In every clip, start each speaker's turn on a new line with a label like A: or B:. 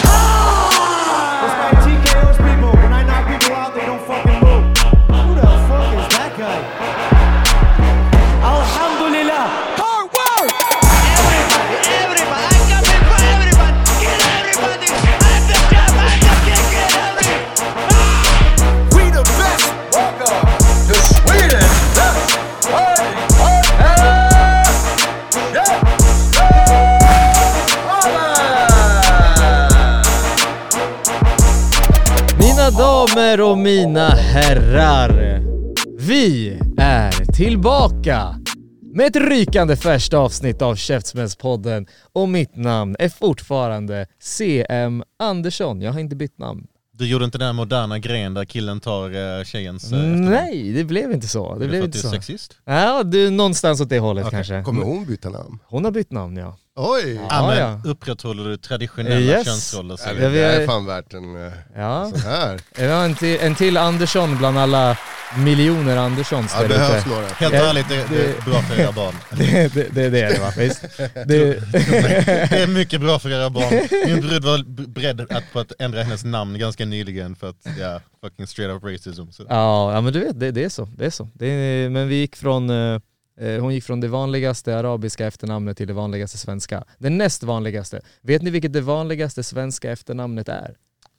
A: time!
B: Like TKO's people, when I knock people out, they don't fucking move. Who the fuck is that guy?
A: Alhamdulillah. Hard work!
C: We the best. Welcome. The Sweden. Best. Party. Party. Yeah. Holla!
D: Mina damer och mina herrar. Vi är tillbaka med ett rykande färskt avsnitt av Käftsmällspodden och mitt namn är fortfarande CM Andersson. Jag har inte bytt namn.
E: Du gjorde inte den här moderna grejen där killen tar eh, tjejens... eh, efternamn?
D: Nej, det blev inte så. Det
E: Är det
D: blev
E: för att
D: inte
E: du
D: så.
E: är sexist?
D: Ja, du, någonstans åt det hållet kanske.
F: Kommer hon byta namn?
D: Hon har bytt namn ja.
F: Oj!
E: Ja, men
D: ja.
E: upprätthåller du traditionella
D: Yes.
E: könsroller? säger
D: Ja,
E: vi.
F: Det
D: vi har-
F: är fan värt en eh,
D: Ja,
F: sån här.
D: vi har en till, en till Andersson bland alla miljoner Anderssons
F: Ja, det
D: där ute.
F: behövs några.
E: Helt
D: Ja,
E: ärligt, det, det är bra för era barn.
D: Det, det, det är det va? Visst? Det,
E: Det är mycket bra för era barn. Min brud var b- beredd att, på att ändra hennes namn ganska nyligen för att, ja, fucking straight up racism. Så.
D: Ja, ja men du vet, det, det är så. Det är så. Det är, men vi gick från, eh, eh, hon gick från det vanligaste arabiska efternamnet till det vanligaste svenska. Det näst vanligaste. Vet ni vilket det vanligaste svenska efternamnet är?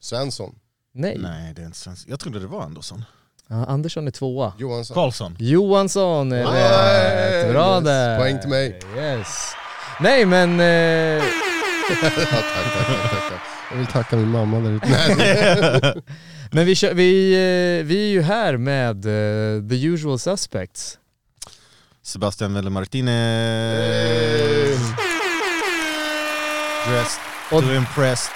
F: Svensson,
D: Nej.
E: Nej, det är inte svenskt. Jag trodde det var Andersson.
D: Ja, Andersson är tvåa.
F: Johansson.
E: Karlsson.
D: Johansson är
F: Nej,
D: rätt. Bra
F: yes.
D: där.
F: Poäng till mig.
D: Yes. Nej men... Eh,
F: Ja, tack, tack, tack, tack, tack. Jag vill tacka min mamma där ute. Nej,
D: Men vi, kör, vi, eh, vi är ju här med eh, the usual suspects.
E: Sebastian Velle Martinez. Dressed
D: Och-
E: to impressed.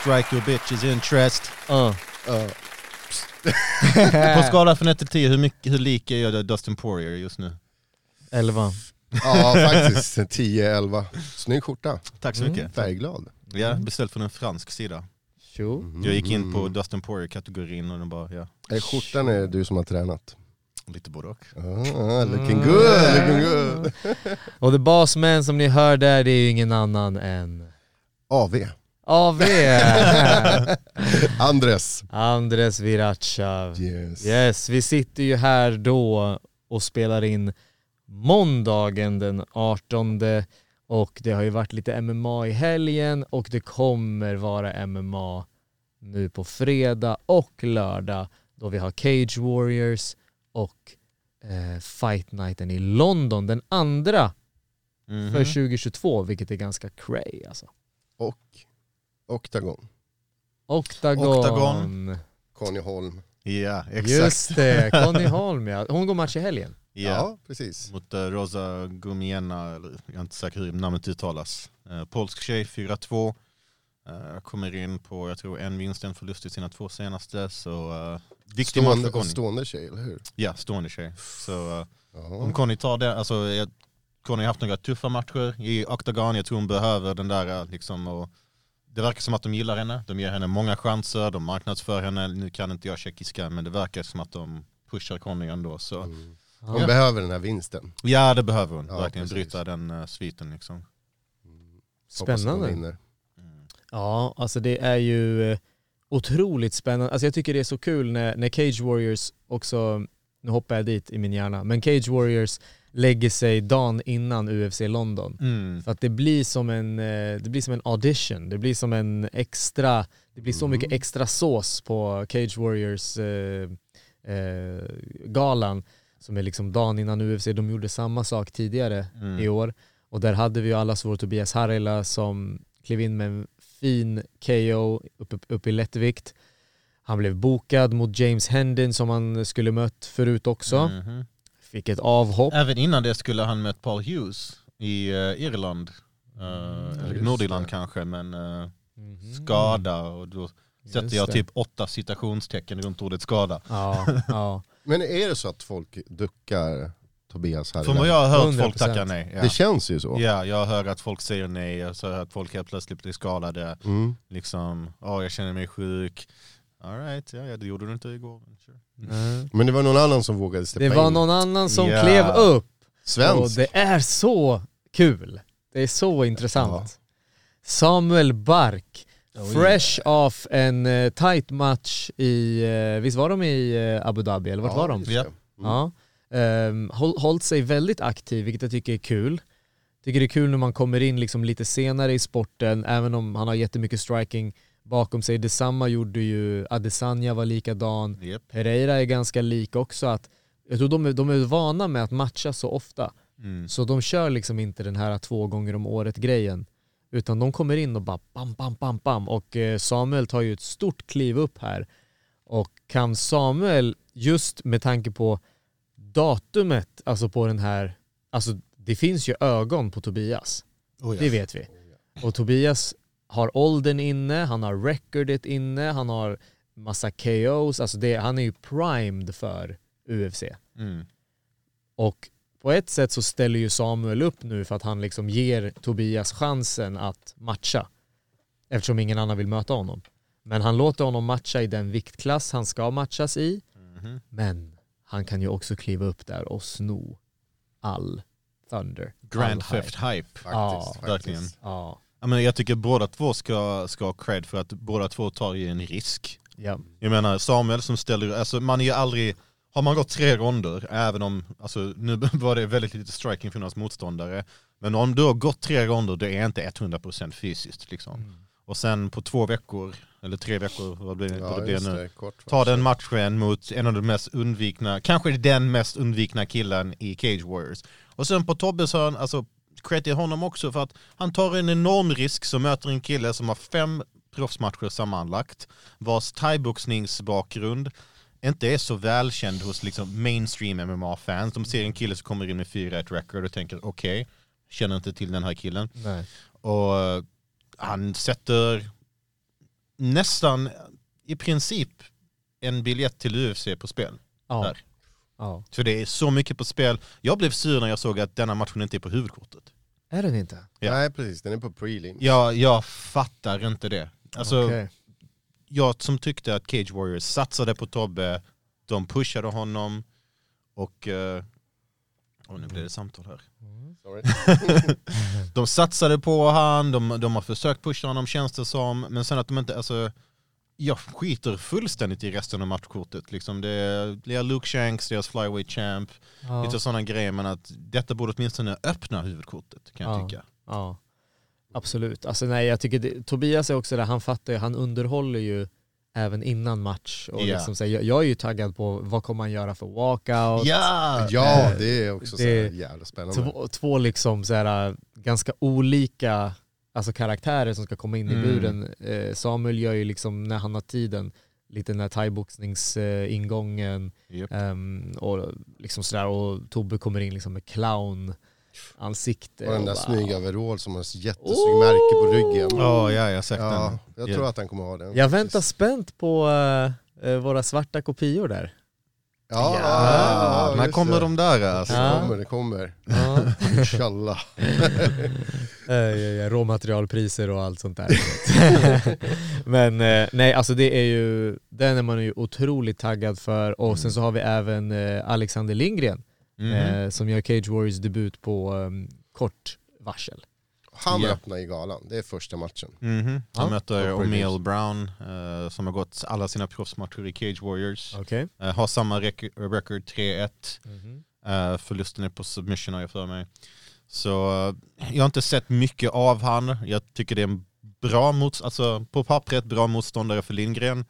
E: Strike your bitches interest. Uh,
D: Ja.
F: ja.
E: På skala från 1 till 10, hur, mycket, hur lik är jag Dustin Poirier just nu?
F: Mm.
D: Elva.
F: ja, faktiskt. 10-11. Snygg skjorta.
E: Mm, Tack så mycket.
F: Färgglad.
E: Ja, beställt från en fransk sida.
D: Tjo.
E: Jag gick in på Dustin Poirier-kategorin och den bara, ja,
F: Eh, Skjortan är du som har tränat.
E: lite både och.
F: Ah, looking good,
E: Mm.
F: looking good.
D: Och the boss man som ni hör där det är ju ingen annan än
F: AV.
D: AV!
F: Andres.
D: Andres Viracav.
F: Yes.
D: Yes, vi sitter ju här då och spelar in måndagen den 18 och det har ju varit lite MMA i helgen och det kommer vara MMA nu på fredag och lördag då vi har Cage Warriors och eh, Fight Nighten i London den andra
E: Mhm.
D: för 2022 vilket är ganska cray alltså.
F: Och Octagon.
D: Octagon.
E: Octagon.
F: Conny Holm.
E: Ja, exakt.
D: Just det, Conny Holm ja. Hon går match i helgen.
E: Ja.
F: Ja, precis.
E: Mot eh, Rosa Gumiena, eller jag är inte säker hur namnet uttalas. Eh, polsk tjej, 4-2. Eh, kommer in på, jag tror, en vinst, en förlust i sina två senaste. Så eh, viktig match för
F: Stående,
E: Conny.
F: stående tjej, eller hur?
E: Ja, stående tjej. Så eh, om
F: Ja.
E: Conny tar det, alltså jag, Conny har haft några tuffa matcher i Octagon. Jag tror hon behöver den där eh, liksom och det verkar som att de gillar henne. De ger henne många chanser, de marknadsför henne. Nu kan inte jag tjeckiska men det verkar som att de pushar Conny ändå. Så
F: Mm. Hon
D: Ja.
F: behöver den här vinsten.
E: ja, det behöver hon.
F: Ja,
E: verkligen
F: precis.
E: bryta den eh, sviten liksom.
F: Hoppas hon
D: Spännande.
F: vinner.
D: Ja, alltså det är ju eh, otroligt spännande. Alltså jag tycker det är så kul när, när Cage Warriors också, nu hoppar jag dit i min hjärna, men Cage Warriors lägger sig dagen innan UFC London.
E: Mm.
D: För att det blir som en, eh, det blir som en audition, det blir som en extra, det blir så
E: Mm.
D: mycket extra sås på Cage Warriors eh, eh, galan som är liksom dagen innan UFC, de gjorde samma sak tidigare
E: Mm.
D: i år och där hade vi ju allas vår Tobias Harila som klev in med en fin KO uppe upp i lättvikt. Han blev bokad mot James Hendon som han skulle mött förut också.
E: Mhm.
D: Fick ett avhopp.
E: Även innan det skulle han mött Paul Hughes i eh, Irland. Eh, eller
F: Mm, just
E: Nordirland
F: det. Mm.
E: kanske, men eh,
D: Mhm.
E: skada och då sätter
D: Just
E: jag
D: det.
E: typ åtta citationstecken runt ordet skada.
D: Ja, ja.
F: Men är det så att folk duckar Tobias här?
E: Från vad jag har hört folk
D: 100%.
E: tackar nej. Ja.
F: Det känns ju så.
E: ja, jag hör att folk säger nej, jag hör att folk helt plötsligt blir skadade.
F: Mm.
E: Liksom, ja jag känner mig sjuk, Alright, ja, ja, det gjorde du inte igår. Men sure.
F: Men det var någon annan som vågade
D: Det
F: steppa
D: var
F: in.
D: någon annan som
E: Ja.
D: klev upp och
F: Svensk.
D: det är så kul. Det är så intressant. Samuel Bark, fresh off en eh, tight match i, eh, visst var de i eh, Abu Dhabi eller vart var de?
F: just
E: Ja.
F: det.
D: Ja. Ehm, håll, hållit sig väldigt aktiv, vilket jag tycker är kul. Tycker det är kul när man kommer in liksom lite senare i sporten, även om han har jättemycket striking bakom sig. Detsamma gjorde ju Adesanya var likadan.
E: Yep.
D: Pereira är ganska lik också. Att, jag tror de är, de är vana med att matcha så ofta,
E: Mm.
D: så de kör liksom inte den här två gånger om året-grejen. Utan de kommer in och bara bam, bam, bam, bam. Och eh, Samuel tar ju ett stort kliv upp här. Och kan Samuel, just med tanke på datumet, alltså på den här, alltså det finns ju ögon på Tobias.
E: Oh, ja.
D: Det vet vi. Och Tobias har åldern inne, han har recordet inne, han har massa KOs, alltså det, han är ju primed för UFC.
E: Mm.
D: Och på ett sätt så ställer ju Samuel upp nu för att han liksom ger Tobias chansen att matcha. Eftersom ingen annan vill möta honom. Men han låter honom matcha i den viktklass han ska matchas i.
E: Mhm.
D: Men han kan ju också kliva upp där och sno all thunder.
E: Grand
D: all hype.
E: Theft Hype.
D: Ja,
F: Faktiskt.
E: Verkligen.
F: faktiskt.
D: Ja,
E: Ja, men jag tycker båda två ska, ska ha cred för att båda två tar ju en risk.
D: ja.
E: Jag menar Samuel som ställer, alltså man är ju aldrig, har man gått tre ronder, även om, alltså nu var det väldigt lite striking från hans motståndare, men om du har gått tre ronder, det är inte 100% fysiskt liksom.
F: Mm.
E: Och sen på två veckor, eller tre veckor, vad blir det, vad
F: Ja,
E: det blir
F: just
E: nu?
F: det. Kort
E: Ta den matchen mot en av de mest undvikna, kanske den mest undvikna killen i Cage Warriors. Och sen på Tobbes hörn, alltså cred till honom också för att han tar en enorm risk som möter en kille som har fem proffsmatcher sammanlagt, vars thaiboxningsbakgrund inte är så välkänd hos liksom mainstream MMA-fans. De ser en kille som kommer in med 4-1 record och tänker okej, känner inte till den här killen.
D: Nej.
E: Och eh, han sätter nästan i princip en biljett till UFC på spel.
D: Ja.
E: Där.
D: ja.
E: För det är så mycket på spel. Jag blev sur när jag såg att denna matchen inte är på huvudkortet.
D: Är den inte?
E: Ja.
F: Nej precis, den är på prelim.
E: Jag, jag fattar inte det. Alltså,
D: Okej.
E: jag som tyckte att Cage Warriors satsade på Tobbe, de pushade honom och... eh, åh, nu blir det samtal här.
F: Sorry.
E: De satsade på han, de, de har försökt pusha honom känns det som, men sen att de inte, alltså jag skiter fullständigt i resten av matchkortet. Liksom det är det är Luke Shanks, deras flyweight champ,
D: Ja.
E: lite sådana grejer. Men att detta borde åtminstone öppna huvudkortet kan jag
D: Ja.
E: tycka.
D: Ja, absolut. Alltså nej, jag tycker det, Tobias är också där, han fattar ju, han underhåller ju även innan match. Och
E: Ja.
D: liksom, så här, jag, jag är ju taggad på vad kommer han göra för walkout?
E: Ja!
F: Ja, det är också så här
D: det-
F: jävla spännande.
D: Två, två liksom så här, äh, ganska olika alltså karaktärer som ska komma in i
E: Mm.
D: buren. Eh, Samuel gör ju liksom, när han har tiden, lite den här thaiboxningsingången
E: Japp.
D: ehm, och liksom sådär och Tobbe kommer in liksom med clown ansikte.
F: Och den där
D: bara-
F: smygoverall som har ett jättesnyggt
D: Oh!
F: märke på ryggen.
E: Ja, ja, jag har sett
F: Ja,
E: den.
F: jag
E: Ja.
F: tror att han kommer ha den.
D: Jag
F: faktiskt.
D: väntar spänt på eh, eh, våra svarta kopior där.
F: Ja, ja,
E: Ah,
F: ja,
E: när
F: just
E: kommer
F: det.
E: de där alltså?
D: Ja.
F: Det kommer, det kommer.
D: Ja.
F: Inshallah.
D: Eh, råmaterialpriser och allt sånt där. Men eh, nej, alltså det är ju, den är man ju otroligt taggad för. Och
F: Mm.
D: sen så har vi även eh, Alexander Lindgren
E: Mhm.
D: eh, som gör Cage Warriors debut på eh, kort varsel.
F: Han
E: Ja.
F: öppnar i galan, det är första matchen.
E: Mhm.
D: Ja.
E: Han möter
F: Och Brady.
E: O'Neill Brown eh, som har gått alla sina proffsmatcher i Cage Warriors.
D: Okej.
E: Eh, har samma rec- record 3-1.
F: Mm-hmm.
E: Eh, förlusten är på submission har jag för mig. Så eh, jag har inte sett mycket av han. Jag tycker det är en bra motståndare, alltså på pappret bra motståndare för Lindgren.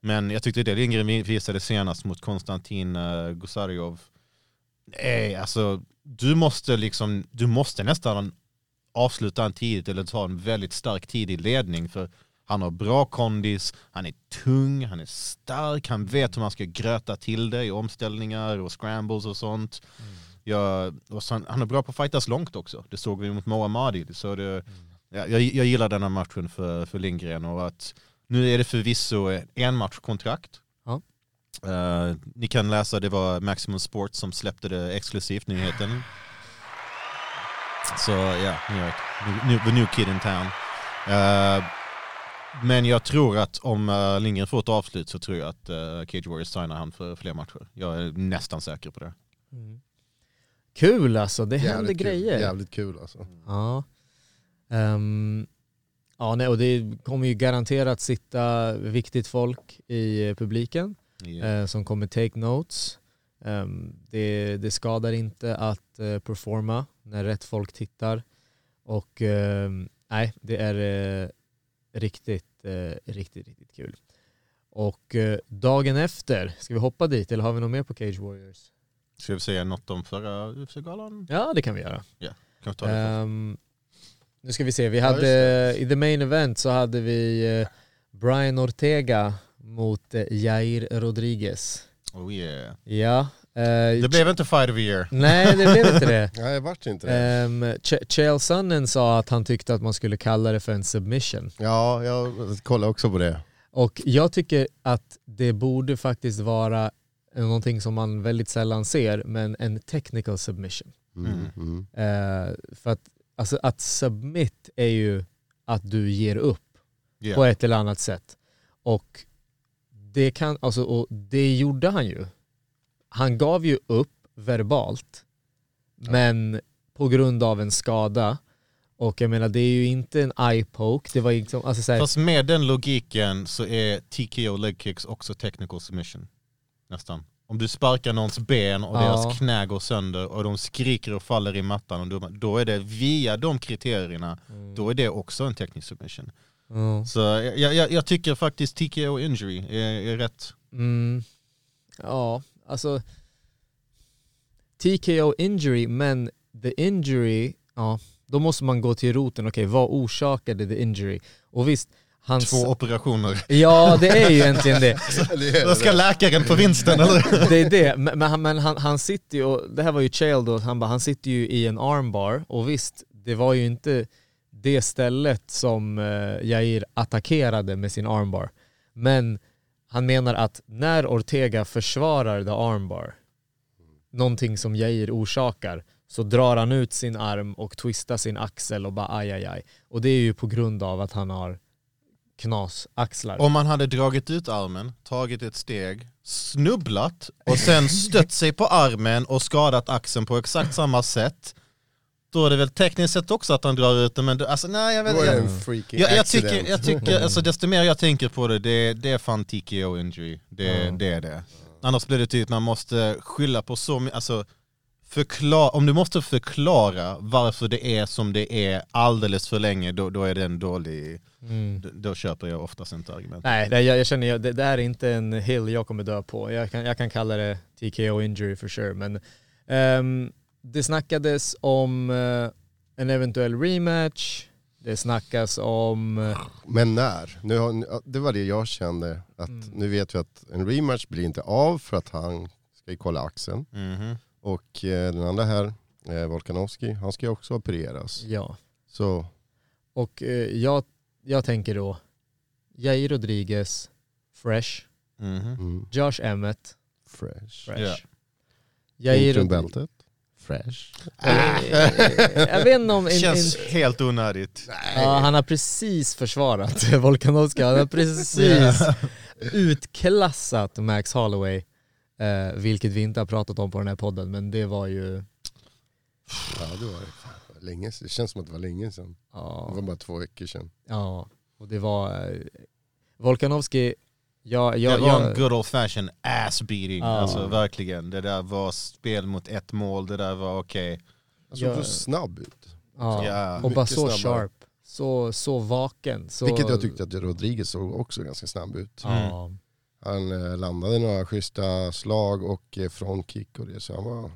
E: Men jag tyckte det Lindgren vi- visade senast mot Konstantin eh, Gusarjov. Nej, alltså du måste liksom, du måste nästan avsluta en tidigt eller ta en väldigt stark tidig ledning för han har bra kondis, han är tung, han är stark, han vet hur man ska gröta till det i omställningar och scrambles och sånt. Ja, och sen, han är bra på att fightas långt också. Det såg vi mot Moa Madi. Så det, ja, jag, jag gillar den här matchen för, för Lindgren och att nu är det förvisso en matchkontrakt.
D: Ja.
E: Eh, ni kan läsa, det var Maximum Sports som släppte det exklusivt, nyheten. Så ja, ni vet. New, new, the new kid in town. Eh, Men jag tror att om eh, Lindgren får ett avslut så tror jag att eh, Cage Warriors signar han för fler matcher. Jag är nästan säker på det.
D: Kul alltså, det
F: Mm-hmm. Jävligt
D: händer
F: kul.
D: grejer.
F: Jävligt kul alltså.
D: Ja. Ehm, ja, nej, och det kommer ju garanterat sitta viktigt folk i eh, publiken
E: Yeah.
D: eh, som kommer take notes. Ehm, det, det skadar inte att eh, performa när rätt folk tittar. Och ehm, nej, det är eh, riktigt, eh, riktigt, riktigt kul. Och eh, dagen efter, ska vi hoppa dit eller har vi något mer på Cage Warriors?
E: Ska vi säga något om förra UFC-galan?
D: Ja, det kan vi göra.
E: Kan vi ta det först?
D: Ehm, nu ska vi se, vi
E: Ja, just
D: hade i the main event så hade vi eh, Brian Ortega mot eh, Jair Rodriguez.
E: Oh yeah.
D: Ja. eh,
E: Det blev inte fight of the year.
D: Nej, det blev inte det.
F: Nej, vart inte det.
D: Um, Chael Sonnen sa att han tyckte att man skulle kalla det för en submission.
F: Ja, jag kollar också på det.
D: Och jag tycker att det borde faktiskt vara någonting som man väldigt sällan ser, men en technical submission.
E: Mm.
F: Mm.
D: Eh, för att, alltså, att submit är ju att du ger upp
E: Yeah.
D: på ett eller annat sätt. Och det, kan, alltså, och det gjorde han ju. Han gav ju upp verbalt, men på grund av en skada. Och jag menar, det är ju inte en eye poke. Det var liksom, alltså, så här,
E: Eh, Fast med den logiken så är TKO leg kicks också technical submission. Nästan. Om du sparkar någons ben och
D: Ja.
E: deras knä går sönder och de skriker och faller i mattan, och då- då är det via de kriterierna, då är det också en teknisk submission.
D: ja.
E: Så eh, jag, jag, jag tycker faktiskt TKO injury är, är rätt.
D: Mm, ja, alltså TKO injury, men the injury, ja, då måste man gå till roten. Okej, vad orsakade the injury? Och visst, hans...
E: Två operationer.
D: Ja, det är ju egentligen det.
E: Då ska läkaren på vinsten eller?
D: Det är det, men, men, han, men han, han sitter ju, och det här var ju Chael då, han, bara, han sitter ju i en armbar och visst, det var ju inte det stället som eh, Jair attackerade med sin armbar. Men han menar att när Ortega försvarar the armbar, någonting som Jair orsakar, så drar han ut sin arm och twistar sin axel och bara aj, aj, aj. Och det är ju på grund av att han har knasaxlar.
E: Om man hade dragit ut armen, tagit ett steg, snubblat och sen stött sig på armen och skadat axeln på exakt samma sätt, då är det väl tekniskt sett också att han drar ut den, men då- alltså, nej jag vet
F: Då är det
E: jag,
F: en freaking
E: jag, jag
F: accident.
E: tycker, jag tycker alltså,
D: Mm.
E: desto mer jag tänker på det, det, det är fan TKO injury. Det, det är det. Annars blir det typ man måste skylla på så mycket, alltså, förklara, om du måste förklara varför det är som det är alldeles för länge, då, då är det en dålig,
D: Mm.
E: då, då köper jag oftast inte argument.
D: Nej, det, jag, jag känner jag, det, det här är inte en hill jag kommer dö på. Jag kan, jag kan kalla det TKO injury for sure. Men ehm, det snackades om eh, en eventuell rematch. Det snackas om... eh,
F: Men när? Nu har, ja, det var det jag kände. Att
D: Mm.
F: Nu vet vi att en rematch blir inte av för att han ska ju kolla axeln.
E: Mhm.
F: Och eh, den andra här, eh, Volkanovski, han ska ju också opereras.
D: Ja.
F: Så
D: Och eh, jag, jag tänker då Jair Rodriguez, Fresh,
E: Mhm.
F: mm,
D: Josh Emmett,
F: fresh.
D: Fresh.
E: Ja.
D: Jair
F: Interim
D: Rodriguez.
F: bältet. Fresh.
D: Jag vet inte om... in-
E: Känns
D: in-
E: helt onödigt.
D: Ja, han har precis försvarat Volkanovski. Han har precis utklassat Max Holloway. Eh, vilket vi inte har pratat om på den här podden, men det var ju...
F: Ja det var det. Fan, det var länge sedan. Det känns som att det var länge sedan. Det
D: Ja,
F: var bara två veckor sedan.
D: ja. och det var... Eh, Volkanovski, jag...
E: Det
D: jag,
E: var
D: jag
E: en good old fashion ass beating,
D: Ja.
E: alltså verkligen. Det där var spel mot ett mål, det där var okej.
F: Han Alltså, såg
D: Ja.
F: så snabb ut.
D: ja.
E: Ja.
D: Och bara
F: mycket
D: så
F: snabbare.
D: sharp, så, så vaken. Så,
F: Vilket jag tyckte Mm. att Rodriguez såg också ganska snabb ut.
D: Ja.
F: Han eh, landade några schyssta slag och eh, frontkick och det. Så han var...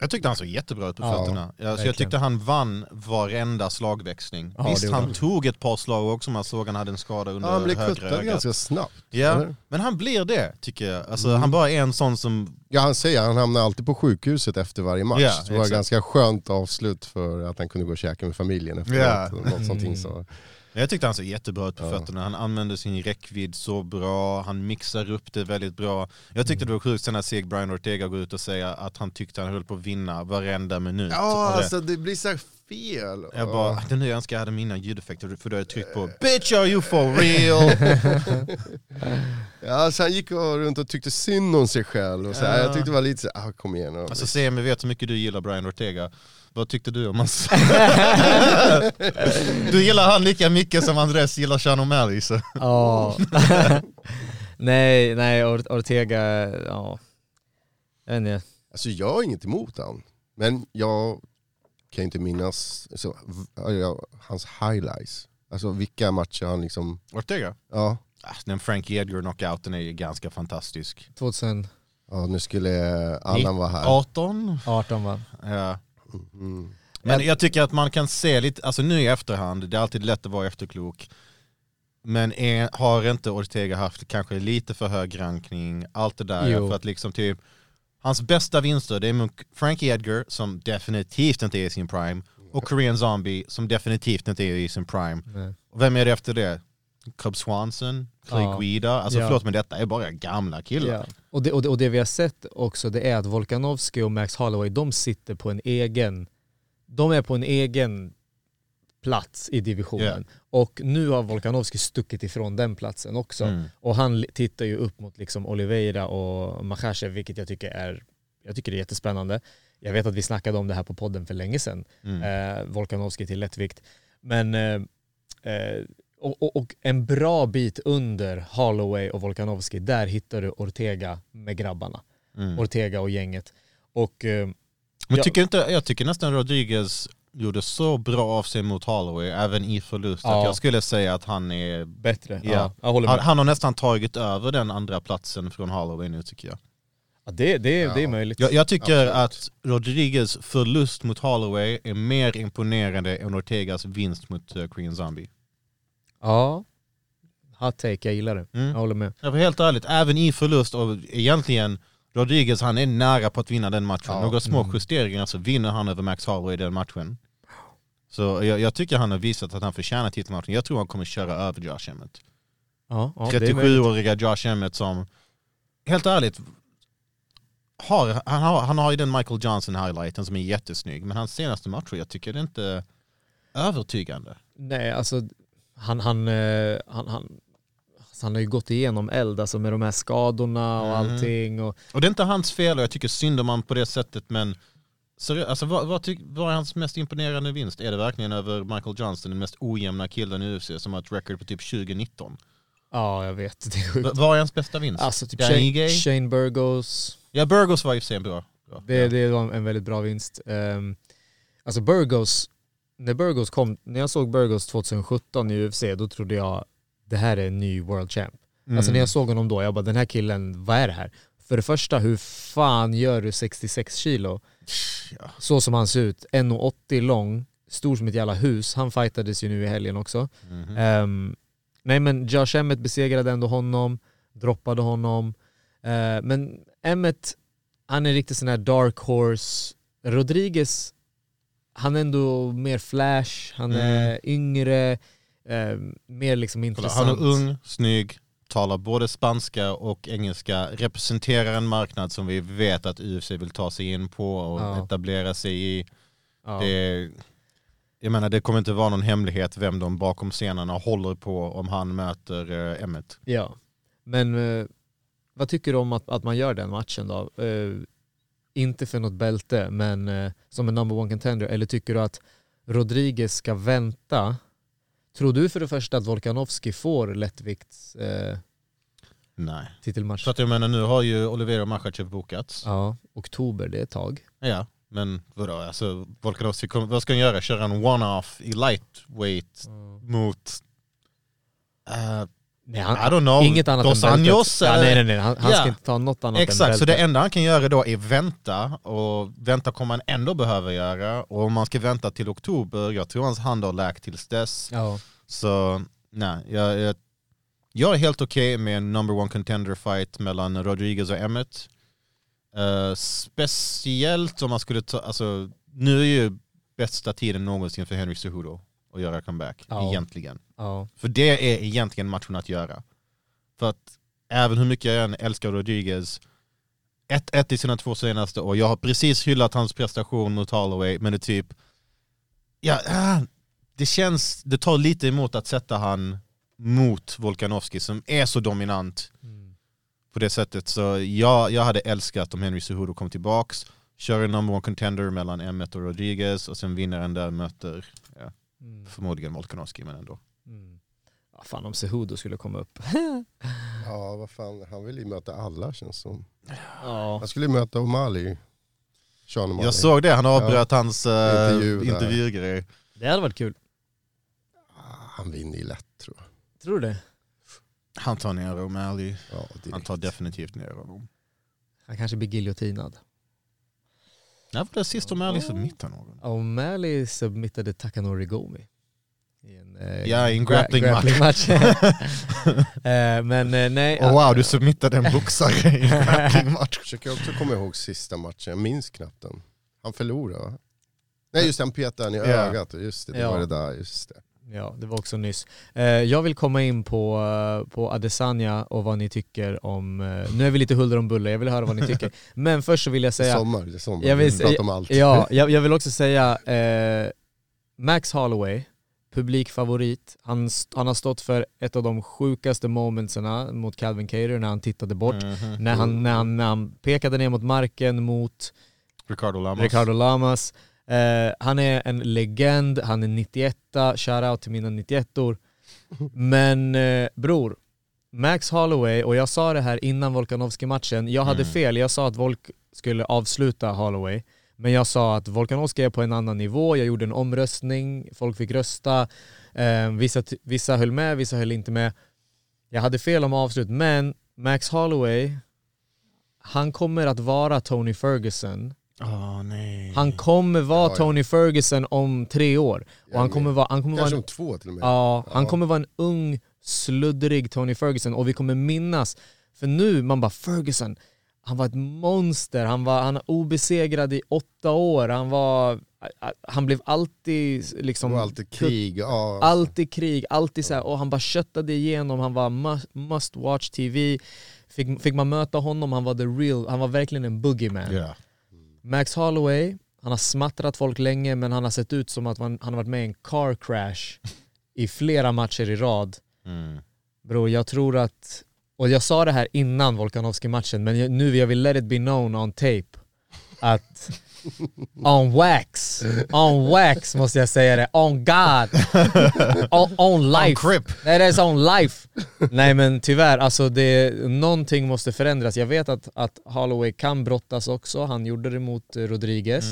E: Jag tyckte han såg jättebra ut på
D: Ja,
E: fötterna. Alltså,
D: verkligen.
E: jag tyckte han vann varenda slagväxling.
D: Ja, det
E: Visst,
D: gjorde
E: han
D: han.
E: tog ett par slag också, man såg han hade en skada under
F: Han blev
E: högra
F: kuttad
E: ögat.
F: ganska snabbt.
E: Ja,
F: eller? Mm.
E: men han blir det tycker jag. Alltså, Han bara är en sån som,
F: Ja han säger han hamnar alltid på sjukhuset efter varje match.
E: Ja,
F: det var
E: exakt.
F: ganska skönt avslut för att han kunde gå och käka med familjen efteråt.
E: Ja.
F: Något sånt så.
E: jag tyckte han såg jättebra ut på
F: Ja.
E: fötterna. Han använde sin räckvidd så bra, han mixar upp det väldigt bra. Jag
F: Mm.
E: tyckte det var sjukt sen när jag såg Brian Ortega gå ut och säga att han tyckte han höll på att vinna varenda minut.
F: Ja
E: Och det-
F: alltså det blir så här fel.
E: Jag
F: Ja.
E: bara, det är nu jag önskar jag hade mina ljudeffekter för då hade jag tryckt på Bitch are you for real?
F: Ja, så han gick och runt och tyckte synd om sig själv. Och så här. Jag tyckte det var lite så här, ah, kom igen. Och,
E: alltså se om vi vet hur mycket du gillar Brian Ortega. Vad tyckte du om hans... du gillar han lika mycket som Andres gillar Sean O'Malley så.
D: Ja. nej, nej, Or- Ortega, ja. Jag vet inte.
F: Alltså jag har inget emot han. Men jag kan inte minnas så, v- ja, hans highlights. Alltså vilka matcher han liksom,
E: Ortega?
F: ja,
E: Ah, Den Frankie Edgar knockouten är ju ganska fantastisk.
D: 2018
F: ja nu skulle Allan vara här.
E: 18?
D: va?
E: Ja.
F: Mm.
E: Men jag tycker att man kan se lite, alltså nu i efterhand, det är alltid lätt att vara efterklok. Men är, har inte Ortega haft kanske lite för hög rankning, allt det där.
D: Jo.
E: För att liksom typ, hans bästa vinster det är mot Frankie Edgar som definitivt inte är i sin prime. Och Korean Zombie som definitivt inte är i sin prime.
D: Nej.
E: Och vem är det efter det? Cub Swanson, Clay
D: Ja.
E: Guida, alltså
D: Ja.
E: förlåt men detta är bara gamla killar.
D: Ja. Och, det, och, det, och det vi har sett också det är att Volkanovski och Max Holloway de sitter på en egen, de är på en egen plats i divisionen.
E: Ja.
D: Och nu har Volkanovski stuckit ifrån den platsen också.
E: Mm.
D: Och han li- tittar ju upp mot liksom Oliveira och Makhachev vilket jag tycker är, jag tycker det är jättespännande. Jag vet att vi snackade om det här på podden för länge sedan,
E: Mm.
D: eh, Volkanovski till lättvikt. Men eh, eh, och, och, och en bra bit under Holloway och Volkanovski, där hittar du Ortega med grabbarna.
E: Mm.
D: Ortega och gänget. Och eh,
E: Men
D: Ja.
E: tycker inte, jag tycker nästan Rodriguez gjorde så bra av sig mot Holloway, även i förlust,
D: Ja.
E: att jag skulle säga att han är...
D: bättre.
E: Ja.
D: Ja, jag håller
E: Han,
D: med.
E: han har nästan tagit över den andra platsen från Holloway nu tycker jag.
D: Ja, det, det, det är
F: Ja.
D: möjligt.
E: Jag, jag tycker
F: Absolut.
E: att Rodriguez förlust mot Holloway är mer imponerande än Ortegas vinst mot uh, Korean Zombie.
D: Ja. Hot take, jag gillar det.
E: Mm.
D: Jag håller med.
E: Ja, för helt ärligt, även i förlust och egentligen Rodriguez han är nära på att vinna den matchen.
F: Ja.
E: Några små
D: Mm.
E: justeringar så vinner han över Max Holloway i den matchen. Så jag, jag tycker han har visat att han förtjänar titelmatchen. Jag tror han kommer köra över Josh Emmett.
D: Ja, ja, det är möjligt.
E: 37-åriga Josh Emmett som, helt ärligt, har, han, har, han har ju den Michael Johnson-highlighten som är jättesnygg, men hans senaste matcher, jag tycker det är inte övertygande.
D: Nej, alltså han, han, eh, han, han, alltså, han har ju gått igenom eld alltså med de här skadorna och
E: Mhm.
D: allting. Och,
E: Och det är inte hans fel och jag tycker synd om han på det sättet men seriö- alltså, vad, vad, tyck- vad är hans mest imponerande vinst? Är det verkligen över Michael Johnson, den mest ojämna killen i UFC som har ett record på typ 2019?
D: ja, jag vet. Det är
E: V-
D: sjukt.
E: vad är hans bästa vinst?
D: Alltså typ
E: Danny
D: Shane,
E: Gay?
D: Shane Burgos.
E: ja, Burgos var i och för sig en bra. bra.
D: Det, det var en väldigt bra vinst. Ehm, alltså Burgos, när Burgos kom, när jag såg Burgos 2017 i UFC, då trodde jag det här är en ny world champ.
E: Mm.
D: Alltså när jag såg honom då, jag bara den här killen, vad är det här? För det första, hur fan gör du 66 kilo?
E: Ja.
D: Så som han ser ut, 1,80 lång, stor som ett jävla hus. Han fightades ju nu i helgen också.
E: Mhm.
D: Ehm, nej men Josh Emmett besegrade ändå honom, droppade honom. Eh, men Emmett, han är riktigt sån här dark horse. Rodriguez, han är ändå mer flash, han
E: Mm.
D: är yngre, eh, mer liksom
E: Kolla,
D: intressant.
E: han är ung, snygg, talar både spanska och engelska, representerar en marknad som vi vet att UFC vill ta sig in på och
D: Ja.
E: etablera sig i.
D: Ja.
E: Det, jag menar det kommer inte vara någon hemlighet vem de bakom scenerna håller på om han möter eh, Emmet.
D: Ja, men eh, vad tycker du om att, att man gör den matchen då? Eh, inte för något bälte, men eh, som en number one contender. Eller tycker du att Rodriguez ska vänta? Tror du för det första att Volkanovski får lättvikts eh,
E: Nej.
D: titelmatch?
E: Så att jag menar nu har ju Olivera och Makhachev bokats.
D: Ja, oktober, det är ett tag.
E: Ja. Men vadå, alltså, Volkanovski, kommer- vad ska han göra? Köra en one-off i lightweight mot... eh,
D: Nej,
E: I
D: han,
E: don't know.
D: inget annat
E: Dos
D: än bältet.
E: Anjos,
D: Ja,
E: eh,
D: nej, nej, nej. Han, han
E: ja.
D: ska inte ta något annat än
E: Exakt, så
D: bältet.
E: det enda han kan göra då är vänta och vänta kommer han ändå behöva göra och om man ska vänta till oktober, jag tror hans hand har läkt tills dess.
D: Ja.
E: Så nej, jag, jag, jag är helt okej med en number one contender fight mellan Rodriguez och Emmett. Eh, speciellt om man skulle ta, alltså nu är ju bästa tiden någonsin för Henry Cejudo att göra comeback,
D: Ja.
E: egentligen.
D: Ja.
E: För det är egentligen matchen att göra. För att även hur mycket jag än älskar Rodriguez, 1-1 i sina två senaste år, jag har precis hyllat hans prestation mot Holloway, men det är typ Ja, ah, det känns, det tar lite emot att sätta han mot Volkanovski som är så dominant på det sättet. Så jag, jag hade älskat om Henry Cejudo kom tillbaks, kör en number one contender mellan M1 och Rodriguez och sen vinnaren där möter ja,
D: Mm.
E: förmodligen Volkanovski men ändå.
D: Mm. Ja, fan om Cejudo skulle komma upp.
F: Ja, vad fan. Han vill ju möta alla känns som.
D: Ja.
F: Han skulle ju möta O'Malley. Sean O'Malley.
E: Jag såg det, han avbröt hans eh,
F: Intervju där.
E: intervjugrej.
D: Det hade varit kul.
F: Ah, Han vinner ju lätt tror jag.
D: Tror du det?
E: Han tar ner O'Malley,
F: Ja, direkt.
E: han tar definitivt ner honom.
D: Han kanske blir giljotinad.
E: När var det sist O'Malley submittade någon?
D: O'Malley submittade Takanori Gomi. I en, eh,
E: Ja, i en
D: gra-
E: grappling match.
D: grappling-match. Eh, men eh, nej.
E: Oh, wow, du submittade en boxare i en grappling-match.
F: Försöker också komma ihåg sista matchen, jag minns knappt den. Han förlorade va? Nej just det, han petade han i
E: Ja.
F: ögat. Just det, det
D: Ja.
F: var det där. Just det.
D: Ja, det var också nyss. Eh, jag vill komma in på, eh, på Adesanya och vad ni tycker om... Eh, nu är vi lite huller om buller, jag vill höra vad ni tycker. Men först så vill jag
F: Det är
D: säga...
F: sommar, det är sommar.
D: Jag
F: vi
D: visst-
F: pratar om allt.
D: Ja, jag, jag vill också säga eh, Max Holloway, publikfavorit. Han, st- han har stått för ett av de sjukaste momentsen mot Calvin Cater när han tittade bort.
E: Mhm.
D: När, han, när, han, när han pekade ner mot marken mot
E: Ricardo Lamas.
D: Ricardo Lamas. Eh, han är en legend, han är 91 shoutout till mina 91or. Men eh, bror, Max Holloway, och jag sa det här innan Volkanovski-matchen, jag hade
E: Mm.
D: fel, jag sa att Volk skulle avsluta Holloway. Men jag sa att Volkanovski är på en annan nivå, jag gjorde en omröstning, folk fick rösta, eh, vissa, t- vissa höll med, vissa höll inte med. Jag hade fel om avslut, men Max Holloway, han kommer att vara Tony Ferguson
E: Åh, nej.
D: han kommer vara
F: Ja, ja.
D: Tony Ferguson om tre år. Och
F: Ja,
D: han
F: men-
D: kommer vara, han kommer vara,
F: Kanske
D: en,
F: om två till och med.
D: ja, han
F: Ja.
D: kommer vara en ung, sluddrig Tony Ferguson och vi kommer minnas. För nu, man bara Ferguson, han var ett monster, han var han var obesegrad i åtta år, han var, han blev alltid liksom...
F: och alltid krig. Ja,
D: Alltid krig, alltid så här, och han bara köttade igenom, han var must, must watch TV. Fick, fick man möta honom, han var the real, han var verkligen en boogeyman.
E: Ja.
D: Max Holloway, han har smattrat folk länge men han har sett ut som att man, han har varit med i en car crash i flera matcher i rad.
E: Mm.
D: Bro, jag tror att, och jag sa det här innan Volkanovski-matchen men jag, nu jag vill let it be known on tape att on wax, on wax måste jag säga det, on God, on, on life.
E: crip.
D: Nej det är så on life. Nej men tyvärr, alltså det, någonting måste förändras. Jag vet att, att Holloway kan brottas också, han gjorde det mot eh, Rodriguez.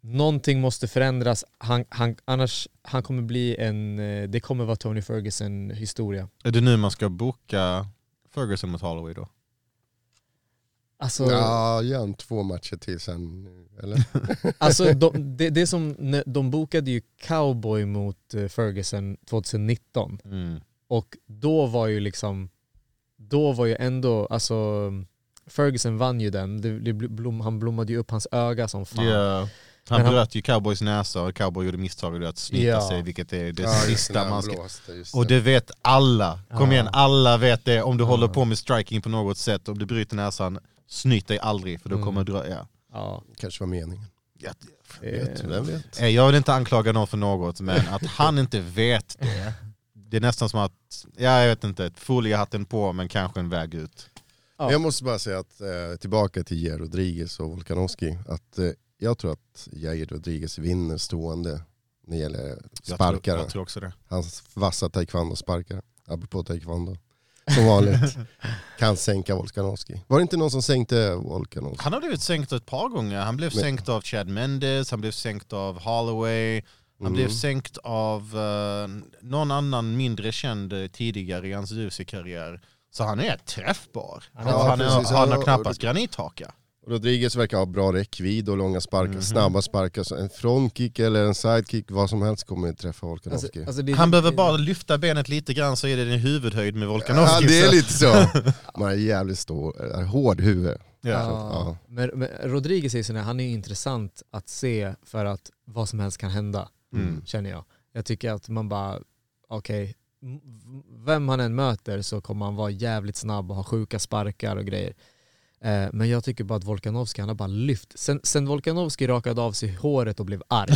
D: Någonting måste förändras, han, han, annars han kommer bli en, eh, det kommer vara Tony Ferguson historia.
E: Är det nu man ska boka Ferguson mot Holloway då?
D: Alltså,
F: Ja, gör han två matcher till sen. Eller?
D: alltså de, det, det är som, när- de bokade ju Cowboy mot eh, Ferguson 2019
E: Mm.
D: och då var ju liksom, då var ju ändå, alltså Ferguson vann ju den, det, det blom, han blommade ju upp hans öga som fan.
E: Ja. Han
D: Men han-
E: bröt ju cowboys näsa och cowboy gjorde misstaget att snyta
D: Ja.
E: sig vilket är det
F: Ja, just
E: sista
F: när han
E: man ska...
F: blåste, just
E: Och det vet alla. Kom
D: Ja.
E: igen, alla vet det. Om du
D: Ja.
E: håller på med striking på något sätt, om du bryter näsan, snyt dig aldrig för då
D: Mm.
E: kommer du dröja.
D: Ja,
F: kanske var meningen.
E: Jag,
D: det,
F: Vem vet?
E: Eh, jag vill inte anklaga någon för något, men att han inte vet det, det är nästan som att, ja, jag vet inte, foliehatten på men kanske en väg ut.
D: Ja.
F: Jag måste bara säga att, eh, tillbaka till Jair Rodriguez och Volkanovski, att eh, jag tror att Jair Rodriguez vinner stående när det gäller
E: Jag tror,
F: sparkare.
E: jag tror också det.
F: Hans vassa taekwondo-sparkare, apropå taekwondo, som vanligt, kan sänka Volkanovski. Var det inte någon som sänkte Volkanovski?
E: Han har blivit sänkt ett par gånger. Han blev
F: Men-
E: sänkt av Chad Mendes, han blev sänkt av Holloway, han
F: Mm.
E: blev sänkt av eh, någon annan mindre känd eh, tidigare i hans UFC-karriär. Så han är träffbar.
D: Ja,
E: Alltså, han,
F: precis.
E: är, han har
F: Ja,
E: knappast granithaka.
F: Rodriguez verkar ha bra räckvidd och långa sparkar,
E: Mhm.
F: snabba sparkar. Så en frontkick eller en sidekick, vad som helst kommer träffa
D: alltså,
F: Volkanovski.
D: alltså det,
E: Han behöver
D: det-
E: bara lyfta benet lite grann så är det din huvudhöjd med
F: ja,
E: Volkanovski.
F: det är
D: alltså.
E: Så-
F: lite så. Man är jävligt stor, eh, hård huvud.
E: ja.
D: Ja. Men, men Rodriguez är ju sån här, han är ju intressant att se för att vad som helst kan hända,
E: Mm.
D: känner jag. Jag tycker att man bara, okej, m- vem han än möter så kommer han vara jävligt snabb och ha sjuka sparkar och grejer. Eh, Men jag tycker bara att Volkanovski, han har bara lyft. Sen, sen Volkanovski rakade av sig håret och blev arg.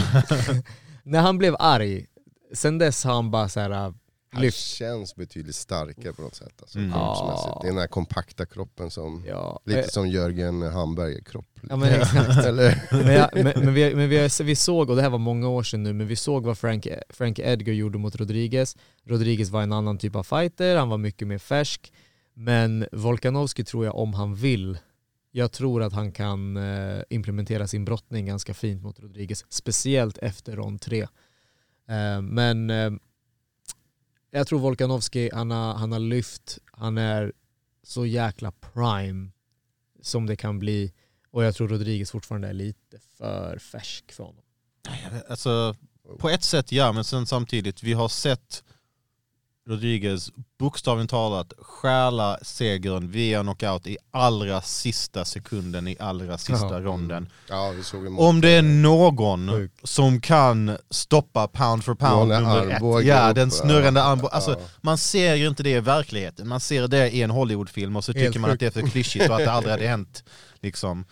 D: när han blev arg, sen dess har han bara så här
F: Han
D: lyft.
F: känns betydligt starkare på något sätt. Alltså,
E: Mm.
F: kroppsmässigt.
D: Ja.
F: Det är den här kompakta kroppen som,
D: Ja,
F: lite
D: eh,
F: som Jörgen Hamberger-kropp.
D: ja men exakt.
F: Eller?
D: men, jag, men, men, vi, men vi, vi såg, och det här var många år sedan nu, men vi såg vad Frank, Frank Edgar gjorde mot Rodriguez. Rodriguez var en annan typ av fighter, han var mycket mer färsk. Men Volkanovski tror jag, om han vill, jag tror att han kan eh, implementera sin brottning ganska fint mot Rodriguez, speciellt efter rond tre. Eh, men eh, jag tror Volkanovski, han har, han har lyft, han är så jäkla prime som det kan bli. Och jag tror Rodriguez fortfarande är lite för färsk för honom.
E: Alltså, på ett sätt ja, men sen samtidigt, vi har sett Rodriguez bokstavligt talat stjäla segern via knockout i allra sista sekunden i allra sista
D: Jaha.
E: ronden.
F: Ja, vi såg ju mål.
E: Om det är någon
D: Sjuk.
E: som kan stoppa pound for pound
F: Johnny
E: nummer ett,
F: Armbåge
E: ja,
F: upp,
E: den snurrande
F: ja.
E: armbågen. Alltså,
F: Ja.
E: Man ser ju inte det i verkligheten, man ser det i en Hollywoodfilm och så
D: Helt
E: tycker man att det är för klyschigt och att det aldrig hade hänt. Liksom.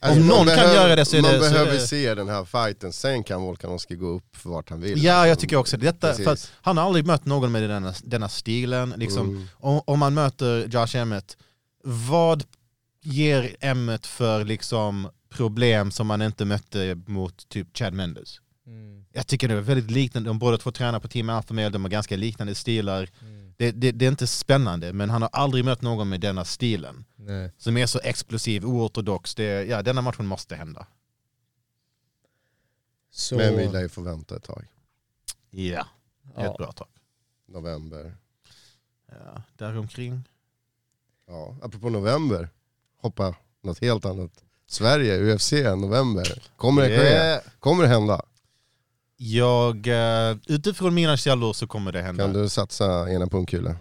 F: Alltså,
E: om
F: man
E: någon kan
F: behöver-
E: göra det så är
F: Man
E: det- så är
F: behöver
E: det-
F: se den här fighten, sen kan Volkanovski gå upp för vart han vill.
E: Ja, jag tycker också det. detta. För att
F: Precis.
E: han har aldrig mött någon med denna, denna stilen. Liksom, om, om man möter Josh Emmett, vad ger Emmett för liksom, problem som man inte mötte mot typ Chad Mendes?
D: Mm,
E: Jag tycker det är väldigt liknande, de båda två tränar på Team Alpha Male, de har ganska liknande stilar. Det, det, det är inte spännande, men han har aldrig mött någon med denna stilen.
D: Nej.
E: Som är så explosiv, oortodox. Det, ja, denna matchen måste hända.
D: Så,
F: Men vi lär ju få vänta ett tag.
E: Ja, ett
D: ja.
E: bra tag.
F: November.
E: Ja, däromkring.
F: Ja, apropå november. Hoppa något helt annat. Sverige, UFC, november. Kommer det ske?
E: Yeah.
F: Kommer det hända?
E: Jag, eh, utifrån mina källor så kommer det hända.
F: Kan du satsa ena pungkulan?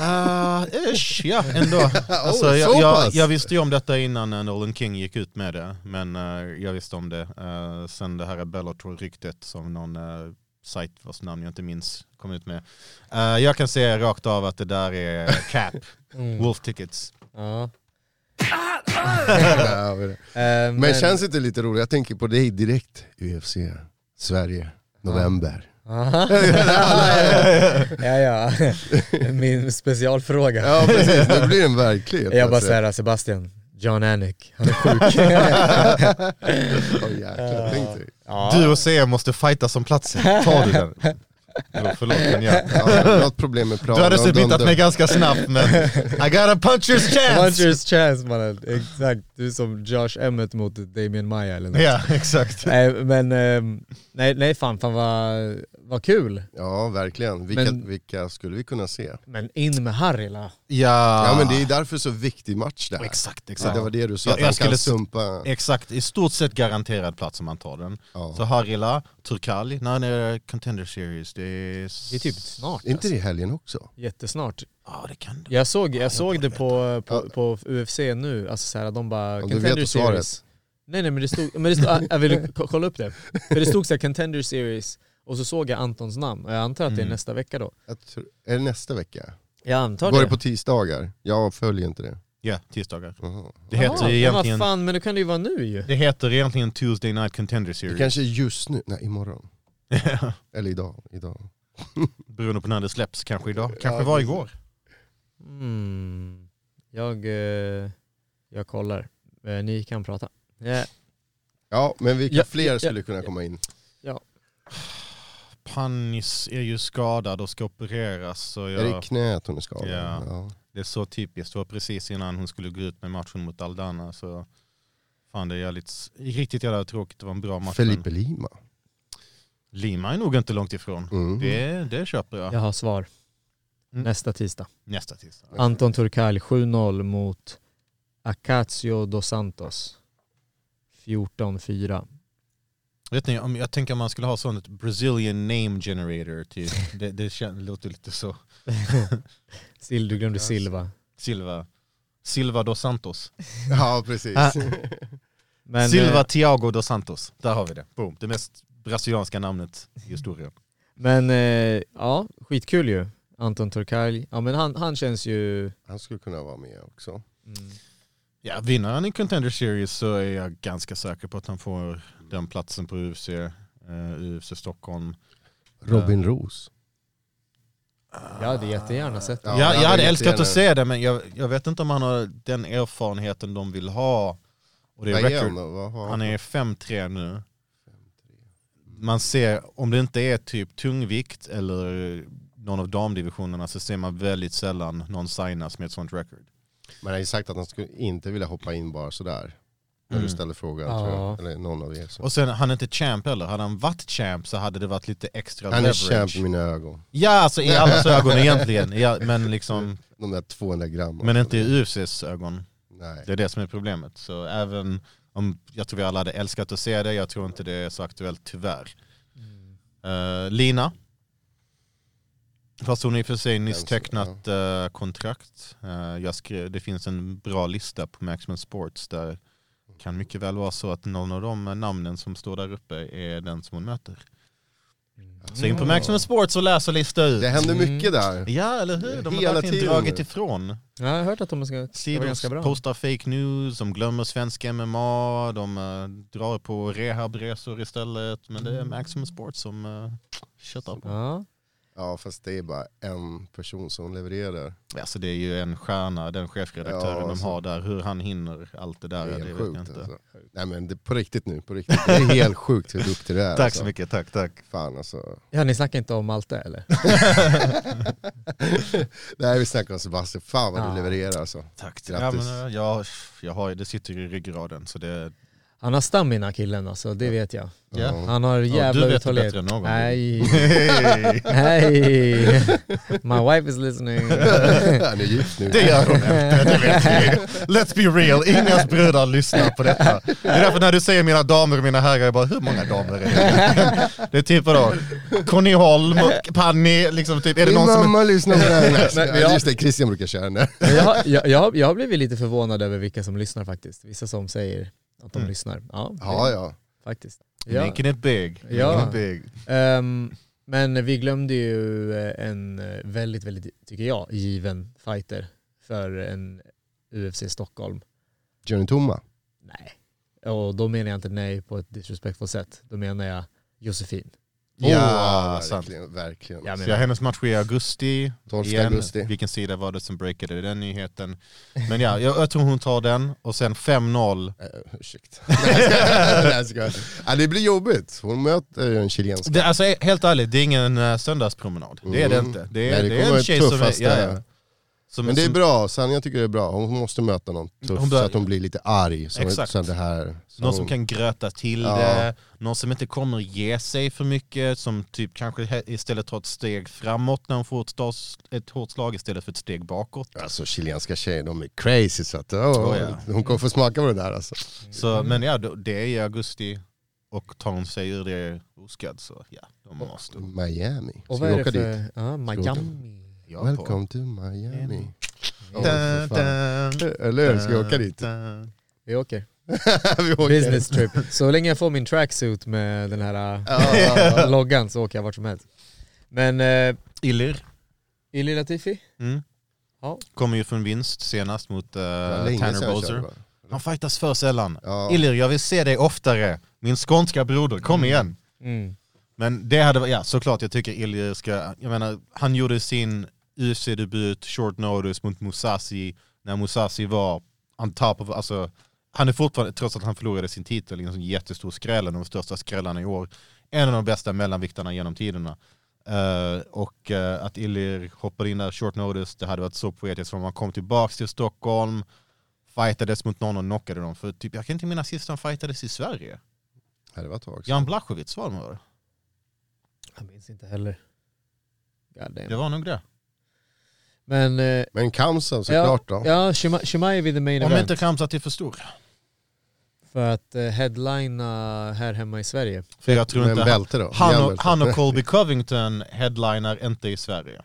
E: Ah, ish, ja ändå. Alltså,
F: Oh,
E: jag,
F: så
E: jag,
F: pass.
E: jag visste ju om detta innan eh, Nolan King gick ut med det, men eh, jag visste om det. Eh, sen det här Bellator-ryktet som någon uh, sajt vars namn jag inte minns kom ut med. Eh, jag kan säga rakt av att det där är cap,
F: Mm.
E: wolf tickets.
D: Ja.
F: Ja, men-
D: Eh,
F: Men känns inte lite roligt? Jag tänker på dig direkt. UFC, Sverige, november.
D: Aha. ja, ja. Min specialfråga.
F: Ja precis, nu blir den verklighet.
D: jag bara
F: alltså.
D: såhär, Sebastian, John Anik, han är sjuk.
F: Åh, jäklar, tänk dig.
D: ja.
E: Du och CM måste fighta som platsen, tar du den? Jo, Förlåt, men ja.
F: Ja, jag har ett problem med planen.
E: Du hade
F: De- de-
E: submittat
F: de-
E: mig ganska snabbt, men I got a puncher's chance!
D: Punchers chance mannen, exakt. Du är som Josh Emmett mot Damien Maya eller något.
E: Ja, exakt.
D: Nej men, ehm, nej, nej fan, fan vad, vad kul.
F: Ja verkligen, vilka,
D: Men-
F: vilka skulle vi kunna se?
D: Men in med Harila.
E: Ja,
F: Ja men det är därför så viktig match det här.
E: Ah. Exakt,
F: Ja,
E: exakt.
F: det var det du sa,
E: Jag-
F: att
E: jag
F: han
E: skulle
F: kan
E: s- Eh,
F: sumpa.
E: Exakt, i stort sett garanterad plats om man tar den.
F: Ja.
E: Så Harila, Turkali, när är det Contender Series? Det är... s-
D: Det är typ snart.
F: Är inte det i helgen också?
D: Jättesnart.
E: Ja, det kan det.
D: Jag såg, jag såg det på, på,
F: Ja.
D: på UFC nu, alltså såhär, de bara
F: Ja, du
D: Contender
F: vet svaret.
D: Series. Nej nej men det stod, men det stod ah, jag ville ko- kolla upp det. För det stod såhär Contender Series och så såg jag Antons namn och jag antar att det är
E: Mm.
D: nästa vecka då.
F: Jag tror, är det nästa vecka?
D: Jag antar
F: Går
D: det.
F: det på tisdagar? Jag följer inte det.
E: Ja, tisdagar.
F: Jaha.
E: Det heter, ju
D: ja, vad
E: E egentligen,
D: fan, men det kan det ju vara nu ju.
E: det heter egentligen Tuesday Night Contender
F: Det
E: Series.
F: kanske är just nu, nej imorgon. Eller idag. idag.
E: Beroende på när det släpps, kanske idag, kanske
F: Ja,
E: var
F: precis.
E: igår.
D: Mm. Jag, eh, jag kollar. Eh, Ni kan prata. Ja.
F: Ja men vilka
D: Ja, ja,
F: fler skulle kunna komma in?
E: Panis är ju skadad och ska opereras. Så
F: Är det
E: jag,
F: knät hon är skadad?
E: Ja.
F: Ja.
E: det är så typiskt, det var precis innan hon skulle gå ut med matchen mot Aldana. Så fan det är jävligt, riktigt jävla tråkigt, det var en bra match. men
F: Felipe Lima.
E: Lima är nog inte långt ifrån.
F: Mm.
E: Det, det köper jag.
D: Jag har svar.
E: Mm.
D: Nästa tisdag.
E: Nästa tisdag.
D: Anton Turkal 7-0 mot Acacio dos Santos. 14-4.
E: Vet ni, om jag tänker om man skulle ha sånt Brazilian name generator, typ. det, det kän- låter lite så.
D: Sil, du glömde Silva.
E: Silva. Silva dos Santos.
F: Ja precis.
E: Ah.
D: Men,
E: Silva
D: eh,
E: Thiago dos Santos. Där har vi det. Boom. Det mest brasilianska namnet i historien.
D: men eh, ja, skitkul ju. Anton Turkal. Ja men han, han känns ju...
F: Han skulle kunna vara med också.
D: Mm.
E: Ja, vinner han i Contender Series så är jag ganska säker på att han får den platsen på UFC. Eh, eh, UFC Stockholm.
F: Robin Roos.
D: Jag hade jättegärna sett det.
F: Ja,
E: Ja, jag,
F: jag
E: hade
F: vet
E: älskat
F: det.
E: att se det men jag, jag vet inte om han har den erfarenheten de vill ha. Och det är
F: Vad är han
E: record.
F: då? Vad har
E: Han är 5-3 nu. Man ser, om det inte är typ tungvikt eller någon av damdivisionerna så ser man väldigt sällan någon signas med ett sånt record.
F: Men han har ju sagt att han skulle inte vilja hoppa in bara sådär. När
E: Mm.
F: du ställer frågan
D: Ja.
F: tror jag. Eller någon av er. Som.
E: Och sen, han är inte champ heller. Hade han varit champ så hade det varit lite extra
F: Han är
E: Mm. leverage.
F: champ i mina ögon.
E: Ja, alltså i allas ögon egentligen. Ja, men, liksom,
F: Typ De där 200 gram. alltså.
E: men inte i UFCs ögon.
F: Nej.
E: Det är det som är problemet. Så även om jag tror vi alla hade älskat att se det, jag tror inte det är så aktuellt tyvärr. Eh, Lina. Fast hon har i och för sig nyss
F: Den-
E: tecknat eh, kontrakt. Eh, jag skrev, det finns en bra lista på Maximum Sports där kan mycket väl vara så att någon av de namnen som står där uppe är den som hon möter. Så in på Maximum Sports och läs och lista ut.
F: Det händer mycket där.
E: Ja, eller hur? De har
F: Hela
E: verkligen
F: tiden
E: dragit
F: nu.
E: ifrån.
D: Ja, jag har hört att de ska, det var ganska
E: Sidor
D: bra.
E: postar fake news, de glömmer svenska MMA, de eh, drar på rehabresor istället. Men
F: Mm.
E: det är Maximum Sports som uh, köttar på.
D: Ja.
F: Ja fast det är bara en person som levererar.
E: Alltså det är ju en stjärna, den chefredaktören
F: Ja,
E: de
F: alltså.
E: har där. Hur han hinner allt det där,
F: Det
E: det,
F: är helt
E: vet
F: sjukt
E: jag inte.
F: alltså. Nej men det, på riktigt nu, på riktigt. Det är helt sjukt hur duktig du är.
E: Tack
F: alltså.
E: så mycket, tack, tack.
F: Fan alltså.
D: ja, ni snackar inte om Malte eller?
F: Nej vi snackar om Sebastian, fan vad
D: Ja.
F: du levererar alltså.
E: tack. Ja,
F: Grattis.
E: men, eh, jag, jag har, det sitter i ryggraden så det...
D: Han har stamina killen alltså, det vet jag.
E: Ja.
D: Han har
E: Ja,
D: jävla
E: du vet det
D: uthållighet.
E: bättre än någon.
D: Nej, nej. My wife is listening.
F: Han är gift nu.
E: Det gör hon inte, det vet vi. Let's be real, inga brudar lyssnar på detta. Det är därför när du säger mina damer och mina herrar, jag bara hur många damer är det? Det är typ vadå, Conny Holm och Panny, liksom typ, är det
F: Min
E: någon som...
F: mamma lyssnar på det här.
D: Men- men
F: Ja,
D: jag-
F: Just det, Christian brukar köra den där.
D: Men Jag, har- jag, jag, har- jag har blivit lite förvånad över vilka som lyssnar faktiskt. Vissa som säger att de
E: Mm.
D: lyssnar. Ja,
F: Ja
D: det-
F: ja.
D: faktiskt. Ja.
E: Making it big. Making
D: Ja.
E: it big.
D: Ehm, men vi glömde ju eh, en eh, väldigt, väldigt, tycker jag, given fighter för en UFC Stockholm.
F: Johnny Tomma.
D: Nej. Och då menar jag inte nej på ett disrespectful sätt. Då menar jag Josefin.
E: Ja, sant.
F: verkligen. verkligen.
D: Jag
E: Så ja,
D: menar,
E: hennes match är i augusti.
F: 12
E: igen.
F: augusti.
E: Vilken sida var det som breakade den nyheten? Men ja, jag, jag tror hon tar den och sen 5-0.
F: Eh, ursäkta. Nej, jag skojar. Nej, jag skojar. ja, det blir jobbigt. Hon möter ju en chilensk.
E: Det, alltså helt ärligt, det är ingen eh, söndagspromenad. Det är det
F: Mm.
E: inte. Det
F: Nej,
E: är, det
F: det kommer
E: är
F: vara
E: en tjej som är...
F: tuffaste.
E: Ja, ja. Som,
F: Men det är
E: som-
F: bra, Sanja tycker det är bra. Hon måste möta någon tuff
E: Hon bör-
F: så att hon blir lite arg. Så
E: Exakt.
F: Så att det här, så
E: Någon som
F: hon-
E: kan gröta till
F: Oh. Ja.
E: det, någon som inte kommer ge sig för mycket, som typ kanske he- istället tar ett steg framåt när hon får ett, stas, ett hårt slag istället för ett steg bakåt.
F: Alltså chilenska tjejer, de är crazy så att, åh,
E: Oh, ja.
F: hon kommer få smaka på det där alltså.
E: Så, men ja, då- det är i augusti och tar hon sig ur det oskadd så ja, de måste.
F: Miami. Ska
D: och vad är
F: vi
D: det
F: åka
D: för...
F: dit?
D: Ja, Miami.
E: Jag på.
F: Welcome to Miami. Åh, för
E: Dun,
F: fan.
E: dun,
F: Eller hur, ska vi åka
E: dun,
F: dit?
E: dun.
D: Vi åker.
F: vi åker.
D: Business trip. Så länge jag får min tracksuit med den här
F: Ja, ja, ja.
D: äh, loggan så åker jag vart som helst. Men eh,
E: Illir
D: Illy Latifi?
E: mm.
D: Ja.
E: kommer ju från vinst senast mot eh,
F: Det var länge
E: Tanner
F: sedan jag
E: Bowser.
F: körde, va?
E: Han fightas för sällan.
F: Ja.
E: Illir, jag vill se dig oftare. Min skånska broder, kom igen.
D: Mm.
E: Men det hade varit, ja såklart jag tycker Ilja ska, jag menar han gjorde sin UFC-debut short notice mot Musasi när Musasi var on top of, alltså han är fortfarande, trots att han förlorade sin titel, en sån jättestor skräll, en av de största skrällarna i år, en av de bästa mellanviktarna genom tiderna. Eh, och eh, att Illir hoppade in där short notice, det hade varit så poetiskt om han kom tillbaks till Stockholm, fightades mot någon och knockade dem. För typ, jag kan inte minnas sist han fightades i Sverige.
F: Ja, Det var ett tag sedan.
E: Jan Blachowicz var det var det?
D: Jag minns inte heller. God damn.
E: Det var nog det.
D: Men eh,
F: Men Kamsa såklart då.
D: ja, Shima- Shimaev i the main
E: Om
D: event.
E: inte Khamzat är för stor.
D: För att eh, headlina här hemma i Sverige.
E: För jag tror
F: Men
E: inte han,
F: bälte då?
E: han, och,
F: Jävlar.
E: han och Colby Covington headliner inte i Sverige.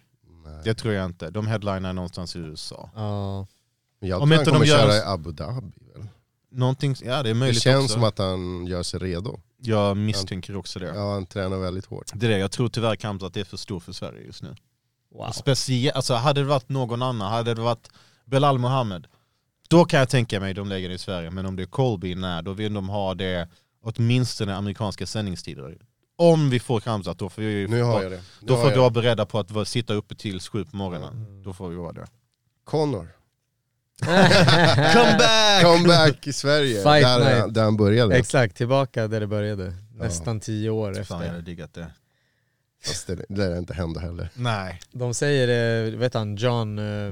F: Nej.
E: Det tror jag inte. De headliner någonstans i USA.
D: Ja,
F: Men jag
E: Om
F: tror
E: inte
F: han
E: de
F: kommer
E: gör
F: köra
E: en-
F: i Abu Dhabi. Väl?
E: Någonting, ja det är
F: Det
E: möjligt
F: känns
E: också.
F: som att han gör sig redo.
E: Jag misstänker också det.
F: Ja, han tränar väldigt hårt.
E: Det är det, jag tror tyvärr Khamzat är för stor för Sverige just nu.
D: wow.
E: Speciellt, alltså hade det varit någon annan, hade det varit Belal Mohammed, då kan jag tänka mig de lägger det i Sverige. Men om det är Colby, nej, då vill de ha det åtminstone amerikanska sändningstider. Om vi får Kramsat då får vi...
F: Nu har jag det. Nu
E: Då
F: har
E: får
F: jag
E: vi vara
F: det. Mm.
E: beredda på att vara- sitta uppe till sju på morgonen. Då får vi vara där.
F: Connor,
E: Come back!
F: comeback i Sverige,
D: Fight
F: där,
D: night.
F: där han började.
D: Exakt, tillbaka där det började. Nästan tio år
E: Fan jag hade
D: efter.
E: diggat det.
F: Fast det det lär inte hända heller.
E: Nej.
D: De säger, eh, vet han, John, eh,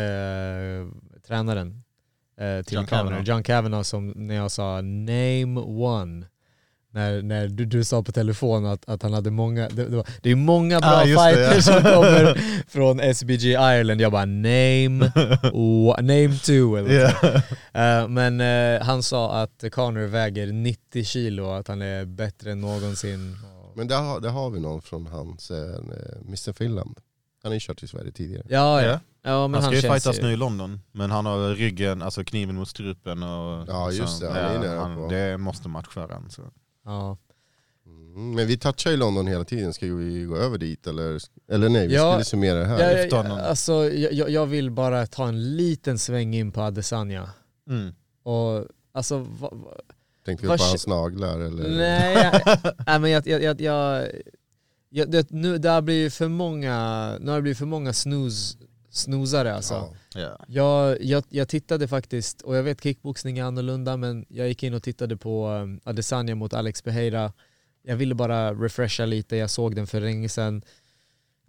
D: eh, tränaren eh, till
E: John
D: John
E: Kavanaugh.
D: Kavanaugh. John Kavanaugh som när jag sa name one. När, när du, du sa på telefon att, att han hade många, det, det, var, det är många bra
E: Ah, just det, ja.
D: fighters som kommer från SBG Ireland. Jag bara name, one, name two eller yeah. Eh, Men eh, han sa att Connor väger 90 kilo och att han är bättre än någonsin.
F: Men där har, där har vi någon från hans, eh, Mr Finland. Han har ju kört i Sverige tidigare.
D: Ja,
E: Ja.
D: ja. ja men
E: Han
D: han,
E: ska ju
D: känns
E: fightas
D: ju...
E: nu i London, men han har ryggen, alltså kniven mot strupen och...
F: Ja, just det. Han är nära på.
E: det måste matchföraren. Så.
D: Ja.
F: Mm, men vi touchar ju London hela tiden, ska vi gå över dit eller? Eller nej, vi
D: Ja.
F: skulle summera det här.
D: Jag,
E: lyft honom.
D: alltså, jag, jag- jag vill bara ta en liten sväng in på Adesanya.
E: Mm.
D: Och, alltså, va, va,
F: Tänkte vi
D: Vad
F: på
D: kä-
F: hans naglar eller?
D: nej, jag, nej, men jag, jag, jag, jag, jag det, nu, det har blivit för många, nu har det blivit för många snooze, snoozare alltså.
F: Ja.
E: Ja.
D: Jag, jag, jag tittade faktiskt, och jag vet kickboxning är annorlunda, men jag gick in och tittade på um, Adesanya mot Alex Pereira. Jag ville bara refresha lite, jag såg den för länge sedan.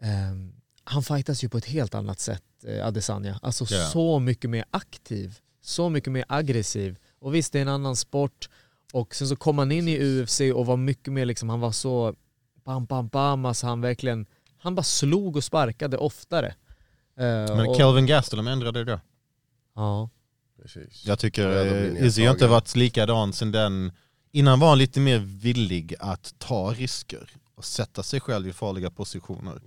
D: Ehm, han fightas ju på ett helt annat sätt, eh, Adesanya. Alltså
E: Ja.
D: så mycket mer aktiv, så mycket mer aggressiv. Och visst, det är en annan sport. Och sen så kom han in i UFC och var mycket mer liksom, han var så bam, bam, bam, alltså han verkligen, han bara slog och sparkade oftare. Eh,
E: Men
D: och-
E: Kelvin Gastelum ändrade det.
D: ja.
F: Precis.
E: Jag tycker
F: Ja, då blir
E: eh,
F: ni
E: Izzy har inte
F: nedtagen.
E: varit likadan sen den... Innan var han lite mer villig att ta risker och sätta sig själv i farliga positioner.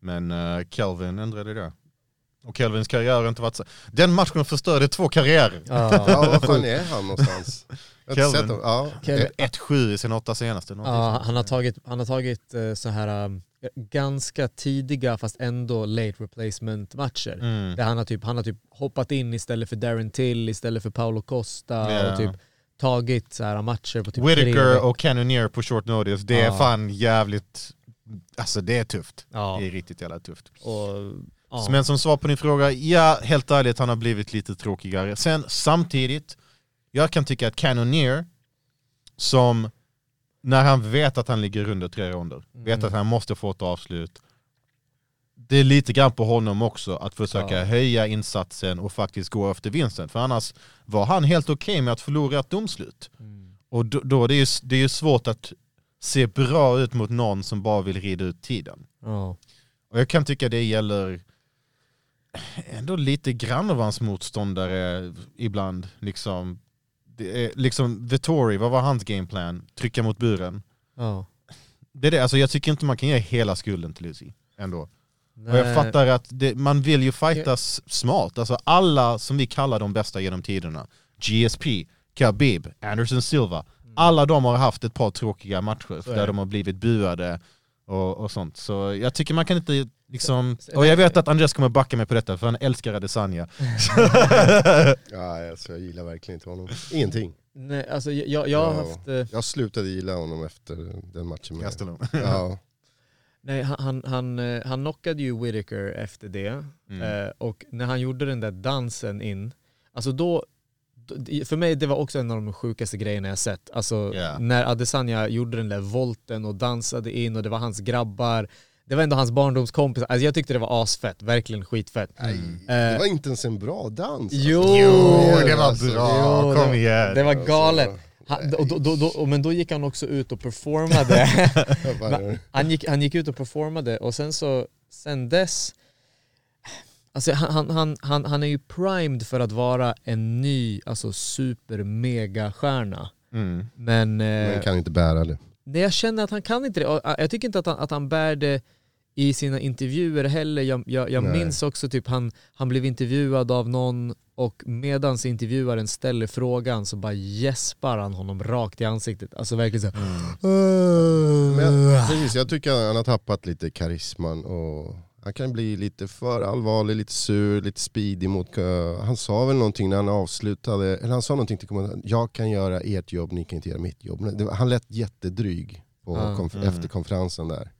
E: Men eh, Kelvin ändrade det. Och Kelvins karriär har inte varit så... Den matchen förstörde två karriärer.
D: Ja,
F: Ja, vad fan är han någonstans? Jag har inte
E: Kelvin.
F: sett honom. Ja. Eh,
D: Kelvin.
E: 1-7 i sina åtta senaste. någonting
D: ja,
E: sånt.
D: han har tagit, han har tagit eh, så här um, ganska tidiga fast ändå late replacement matcher.
E: Mm.
D: Där han har, typ, han har typ hoppat in istället för Darren Till, istället för Paolo Costa
E: Ja.
D: och typ tagit så här matcher på typ tre
E: Whitaker
D: veckor.
E: och Cannoneer på short notice, det är
D: Ja.
E: fan jävligt... Alltså det är tufft.
D: Ja,
E: Det är riktigt jävla tufft.
D: och, ja.
E: Men som svar på din fråga, ja helt ärligt han har blivit lite tråkigare. Sen samtidigt, jag kan tycka att Cannoneer, som när han vet att han ligger under tre ronder,
D: Mm.
E: vet att han måste få ett avslut, det är lite grann på honom också att försöka
D: Ja.
E: höja insatsen och faktiskt gå efter vinsten. För annars var han helt okej med att förlora ett domslut.
D: Mm.
E: Och då, då är det, ju, det är ju svårt att se bra ut mot någon som bara vill rida ut tiden.
D: ja.
E: Och jag kan tycka det gäller ändå lite grann av hans motståndare ibland. Liksom, det är, liksom Vittori, vad var hans gameplan? Trycka mot buren.
D: ja.
E: Det är det, alltså jag tycker inte man kan ge hela skulden till Izzy ändå. Och
D: Nej.
E: jag fattar att det, man vill ju fightas smart. Alltså alla som vi kallar de bästa genom tiderna, GSP, Khabib, Anderson Silva, alla de har haft ett par tråkiga matcher
D: Mm. är
E: där
D: det.
E: de har blivit buade och, och sånt. Så jag tycker man kan inte liksom... Och jag vet att Andreas kommer backa mig på detta för han älskar Adesanya.
F: Ja, alltså, jag gillar verkligen inte honom. Ingenting.
D: Nej, alltså, jag, jag har
F: Ja.
D: haft... eh,
F: Jag slutade gilla honom efter den matchen. Med.
E: Gastelum.
F: Ja.
D: Nej, han, han, han, eh, han knockade ju Whitaker efter det.
E: Mm.
D: Eh, och när han gjorde den där dansen in, alltså då, då- för mig det var också en av de sjukaste grejerna jag sett. Alltså
E: Ja.
D: när Adesanya gjorde den där volten och dansade in och det var hans grabbar, det var ändå hans barndomskompisar. Alltså jag tyckte det var asfett, verkligen skitfett.
F: Det var inte ens en bra dans.
D: Jo!
E: det var
F: Alltså,
E: bra,
D: jo,
E: kom
D: det-
E: igen.
D: Det var galet.
F: Alltså,
D: Han, och då, då, då, men då gick han också ut och performade.
F: jag bara-
D: Han gick, han gick ut och performade och sen så, sen dess, alltså han, han, han, han, han är ju primed för att vara en ny, alltså super-mega-stjärna.
E: Mm.
D: Men,
F: Men
D: eh,
F: kan inte bära det.
D: nej, jag känner att han kan inte det. Och, eh, Jag tycker inte att han, att han bär det i sina intervjuer heller. Jag, jag, jag
F: Nej.
D: minns också typ han, han blev intervjuad av någon och medans intervjuaren ställer frågan så bara gäspar han honom rakt i ansiktet. Alltså verkligen så här,
F: Mm. Men, precis, jag tycker han har tappat lite karisman och han kan bli lite för allvarlig, lite sur, lite speedig mot... eh, Han sa väl någonting när han avslutade, eller han sa någonting till kommentaren, jag kan göra ert jobb, ni kan inte göra mitt jobb. Det var- Han lät jättedryg. på
D: Ja.
F: konf-
E: Mm.
F: efter konferensen där.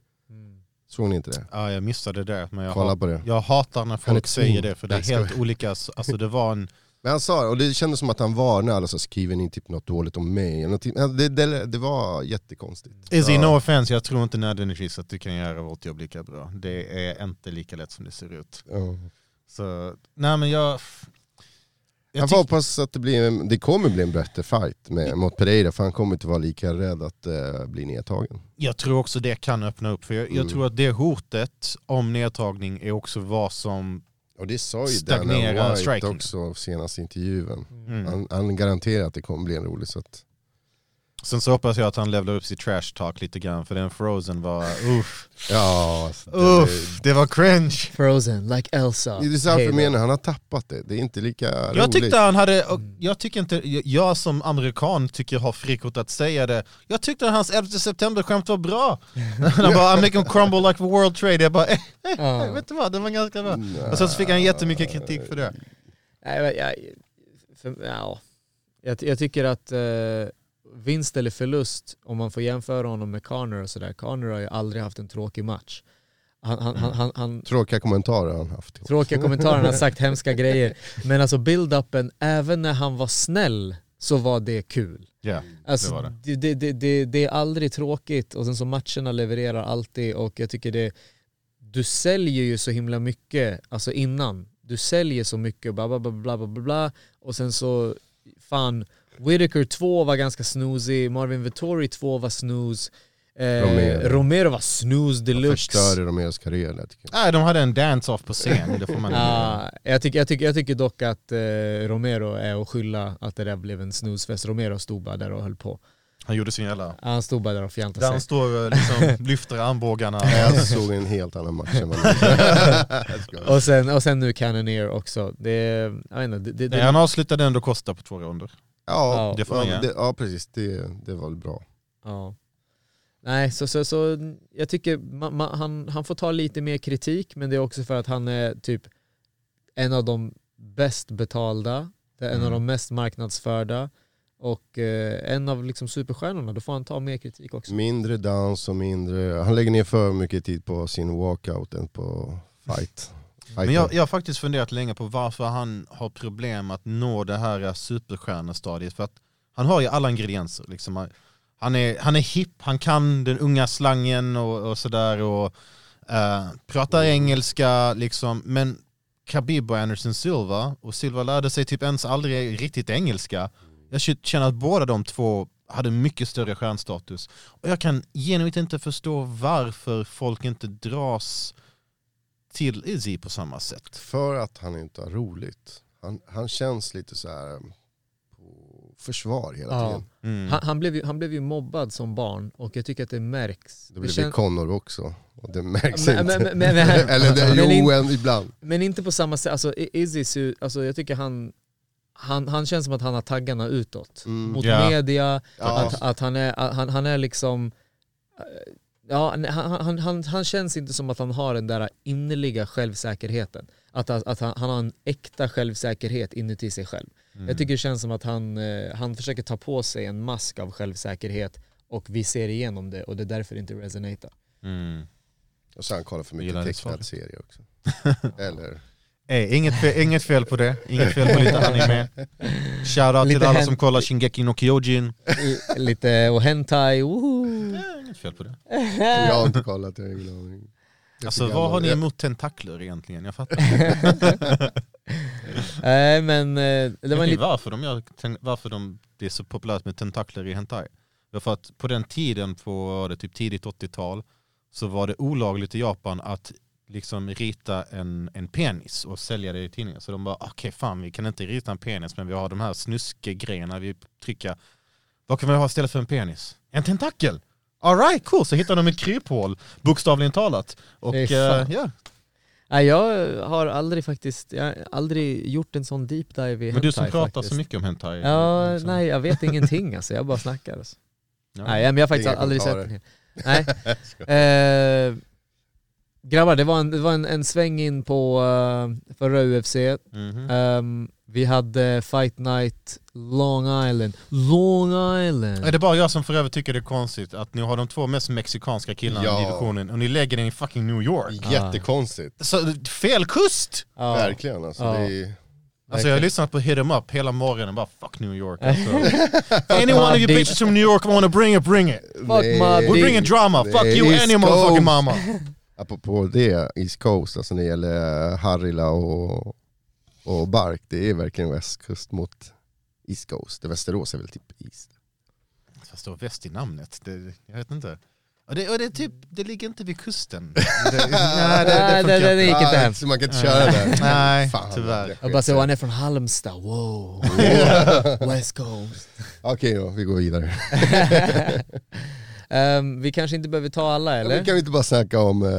F: Såg ni inte det?
E: Ja, jag missade det. Men jag,
F: Kolla
E: hat,
F: på det.
E: jag hatar när
F: Han är
E: folk säger
F: två.
E: det för det är
F: Nej,
E: helt olika. Alltså det var en...
F: Men han sa det, och det kändes som att han varnade alla, så här, skriver ni typ något dåligt om mig? Eller någonting. Ja, Det, det, det var jättekonstigt.
E: Izzy,
F: Ja.
E: no offense, jag tror inte nödvändigtvis att du kan göra vårt jobb lika bra. Det är inte lika lätt som det ser ut.
F: Ja.
E: Så, nej men jag...
F: Jag
E: Jag
F: får
E: tyck,
F: hoppas att det, blir, en- det kommer bli en bättre fight med, mot Pereira, för han kommer inte vara lika rädd att eh, bli nedtagen.
E: jag tror också det kan öppna upp, för jag, jag
F: Mm.
E: tror att det hotet om nedtagning är också vad som...
F: Och det sa ju
E: Stagnera
F: Dana White
E: striking.
F: också senaste intervjun.
E: Mm.
F: Han, han garanterar att det kommer bli en rolig, så att
E: Sen så hoppas jag att han levlar upp sitt trash talk lite grann, för den frozen var... Uff,
F: ja, alltså, det,
E: uff, det var cringe!
D: Frozen, like Elsa.
F: det är så här
D: Hej
F: jag
D: då.
F: menar, han har tappat det. Det är inte lika
E: Jag
F: roligt.
E: tyckte han hade, och jag tycker inte, jag- jag som amerikan tycker jag har frikort att säga det. Jag tyckte hans 11 september-skämt var bra. han bara I make him crumble like the world trade. Jag bara, eh,
D: Ja.
E: vet du vad, den var ganska bra. Och sen så fick han jättemycket kritik för det.
D: Nej, men jag, för, ja. jag, jag tycker att eh, vinst eller förlust, om man får jämföra honom med Connor och sådär, Connor har ju aldrig haft en tråkig match. Han, han, han, han, han,
F: Tråkiga kommentarer har han haft.
D: tråkiga kommentarer, han har sagt hemska grejer. Men alltså build-upen, även när han var snäll så var det kul.
E: Ja,
D: Alltså,
E: det
D: det,
E: var det.
D: Det, det, det, är aldrig tråkigt och sen så matcherna levererar alltid och jag tycker det, du säljer ju så himla mycket, alltså innan. Du säljer så mycket bla bla bla bla bla bla, bla och sen så fan Whitaker 2 var ganska snoozig, Marvin Vettori 2 var snooze, eh,
F: Romero.
D: Romero. var snooze deluxe.
F: Förstörde Romeros karriär där tycker jag.
E: Nej, de hade en dance-off på scen, det får man inte.
D: Ja, jag, tycker, jag, tycker, jag tycker dock att eh, Romero är att skylla att det där blev en snusfest. Romero stod bara där och höll på.
E: Han gjorde sin jävla...
D: Han stod bara där och
E: Där
D: fjantade
E: han
D: sig.
E: står och liksom lyfter armbågarna.
F: Jag såg en helt annan match än vad ni Jag skojar.
D: Och sen, och sen nu Cannoneer också. Det, är- jag vet inte, det, det,
E: Nej,
D: det,
E: han avslutade ändå Costa på två ronder.
F: Ja,
E: Det får man
F: ja,
E: göra.
F: det, ja precis, det, det var väl bra.
D: ja. Nej, så, så, så jag tycker ma, ma, han, han får ta lite mer kritik, men det är också för att han är typ en av de bäst betalda, det är en av
E: Mm.
D: de mest marknadsförda och eh, en av liksom superstjärnorna. Då får han ta mer kritik också.
F: Mindre dans och mindre, han lägger ner för mycket tid på sin walkout än på fight.
E: Men jag, jag har faktiskt funderat länge på varför han har problem att nå det här eh, superstjärnestadiet. För att han har ju alla ingredienser. Liksom. Han- Han, är, han är hipp, han kan den unga slangen och, och sådär. Och, eh, pratar engelska, liksom. men Khabib och Anderson Silva, och Silva lärde sig typ ens aldrig riktigt engelska. Jag k- känner att båda de två hade mycket större stjärnstatus. Och jag kan genuint inte förstå varför folk inte dras till Izzy på samma sätt.
F: För att han inte har roligt. Han, han känns lite så här um, på försvar hela
D: Ja.
F: tiden.
E: Mm.
D: Han, han, blev ju, han blev ju mobbad som barn och jag tycker att det märks.
F: Det blir
D: kän-
F: Connor också. Och det märks
D: Men-
F: inte.
D: men- men- men-
F: Eller det,
D: men
F: jo,
D: in-
F: en, ibland.
D: men inte på samma sätt. Alltså, I- Izzy, ser ju- alltså, jag tycker han, han, han känns som att han har taggarna utåt.
F: Mm.
D: Mot
E: Ja.
D: media,
F: Ja.
D: att, att han, är, att han, han är liksom... eh, Ja, han, han, han, han känns inte som att han har den där innerliga självsäkerheten. Att, att, att han, han har en äkta självsäkerhet inuti sig själv.
E: Mm.
D: Jag tycker det känns som att han, eh, han försöker ta på sig en mask av självsäkerhet och vi ser igenom det och det är därför det inte resonatar.
E: Mm.
F: Och sen kollar för mycket
E: Gillar det svaret.
F: tecknad serie också. Eller?
E: Eh, inget, fe- inget fel på det, inget fel på lite anime. Shoutout till
D: Lite
E: alla
D: hen-
E: som kollar Shingeki no Kyojin.
D: I- Lite och hentai, woho!
E: Eh, inget fel på det.
F: Jag har inte kollat, jag har ingen aning. Jag
E: Alltså
F: tycker
E: vad
F: alla-
E: har ni
F: jag-
E: emot tentakler egentligen? Jag fattar inte.
D: Nej men eh, det var en
E: Vet ni
D: liten...
E: varför, de gör, ten- varför de, det är så populärt med tentakler i Hentai? Därför att på den tiden, på var det typ tidigt 80-tal, så var det olagligt i Japan att liksom rita en, en penis och sälja det i tidningen. Så de bara, okej fan vi kan inte rita en penis men vi har de här snuskegrejerna vi trycker. Vad kan vi ha istället för en penis? En tentakel! Alright, cool! Så hittar de ett kryphål, bokstavligen talat. Och
D: Fy fan.
E: eh, ja,
D: Nej, jag har aldrig faktiskt, jag har aldrig gjort en sån deep dive i
E: men
D: hentai
E: du som pratar
D: faktiskt.
E: så mycket om hentai.
D: Ja,
E: liksom.
D: nej jag vet ingenting alltså, jag bara snackar. Alltså.
E: Ja.
D: Nej men jag har faktiskt
F: Inga
D: aldrig sett
F: kommentarer.
D: den. Nej. Eh,
F: Mm.
D: grabbar, det var en, det var en, en sväng in på eh, förra UFC.
E: Mhm.
D: Ehm, Vi hade Fight Night Long Island. Long
E: Är
D: Island!
E: det bara jag som för övrigt tycker det är konstigt att ni har de två mest mexikanska killarna
F: Ja.
E: i divisionen och ni lägger den i fucking New York?
F: Jättekonstigt.
E: Så, fel kust!
D: Ja.
F: Verkligen alltså.
E: Ah.
D: Ja.
F: Det är...
E: Alltså jag har lyssnat på Hit 'em Up hela morgonen bara fuck New York alltså. Any one of you bitches from New York wanna bring it, bring it!
D: Fuck my
F: Nej.
E: We're
D: dick.
E: bringing drama,
F: det
E: fuck
F: är
E: you
F: East
E: and your motherfucking
F: Coast.
E: mama!
F: Apropå det, East Coast, alltså när det gäller eh, Harila och, och Bark, det är verkligen västkust mot East Coast. Västerås är väl typ East.
E: Fast det var väst i namnet, det, jag vet inte. Och det, och det är typ, det ligger inte vid kusten. Det, nej det,
D: Nej, det, det,
E: det funkar inte.
D: det gick inte
F: Ah,
D: hem.
F: Så man kan inte köra där.
E: Nej,
F: Fan,
E: tyvärr.
D: Jag bara så han är från Halmstad, wow. West Coast.
F: Okej då, vi går vidare.
D: Ehm, vi kanske inte behöver ta alla eller?
F: Men kan vi inte bara snacka om... eh,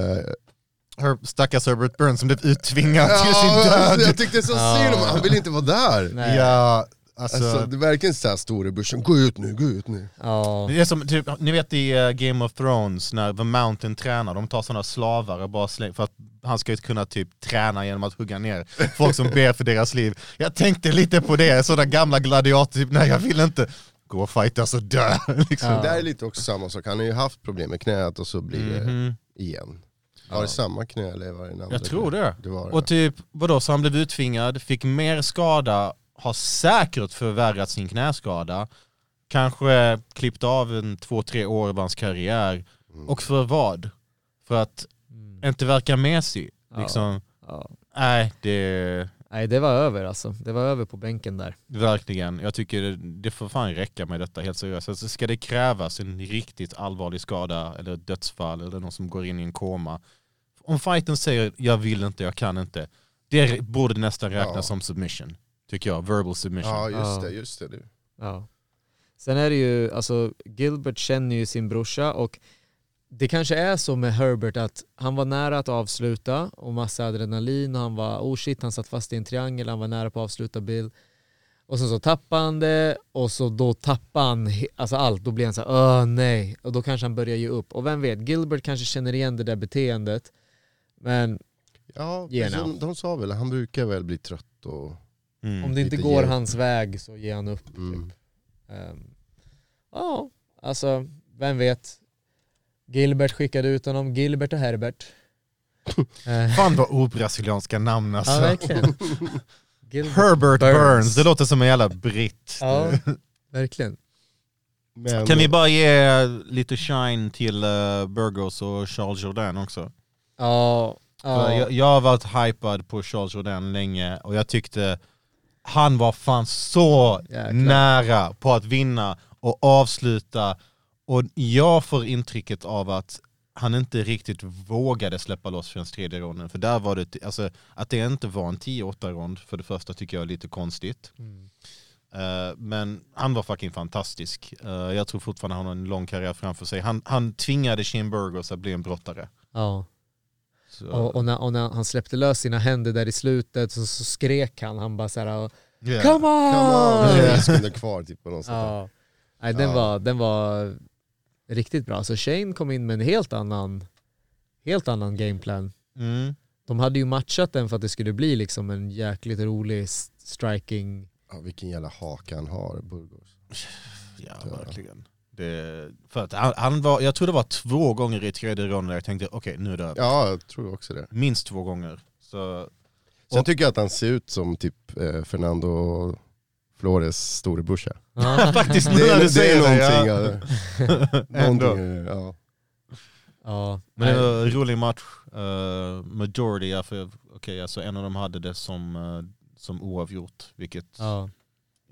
E: Her, stackars Herbert Burns som blev uttvingad till
F: ja,
E: sin
F: alltså,
E: död.
F: jag tyckte så synd om honom. han ville inte vara där.
D: Nej.
E: Ja, alltså,
F: Alltså, det är verkligen såhär storebrorsan, gå ut nu, gå ut nu.
D: Ja.
E: Det är som, typ, ni vet i eh, Game of Thrones när The Mountain tränar, de tar sådana slavar och bara slänger, för att han ska ju kunna typ träna genom att hugga ner folk som ber för deras liv. Jag tänkte lite på det, sådana gamla gladiator, typ, nej jag vill inte gå och fightas och dö. Liksom.
F: Det där är lite också samma sak, han har ju haft problem med knät och så blir det igen. Var det samma knä eller var det en andra
E: Mhm. Jag tror
F: knä?
E: det.
F: det, var det.
E: Och typ, vadå, så han blev uttvingad, fick mer skada, har säkert förvärrat sin knäskada, kanske klippt av en två, tre år av hans karriär.
F: Mm.
E: Och för vad? För att inte verka mesig. Liksom.
D: Mm. ja.
E: Nej, det...
D: Nej det var över alltså. Det var över på bänken där.
E: Verkligen. Jag tycker det, det får fan räcka med detta helt seriöst. Alltså, ska det krävas en riktigt allvarlig skada eller ett dödsfall eller någon som går in i en koma. Om fighten säger jag vill inte, jag kan inte. Det borde nästan räknas
F: Ja.
E: som submission. Tycker jag. Verbal submission.
F: Ja
D: Ja.
F: just det, just det. Du.
D: Ja. Sen är det ju, alltså Gilbert känner ju sin brorsa och det kanske är så med Herbert att han var nära att avsluta och massa adrenalin och han var oh shit han satt fast i en triangel, han var nära på att avsluta Bill. Och sen så tappade han det och så då tappade han he- alltså allt, då blir han så här, öh nej och då kanske han börjar ge upp och vem vet, Gilbert kanske känner igen det där beteendet men
F: Ja,
D: Ge
F: precis,
D: now.
F: de, de sa väl, han brukar väl bli trött och...
E: Mm.
D: om det inte
F: lite
D: går
F: hjälp.
D: hans väg så ger han upp typ.
F: Mm.
D: Ehm, Ja, alltså vem vet. Gilbert skickade ut honom, Gilbert och Herbert. Eh,
E: Fan vad obrasilianska namn
D: ja,
E: alltså.
D: verkligen. Gilbert.
E: Herbert Burns.
D: Burns.
E: det låter som en jävla britt.
D: Ja, verkligen.
F: Men,
E: Kan vi bara ge lite shine till eh, Burgos och Charles Jourdain också?
D: Ja,
E: För
D: ja.
E: Jag, jag har varit hypad på Charles Jourdain länge och jag tyckte han var fan så
D: Jäklar.
E: nära på att vinna och avsluta. Och jag får intrycket av att han inte riktigt vågade släppa loss förrän tredje ronden. För där var det, alltså, att det inte var en 10-8 rond för det första tycker jag är lite konstigt.
D: Mm.
E: Eh, men han var fucking fantastisk. Eh, jag tror fortfarande han har en lång karriär framför sig. Han, han tvingade Shane Burgos att bli en brottare.
D: ja.
E: Så-
D: Och, och, när, och när han släppte lös sina händer där i slutet så, så skrek han, han bara såhär
E: Yeah.
D: Come on!
F: Come on, det är en sekund kvar typ på något sätt.
D: Ja. Nej, den,
F: Ja.
D: Var, den var riktigt bra. Så Shane kom in med en helt annan, helt annan gameplan.
E: Mm.
D: De hade ju matchat den för att det skulle bli liksom en jäkligt rolig s- striking.
F: Ja, vilken jävla haka han har, Burgos.
E: Ja,
F: Ja.
E: verkligen. Det, för att han, han var, jag tror det var två gånger i tredje ronden där jag tänkte okej nu är det över.
F: Ja, jag tror också det.
E: Minst två gånger. Så,
F: Sen
E: Och-
F: tycker jag att han ser ut som typ eh, Fernando Flores storebrorsa.
D: Ja,
E: faktiskt nu
F: Det
E: när
F: är,
E: du
F: det
E: säger
F: är
E: det. ja.
F: någonting. Ja. någonting ja.
D: ja.
E: Men det
D: Nej.
E: var en rolig match. Uh, majority, ja, för, okej, alltså en av dem hade det som, eh, som oavgjort. Vilket
D: ja.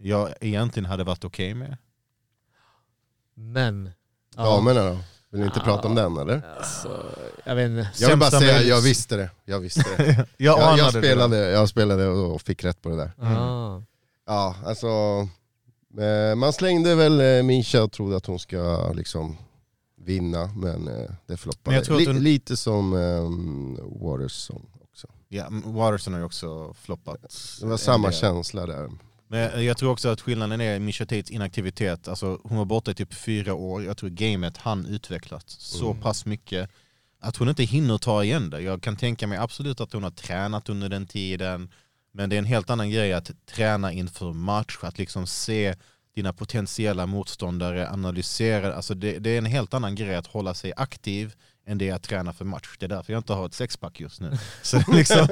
E: jag egentligen hade varit okej med.
D: Men. Ja,
F: Damerna då? Vill ni inte
D: Ja.
F: prata om den eller?
D: alltså, jag vet inte.
F: Jag vill bara
E: Sämsta
F: säga,
E: möjliga-
F: jag visste det. Jag visste det.
E: Jag,
F: Jag, jag,
E: anade det.
F: spelade, jag spelade och fick rätt på det där.
D: Ah.
F: Ja, alltså. Eh, man slängde väl eh, Misha och trodde att hon ska liksom vinna, men eh, det
E: Men
F: floppade.
E: jag tror att
F: Li-
E: hon-
F: Lite som eh, Waterson också.
E: Ja, Waterson har ju också floppat.
F: Det var samma
E: En del.
F: känsla där.
E: Men jag tror också att skillnaden är Misha Tates inaktivitet. Alltså, hon var borta i typ fyra år. Jag tror gamet han utvecklat så pass mycket att hon inte hinner ta igen det. Jag kan tänka mig absolut att hon har tränat under den tiden. Men det är en helt annan grej att träna inför match, att liksom se dina potentiella motståndare, analysera. Alltså det, det är en helt annan grej att hålla sig aktiv än det att träna för match. Det är därför jag inte har ett sexpack just nu. Så liksom,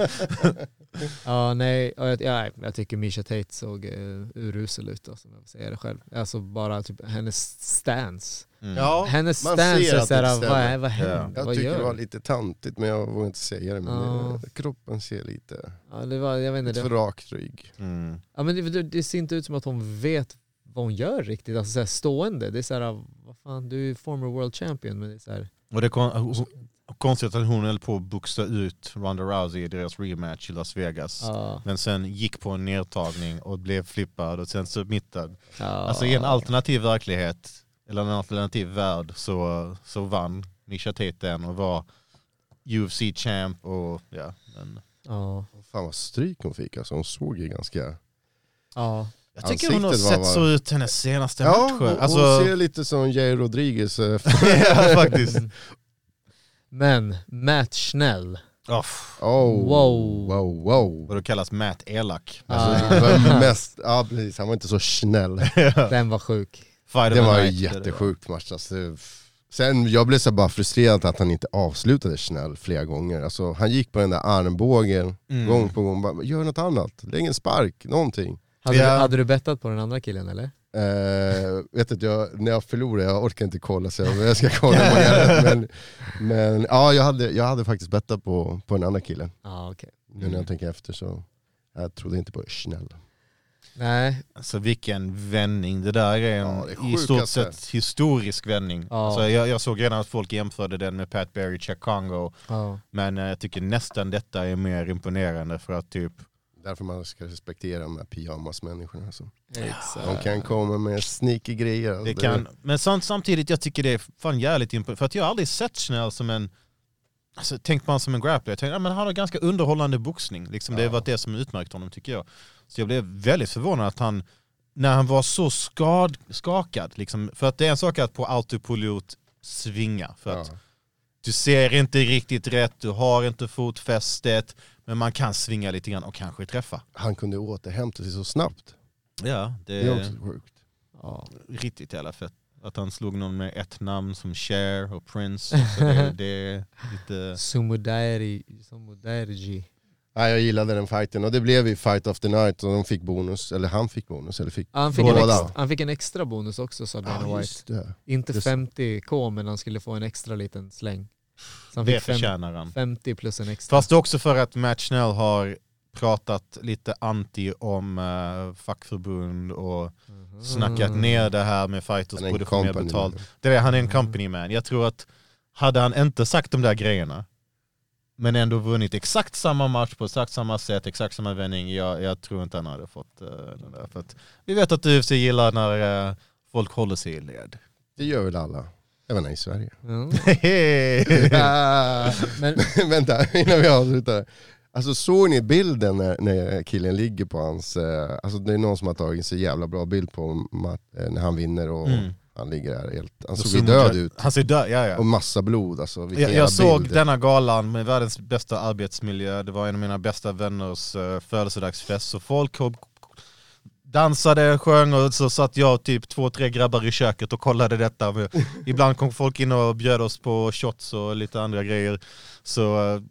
D: Ja, nej, och jag, ja, jag tycker Misha Tate såg uh, urusel ut, alltså, om jag säger det själv. Alltså bara typ hennes stance.
E: mm.
F: Ja,
D: hennes
F: man
D: stance
F: ser
D: är
F: att det
D: såhär,
F: stämmer.
D: vad, är, vad händer?
E: Ja.
F: Jag
D: vad
F: tycker
D: gör
F: det var
D: du?
F: lite tantigt men jag vågar inte säga det. Men
D: Ja.
F: det- kroppen ser lite
D: Ja, det var, jag vet inte,
F: för
D: det,
F: rak rygg.
E: Mm.
D: ja, men det, det, det ser inte ut som att hon vet vad hon gör riktigt, alltså såhär stående. Det är såhär, vad fan, du är ju former world champion, men det är såhär,
E: Och det är kon- konstigt att hon höll på att boxa ut Ronda Rousey i deras rematch i Las Vegas.
D: ja.
E: Men sen gick på en nedtagning och blev flippad och sen submittad.
D: ja.
E: Alltså i en alternativ verklighet, eller en alternativ värld, så, så vann Misha Tate den och var UFC-champ och ja. Men
D: Ja.
F: Fan vad stryk hon fick alltså. Hon såg ju ganska...
D: ja.
E: jag tycker hon har
F: Ansiktet var-
E: sett så
F: var-
E: ut hennes senaste
F: Ja,
E: matcher.
F: hon,
E: alltså,
F: hon ser lite som Jay Rodriguez. eh,
E: ja, faktiskt.
D: Men Matt Schnell,
E: Oh, f-
F: Oh,
D: Wow.
F: wow, wow.
E: vad du kallas Matt Elak.
F: Alltså,
D: Ah.
F: vem mest, ja precis, han var inte så snäll.
D: den var sjuk.
E: Fight of
F: Det
E: the
F: var en
E: night.
F: jättesjukt match. Alltså, sen, jag blev så bara frustrerad att han inte avslutade snäll flera gånger. Alltså, han gick på den där armbågen
E: Mm.
F: gång på gång. Bara, gör något annat, lägg en spark, någonting.
D: Hade,
E: Ja.
D: du, hade du bettat på den andra killen eller?
F: Eh, vet att jag, när jag förlorade, jag orkar inte kolla så jag, jag ska kolla på det. Men, men ja, jag hade, jag hade faktiskt bettat på, på den andra killen.
D: Ja, okej.
F: Nu
E: Mm.
F: när jag tänker efter så, jag trodde inte på snäll.
D: Nej,
E: Alltså vilken vändning, det där är en
F: Ja, det är
E: i stort
F: sjukaste.
E: sett historisk vändning.
D: Ja.
E: Alltså, jag, jag såg redan att folk jämförde den med Pat Berry, Chuck Congo,
D: ja.
E: men eh, jag tycker nästan detta är mer imponerande för att typ,
F: Därför man ska respektera de här pyjamasmänniskorna. Alltså.
D: exakt.
F: De kan komma med sneaky grejer. alltså.
E: det kan, men sam- samtidigt jag tycker det är fan jävligt imponerande, för att jag har aldrig sett Schnell som en, alltså tänkt man som en grappler, jag tänkte, ja, men han har ganska underhållande boxning, liksom, det har varit det som utmärkt honom tycker jag. Så jag blev väldigt förvånad att han, när han var så skad, skakad, liksom, för att det är en sak att på autopilot svinga, för att
F: Ja.
E: du ser inte riktigt rätt, du har inte fotfästet, men man kan svinga lite grann och kanske träffa.
F: han kunde återhämta sig så snabbt.
E: Ja, det
F: Det är
E: är
F: också sjukt.
D: Ja.
E: riktigt jävla fett. Att han slog någon med ett namn som Cher och Prince. Så det, det är lite...
D: Sumudairi, Sumudairji.
F: Nej, jag gillade den fighten och det blev ju fight of the night och de fick bonus, eller han fick bonus. Eller fick
D: Ja, Han fick, en
F: Båda.
D: extra, han fick en extra bonus också sa Dana
F: Ja,
D: White.
F: just det.
D: Inte
F: Just-
D: 50k men han skulle få en extra liten släng. Så han
E: Det
D: fick fem,
E: förtjänar han.
D: 50 plus en extra.
E: Fast också för att Matt Schnell har pratat lite anti om eh, fackförbund och
D: Mhm.
E: snackat ner det här med fighters
F: Han är en
E: borde få mer
F: company
E: betalt.
F: man.
E: Det är, han är
F: Mm.
E: en company man. Jag tror att hade han inte sagt de där grejerna men ändå vunnit exakt samma match på exakt samma sätt, exakt samma vändning, jag, jag tror inte han hade fått eh, den där. För att vi vet att UFC gillar när eh, folk håller sig i led.
F: Det gör väl alla. Även här i Sverige.
D: Ja. Men,
F: Vänta, innan vi avslutar. Alltså såg ni bilden när, när killen ligger på hans, eh, alltså det är någon som har tagit en så jävla bra bild på Matt, eh, när han vinner och
E: Mm.
F: han ligger där helt, han såg ju död ut.
E: Han ser död, ja ja.
F: Och massa blod alltså, vilken
E: Jag,
F: jävla
E: jag såg
F: bild.
E: denna galan med världens bästa arbetsmiljö, det var en av mina bästa vänners uh, födelsedagsfest, så folk kom, dansade, sjöng och så satt jag och typ två, tre grabbar i köket och kollade detta. Men Ibland kom folk in och bjöd oss på shots och lite andra grejer. Så, eh,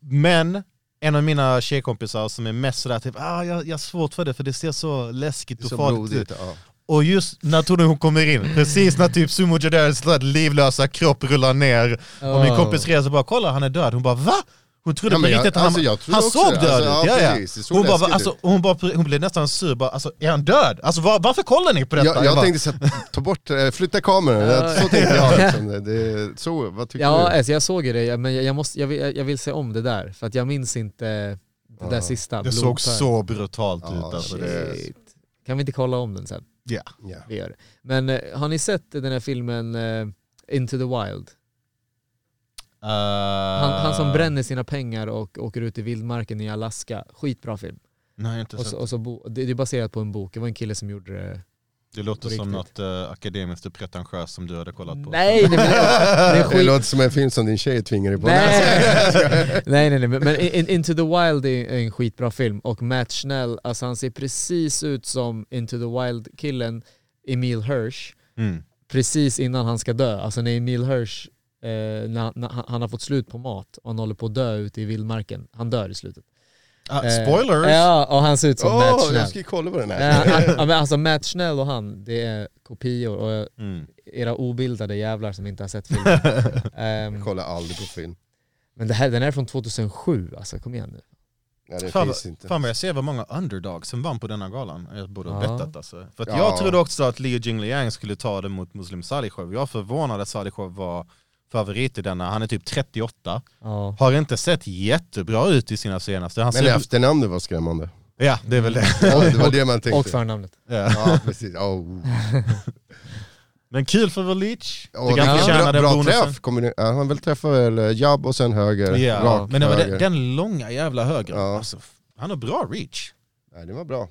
E: men en av mina tjejkompisar som är mest sådär typ, ah, jag, jag har svårt för det för det ser så läskigt och
F: Så
E: farligt ut.
F: blodigt, ja.
E: Och just när Tony hon kommer in, precis när typ Sumo Jadares livlösa kropp rullar ner och min
D: Oh.
E: kompis reser bara kolla han är död, hon bara va? Hon trodde
F: Ja,
E: på
F: men jag-
E: riktigt att
F: alltså,
E: han,
F: jag trodde
E: han
F: också
E: såg
F: det.
E: död ut.
F: Alltså, ja,
E: ja, ja.
F: precis. Det såg
E: Hon, bara, va?
F: läskigt
E: alltså,
F: ut.
E: hon, bara, hon blev nästan sur, bara, alltså, är han död? Alltså, var, varför kollar ni på detta?
F: Jag, jag
E: bara,
F: tänkte så här, ta bort, eh, flytta kameran,
D: Ja.
F: så tänkte jag. Liksom. Det, det, så, vad tycker
D: Ja,
F: du?
D: alltså jag såg ju det, jag- men jag, jag, måste, jag, vill, jag vill se om det där, för att jag minns inte det där
F: Ja.
D: sista.
E: det såg
D: blodfärg.
E: så brutalt
F: Ja,
E: ut. Alltså, det,
D: Shit. Kan vi inte kolla om den sen?
E: ja.
F: Ja.
D: Vi gör det. Men eh, har ni sett den här filmen eh, Into the Wild?
E: Eh,
D: Han, han som bränner sina pengar och åker ut i vildmarken i Alaska. Skitbra film.
E: Nej, inte
D: Och
E: sett.
D: så, och så bo, det, det är baserat på en bok, det var en kille som gjorde det
E: Det låter
D: På
E: som
D: riktigt.
E: något eh, akademiskt och pretentiöst som du hade kollat på.
D: Nej, det, det är
F: Det
D: skit.
F: låter som en film som din tjej tvingar dig på.
D: Nej. nej, nej, nej. Men men In- Into the Wild är en skitbra film och Matt Schnell, alltså han ser precis ut som Into the Wild-killen Emil Hirsch
E: Mm.
D: precis innan han ska dö. Alltså när Emil Hirsch, eh, när, när han- han har fått slut på mat och han håller på att dö ute i vildmarken. Han dör i slutet.
E: Ah,
D: Eh,
E: spoilers!
D: Ja, och han ser ut som Matt
F: Åh,
D: Schnell.
F: jag ska ju kolla på den
D: Ja,
F: här.
D: han- ja, men alltså Matt Schnell och han, det är kopior och jag-
E: Mm.
D: era obildade jävlar som inte har sett filmen. Ehm,
F: Kolla aldrig på film.
D: men det här, den här är från 2007 alltså, kom igen nu.
F: Nej, det
E: Fan,
F: finns
E: vad-
F: inte.
E: fan vad jag ser vad många underdogs som vann på denna galan. Jag borde ha
D: Ja.
E: bettat alltså. För att
F: Ja.
E: jag trodde också att Leo Jingliang skulle ta det mot Muslim Salihov. Jag är förvånad att Salihov var favorit i denna. Han är typ 38.
D: Ja.
E: Har inte sett jättebra ut i sina senaste. Han
F: Men
E: ser...
F: efternamnet var skrämmande.
E: Ja, det är väl det.
F: Ja, det var det man
D: Och
F: tänkte.
D: förnamnet.
E: Ja.
F: Ja, precis. Oh.
E: Men kul för Velic.
F: Oh,
E: Det kan förtjäna
F: bra
E: den
F: bra
E: bonusen.
F: träff. Kommer ni, ja, han väl träffar väl jabb och sen höger,
E: Ja,
F: rak
E: men det var
F: höger.
E: den, den långa jävla högern.
F: Ja.
E: Alltså, f- han har bra reach.
F: Nej, det var bra.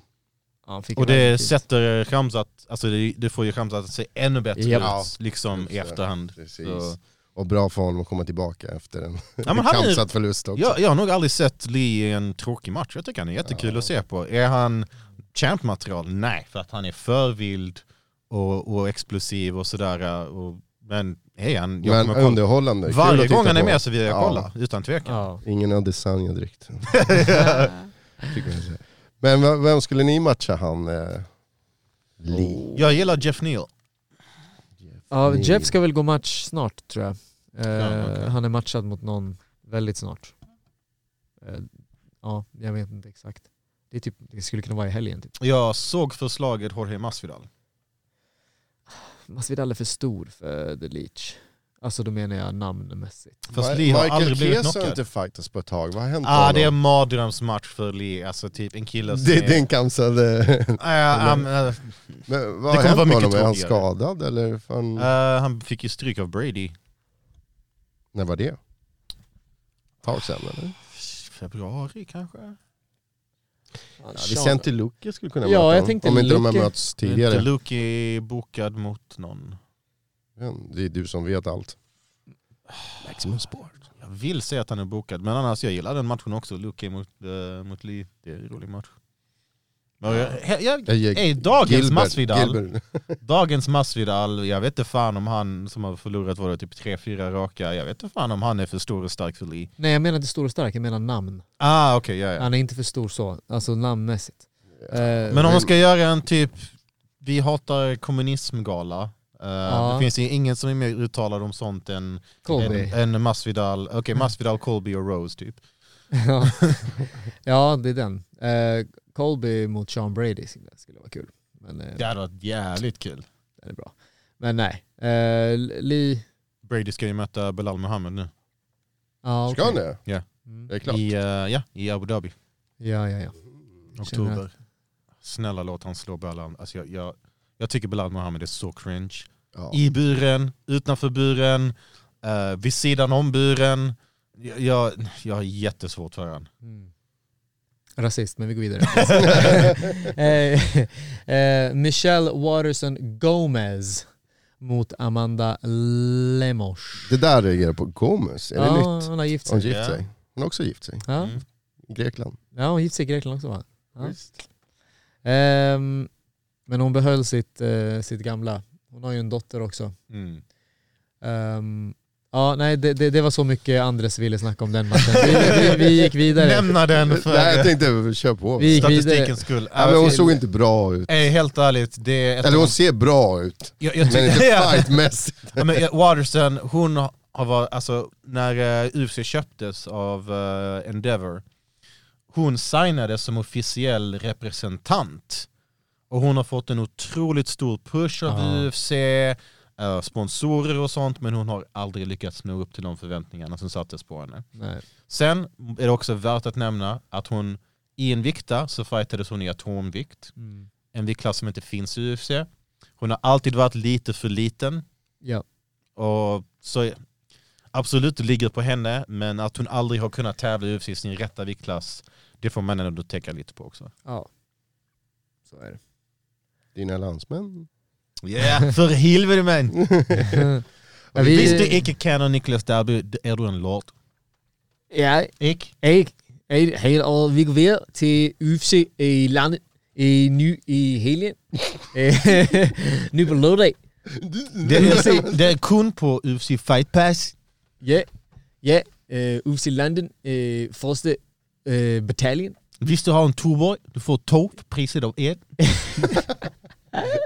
D: Ja, han fick
E: Och
D: en
E: det
D: väldigt fin.
E: sätter Khamzat, alltså det, det får ju Khamzat att se ännu bättre
D: Japp.
F: Ja,
E: ut liksom
F: just
E: i
F: det.
E: efterhand.
F: Precis.
E: Så-
F: Och bra för honom att komma tillbaka efter en
E: Ja, men han är,
F: kampsatt förlust också.
E: jag, jag har nog aldrig sett Lee i en tråkig match. Jag tycker han är jättekul att se på. Är han champ-material? Nej, för att han är för vild och, och explosiv och sådär. Och, men hej, han, jag
F: men
E: kommer kolla.
F: underhållande. Kul
E: Varje
F: att titta
E: gång han är
F: på.
E: med så vill jag
F: Ja.
E: kolla, utan tvekan.
D: Ja.
F: Ingen Adesanya direkt. Tycker jag säga. men v- vem skulle ni matcha han? Eh, Lee.
E: Jag gillar Jeff Neal.
D: ja,
F: Ni-
D: Jeff ska väl gå match snart tror jag. Eh,
E: Ja, okej.
D: Han är matchad mot någon väldigt snart. Eh, ja, jag vet inte exakt. Det, är typ, det skulle kunna vara i helgen typ.
E: Jag såg förslaget Jorge Masvidal.
D: Masvidal är för stor för The Leach. Alltså då menar jag namnmässigt.
E: Fast
F: Ma-
E: Lee har
F: Michael
E: aldrig blivit
F: Kees har
E: knockad.
F: inte fightats på ett tag. Vad har hänt
E: Ah,
F: med
E: det är en
F: honom?
E: mardrömsmatch för Lee, alltså typ en kille som
F: det,
E: är...
F: det är en cancelled... eh,
E: Ah, um, eh,
F: men
E: Det
F: vad
E: kommer
F: har hänt
E: vara
F: med
E: mycket
F: honom? Är han
E: tråkigare.
F: skadad eller? Fan,
E: eh, han fick ju stryk av Brady.
F: När var det? Tag sen eller?
E: Februari kanske?
D: Fan,
F: Vicente Luque skulle kunna
D: Ja,
F: möta
D: jag
F: honom.
D: tänkte
F: Om inte de har
D: Luque.
F: möts
E: Är
F: tidigare.
E: inte Luke bokad mot någon?
F: Men Det är du som vet allt. Maximum sport.
E: Jag vill säga att han är bokad, men annars jag gillar den matchen också. Luke mot, eh, mot Lee, det är en rolig match. Men jag, jag, jag,
F: Jag ger
E: Ey, dagens
F: Gilbert-
E: Masvidal,
F: Gilbert.
E: dagens Masvidal, jag vet inte fan om han som har förlorat var det typ 3-4 raka, jag vet inte fan om han är för stor och stark för Lee.
D: Nej jag menar inte stor och stark, jag menar namn.
E: Ah okej, ja, ja.
D: Han är inte för stor så, alltså namnmässigt. Eh,
E: Men om man ska göra en typ, vi hatar kommunismgala. Eh,
D: Ja.
E: Det finns ju ingen som är mer uttalad om sånt än,
D: Colby. Mm.
E: än, än Masvidal, okej Masvidal, Colby och Rose typ.
D: Ja. ja, det är den. Eh, Colby mot Sean Brady skulle skulle vara kul. Men eh,
E: Det hade varit jävligt kul.
D: den är bra. Men nej. Eh, Lee...
E: Brady ska ju möta Belal Muhammad nu.
D: Ja,
F: Ska han
D: okej.
F: det?
D: Mm.
F: Det är klart.
E: I, eh, ja, I Abu Dhabi,
D: Ja, ja, ja. Känner
E: oktober. Snälla låt han slå Belal. Alltså, jag, jag, jag tycker Belal Muhammad är så cringe.
F: Ja.
E: I buren, utanför buren, uh, vid sidan om buren. Jag, jag, jag har jättesvårt för han.
D: Mm. Rasist, men vi går vidare. eh, eh, Michelle Waterson Gomez mot Amanda Lemos.
F: Det där reagerar på Gomez, är det
D: ja,
F: nytt?
D: hon har gift
F: Hon
D: sig.
F: gift
E: Ja.
F: sig. Hon har också gift sig.
D: Ja,
E: Mm.
F: I Grekland.
D: ja hon gifte sig i Grekland också va? Ja. Ehm, men hon behöll sitt, eh, sitt gamla. Hon har ju en dotter också.
E: Mm.
D: Ehm, ja, nej, det, det, det var så mycket Andres ville snacka om den matchen. Vi, vi, vi gick vidare.
E: Nämna den
F: Nej, jag
E: för
F: tänkte kör på.
D: Vi gick vidare.
E: statistikens skull.
F: Nej, men hon såg inte bra ut.
E: Nej, helt ärligt, det är ett
F: Eller
E: av
F: hon
E: de-
F: ser bra ut,
E: jag, jag
F: men inte
E: tycker- Ja,
F: fightmässigt.
E: ja, men Waterston, hon har varit, alltså när eh, UFC köptes av eh, Endeavor, hon signades som officiell representant. Och hon har fått en otroligt stor push av
D: Ja.
E: UFC, eh, sponsorer och sånt, men hon har aldrig lyckats nå upp till de förväntningarna som sattes på henne.
D: Nej.
E: Sen är det också värt att nämna att hon i en vikta så fightades hon i atomvikt.
D: Mm.
E: En viktklass som inte finns i UFC. Hon har alltid varit lite för liten.
D: Ja.
E: Och så absolut det ligger på henne, men att hon aldrig har kunnat tävla i UFC i sin rätta viktklass, det får man ändå tänka lite på också.
D: ja, så är det.
F: Dina landsmän?
E: Yeah, för helvete man!
D: Ja, vi-
E: Visst du icke känner Niklas Derby, det är du en lord.
D: Ja,
E: Ik?
D: jeg er helt over. Vi går videre til UFC i landet i ny i helgen. Øh, ny på lørdag.
E: Det är, det är kun på UFC Fight Pass.
D: Ja, ja. Øh, UFC London, øh, første øh, bataljon.
E: Visst du har en Tuborg, du får två för priset av ett.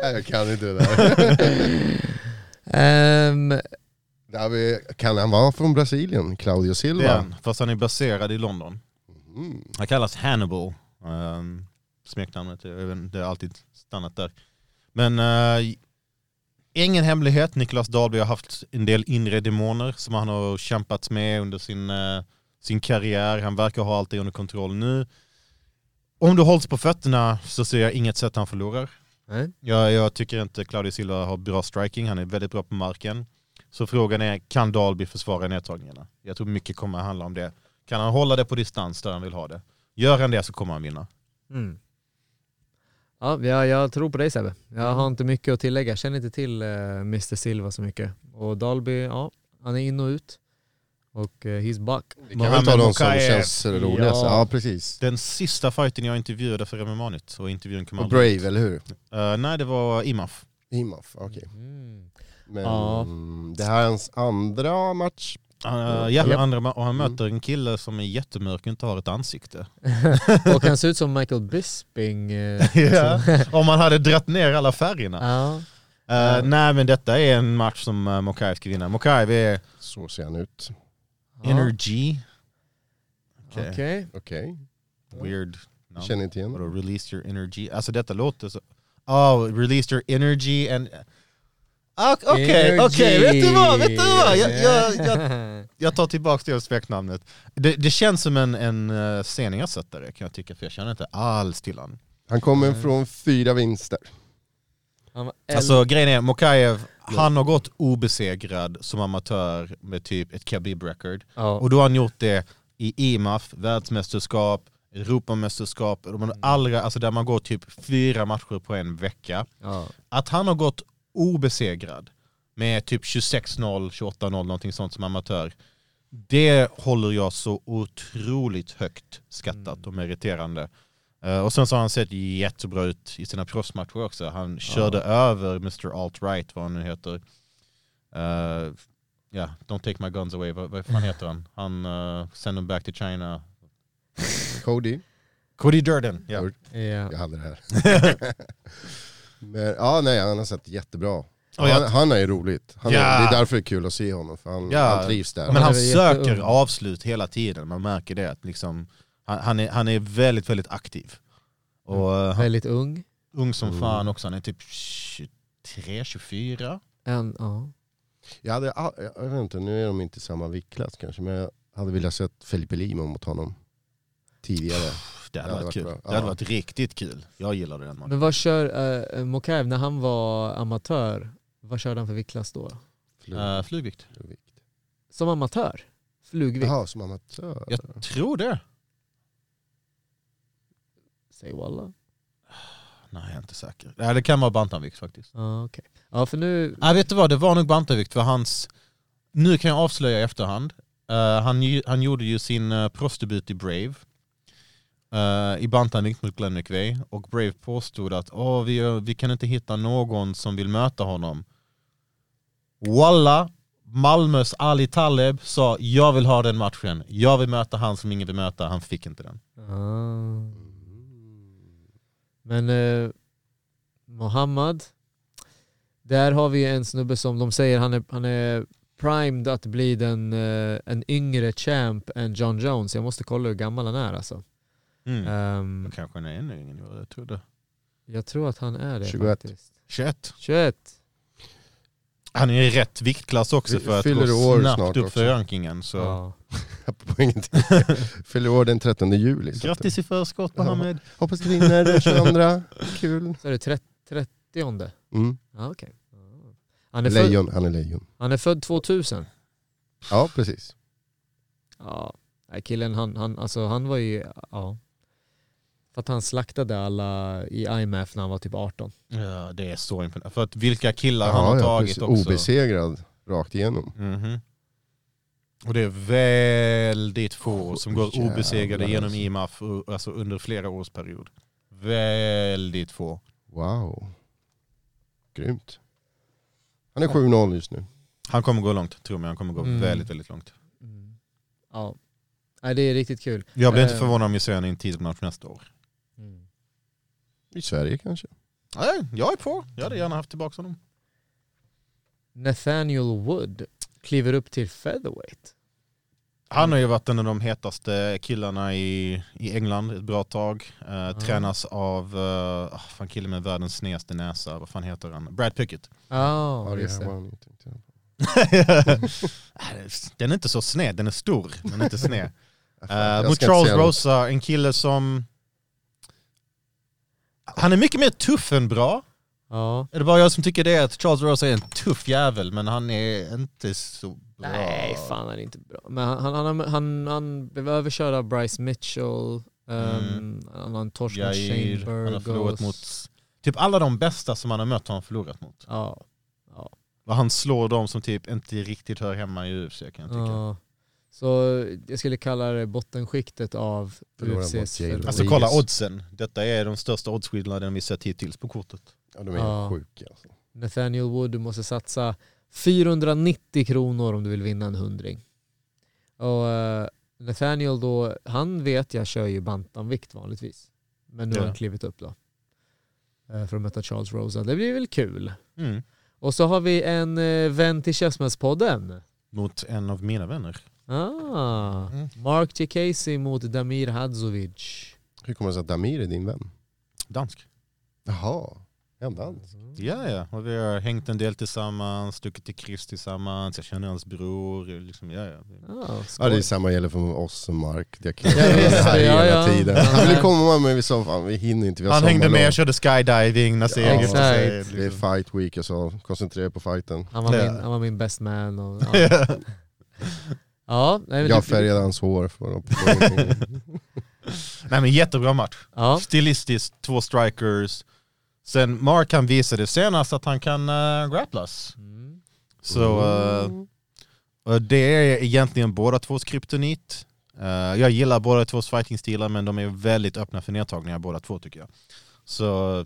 F: Nej, jag kan inte det där.
D: Um,
F: där vi, kan han vara från Brasilien? Claudio Silva? Mm.
E: Det är han, fast han är baserad i London. Han kallas Hannibal. Um, smeknamnet, jag vet inte, det har alltid stannat där. Men eh, ingen hemlighet, Niklas Dahlby har haft en del inre demoner som han har kämpat med under sin, eh, sin karriär. Han verkar ha allt det under kontroll nu. Om du hålls på fötterna så ser jag inget sätt han förlorar.
D: Nej.
E: Jag, jag tycker inte Claudio Silva har bra striking, han är väldigt bra på marken. Så frågan är, kan Dalby försvara nedtagningarna? Jag tror mycket kommer att handla om det. Kan han hålla det på distans där han vill ha det? Gör han det så kommer han vinna.
D: mm. Ja, jag, jag tror på dig Sebbe. Jag har inte mycket att tillägga. Jag känner inte till eh, Mr Silva så mycket. Och Dalby, ja, han är in och ut. Och eh, he's back.
F: Vi kan väl ta de som
E: Mokaev.
F: känns roligast.
D: Ja.
F: Ja, precis.
E: Den sista fighten jag intervjuade för MMA-nytt och intervjun kom
F: Och
E: aldrig ut.
F: Brave, eller hur?
E: Eh, nej, det var Imaf.
F: Imaf, okej.
D: Mm.
F: Men
D: Ja.
F: mm, det här är hans andra match.
E: Uh, ja,
D: Japp.
E: andra ma- och han
F: Mm.
E: möter en kille som är jättemörk och inte har ett ansikte.
D: Och han ser ut som Michael Bisping. eh,
E: Ja. Alltså, Om man hade dratt ner alla färgerna.
D: ja.
E: Eh, Nej men detta är en match som uh, Mokaev ska vinna. Mokaev är
F: Så ser han ut.
D: Ja.
E: energy.
D: Okej.
F: Okej,
E: Weird. No.
F: känner inte igen.
E: Vadå, release your energy? Alltså detta låter så... Oh, release your energy and... Ah, Okej, okej, vet du vad, vet du vad? Jag, jag, jag, jag tar tillbaka det smeknamnet. Det, det känns som en, en eh, scen jag sett där kan jag tycka, för jag känner inte alls till honom.
F: Han kommer från fyra vinster.
D: Han var
E: Alltså grejen är, Mokaev, han har gått obesegrad som amatör med typ ett Khabib record.
D: Ja.
E: Och då har han gjort det i IMAF, världsmästerskap, Europamästerskap, de allra, alltså där man går typ fyra matcher på en vecka.
D: ja.
E: att han har gått obesegrad med typ 26-0, 28-0, någonting sånt som amatör. Det håller jag så otroligt högt skattat och meriterande. Eh, och sen så har han sett jättebra ut i sina proffsmatcher också. Han körde över Mr. Alt-Right, vad han nu heter. Eh, Ja, Don't Take My Guns Away, vad, vad fan heter han? Han, uh, Send Them Back to China.
F: Cody,
E: Cody Durden! Ja.
F: Durden.
D: Ja.
F: jag hade det här. Men, ja, nej, han har sett jättebra.
E: Och jag-
F: Han, han är ju roligt. Han är,
E: Ja.
F: Det är därför det är kul att se honom, för han,
E: Ja.
F: han trivs där.
E: Men han
D: Han är väl
E: söker
D: jätteung.
E: avslut hela tiden, man märker det. Att liksom, han, han, är, han är väldigt, väldigt aktiv. Och eh, han är
D: Väldigt ung.
E: ung som fan också, han är typ 23, 24.
D: En, ja.
F: Jag, hade, all- jag vet inte, nu är de inte i samma viktklass kanske, men jag hade velat sett Felipe Limo mot honom
E: Äh,
F: tidigare.
E: Det hade varit kul. Det hade
F: Ja.
E: varit riktigt kul. Jag gillade den matchen.
D: Men vad kör uh, Mokaev när han var amatör? Vad körde han för viktklass då?
F: Flug-
E: Eh, flugvikt.
F: flugvikt.
D: Som amatör? Flugvikt?
F: Jaha, som amatör.
E: Jag tror det.
D: Säg walla.
E: Nej, jag är inte säker. Nej, det kan vara bantamvikt faktiskt.
D: Ja, okej. Ja, för nu...
E: Nej, vet du vad? Det var nog bantamvikt för hans... Nu kan jag avslöja i efterhand. Eh, han, ju- han gjorde ju sin uh, proffsdebut i Brave. Eh, I bantamvikt mot Glenn McVeigh. Och Brave påstod att "Åh, vi, eh, vi kan inte hitta någon som vill möta honom. Walla! Malmös Ali Taleb sa jag vill ha den matchen. Jag vill möta han som ingen vill möta. Han fick inte den.
D: Ah. Men eh, Mohammad, där har vi en snubbe som de säger han är, han är primed att bli den, eh, en yngre champ än John Jones. Jag måste kolla hur gammal han är alltså.
E: Mm.
D: Ehm,
E: Då Kanske han är ännu yngre än vad jag trodde.
D: jag tror att han är det
F: 21.
D: faktiskt.
E: 21.
D: 21.
E: Han är i rätt viktklass också
F: Vi-
E: för att
F: fyller
E: gå
F: år
E: snabbt
F: snart
E: upp
F: också.
E: för rankingen. Så.
D: Ja.
F: på ingenting. Fyller år den 13 juli. så att-
E: Grattis i förskott
F: Ja.
E: Mohammed.
F: Hoppas du vinner den 22. Kul.
D: Så är det 30, 30
F: Mm.
D: Ja, okej. Ja. Han, är född,
F: Lejon, han är lejon.
D: han är född 2000.
F: Ja, precis.
D: Ja, nej, killen han, han, alltså, han var ju, ja. För att han slaktade alla i IMF när han var typ 18.
E: Ja, det är så imponerande. För att vilka killar han
F: Ja,
E: har
F: ja,
E: tagit
F: precis.
E: också.
F: Obesegrad rakt igenom.
E: Mhm. Och det är väldigt få som går
F: Jävlar,
E: obesegrade genom
F: alltså.
E: IMAF u- alltså under flera års period. Väldigt få.
F: Wow. Grymt. Han är 7-0 just nu.
E: Han kommer gå långt, tror jag. Han kommer gå
D: Mm.
E: väldigt, väldigt långt. Mm.
D: Ja. Nej, det är riktigt kul.
E: Jag blir inte
D: Eh.
E: förvånad om vi ser honom i en tidsmatch nästa år. Mm.
F: I Sverige kanske.
E: Nej, jag är på. Jag hade gärna haft tillbaka honom.
D: Nathaniel Wood kliver upp till featherweight.
E: Han har ju varit en av de hetaste killarna i, i England ett bra tag. Eh, Tränas av, eh, ah, fan killen med världens snedaste näsa, vad fan heter han? Brad Pickett.
D: Ja,
F: Ja, det
D: just
F: här var
D: det.
F: han ju, tänkte jag.
E: den är inte så sned, den är stor, men inte sned.
F: Jag
E: Eh,
F: ska
E: mot
F: inte
E: Charles
F: säga något.
E: Rosa, en kille som... Han är mycket mer tuff än bra.
D: Ja.
E: Är det bara jag som tycker det, att Charles Rosa är en tuff jävel, men han är inte så bra.
D: Nej, fan han är inte bra. Men han, han, han, han, han blev överkörd av Bryce Mitchell. ehm, Han har en torsk mot Shane
E: Mm. Jair, han har förlorat
D: Burgos.
E: mot... Typ alla de bästa som han har mött har han förlorat mot.
D: Ja.
E: Och han slår dem som typ inte riktigt hör hemma i UFC kan jag tycka.
D: ja. Så jag skulle kalla det bottenskiktet av
F: Förlorade mot
D: UFCs
F: Jair.
D: featherweight.
E: Alltså
F: Rodriguez.
E: kolla oddsen. Detta är de största oddsskillnaden vi sett hittills på kortet.
F: Ja, de är
D: Ja.
F: helt sjuka. Alltså.
D: Nathaniel Wood, du måste satsa 490 kronor om du vill vinna en hundring. Och eh, Nathaniel då, han vet jag kör ju bantamvikt vanligtvis. Men nu har
E: Ja.
D: han klivit upp då. Eh, För att möta Charles Rosa. Det blir väl kul.
E: Mm.
D: Och så har vi en eh, vän till Käftsmällspodden.
E: Mot en av mina vänner.
D: Ah,
E: Mm.
D: Mark J. Casey mot Damir Hadzovic.
F: Hur kommer det sig att Damir är din vän?
E: Dansk.
F: Jaha, är han dans?
D: Mm.
E: Ja, ja. Och vi har hängt en del tillsammans, stuckit till Chris tillsammans, jag känner hans bror. Liksom, ja, ja.
D: Ah,
F: Ja, det är
D: skoj.
F: samma gäller för oss som Mark. Jag kan
D: Ja, visst,
F: här
D: ja,
F: hela
D: ja.
F: tiden.
D: Ja.
F: Han ville komma men vi sa fan vi hinner inte. Vi har
E: Han hängde
F: sommarlov.
E: med, körde skydiving, Nasir
F: Ja,
E: gifte sig.
D: exakt.
F: Det är
E: Liksom.
F: fight week och så, koncentrera er på fighten.
D: Han var
E: Ja.
D: min, han var min best man. Och, ja. ja, nej, men
F: Jag
D: det-
F: färgade hans hår. För att
E: Nej men jättebra match.
D: Ja.
E: Stilistiskt, två strikers. Sen Mark han visade senast att han kan uh, grapplas.
D: Mm.
E: Så eh, och det är egentligen båda tvås kryptonit. Eh, jag gillar båda tvås fightingstilar men de är väldigt öppna för nedtagningar båda två tycker jag. Så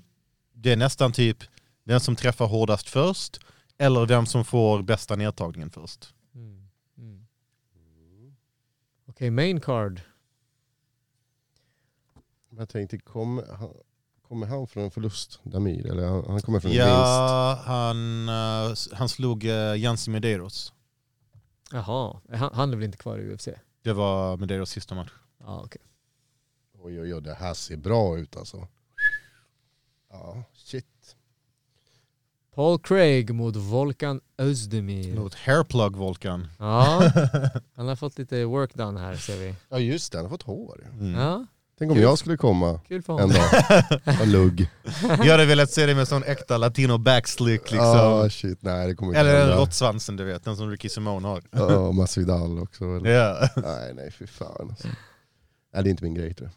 E: det är nästan typ vem som träffar hårdast först eller vem som får bästa nedtagningen först.
D: Mm. Mm. Okej, main card.
F: jag tänkte, kommer han, kommer han från en förlust, Damir? Eller han, han kommer från en vinst?
E: Ja, han, eh, s- han slog uh, Jansi Medeiros.
D: Jaha, Eh, han, han är väl inte kvar i UFC?
E: Det var Medeiros sista match.
D: Ja, okej.
F: Oj oj oj, det här ser bra ut alltså. Ja, shit.
D: Paul Craig mot Volkan Özdemir.
F: Mm.
E: Mot Hairplug Volkan.
D: Ja, han har fått lite work done här ser vi.
F: Ja just det, han har fått hår.
E: Mm.
D: Ja,
F: Tänk om jag skulle komma
D: kul för
F: en
D: honom.
F: dag och lugg.
E: Jag hade velat se det med sån äkta latino backslick liksom.
F: Ja Ah, shit, nej det kommer inte
E: Eller den
F: hända.
E: råttsvansen du vet, den som Ricky Simone har.
F: Ja, Masvidal också. Eller?
E: Ja.
F: Nej nej fy fan alltså. Nej det är inte min grej tror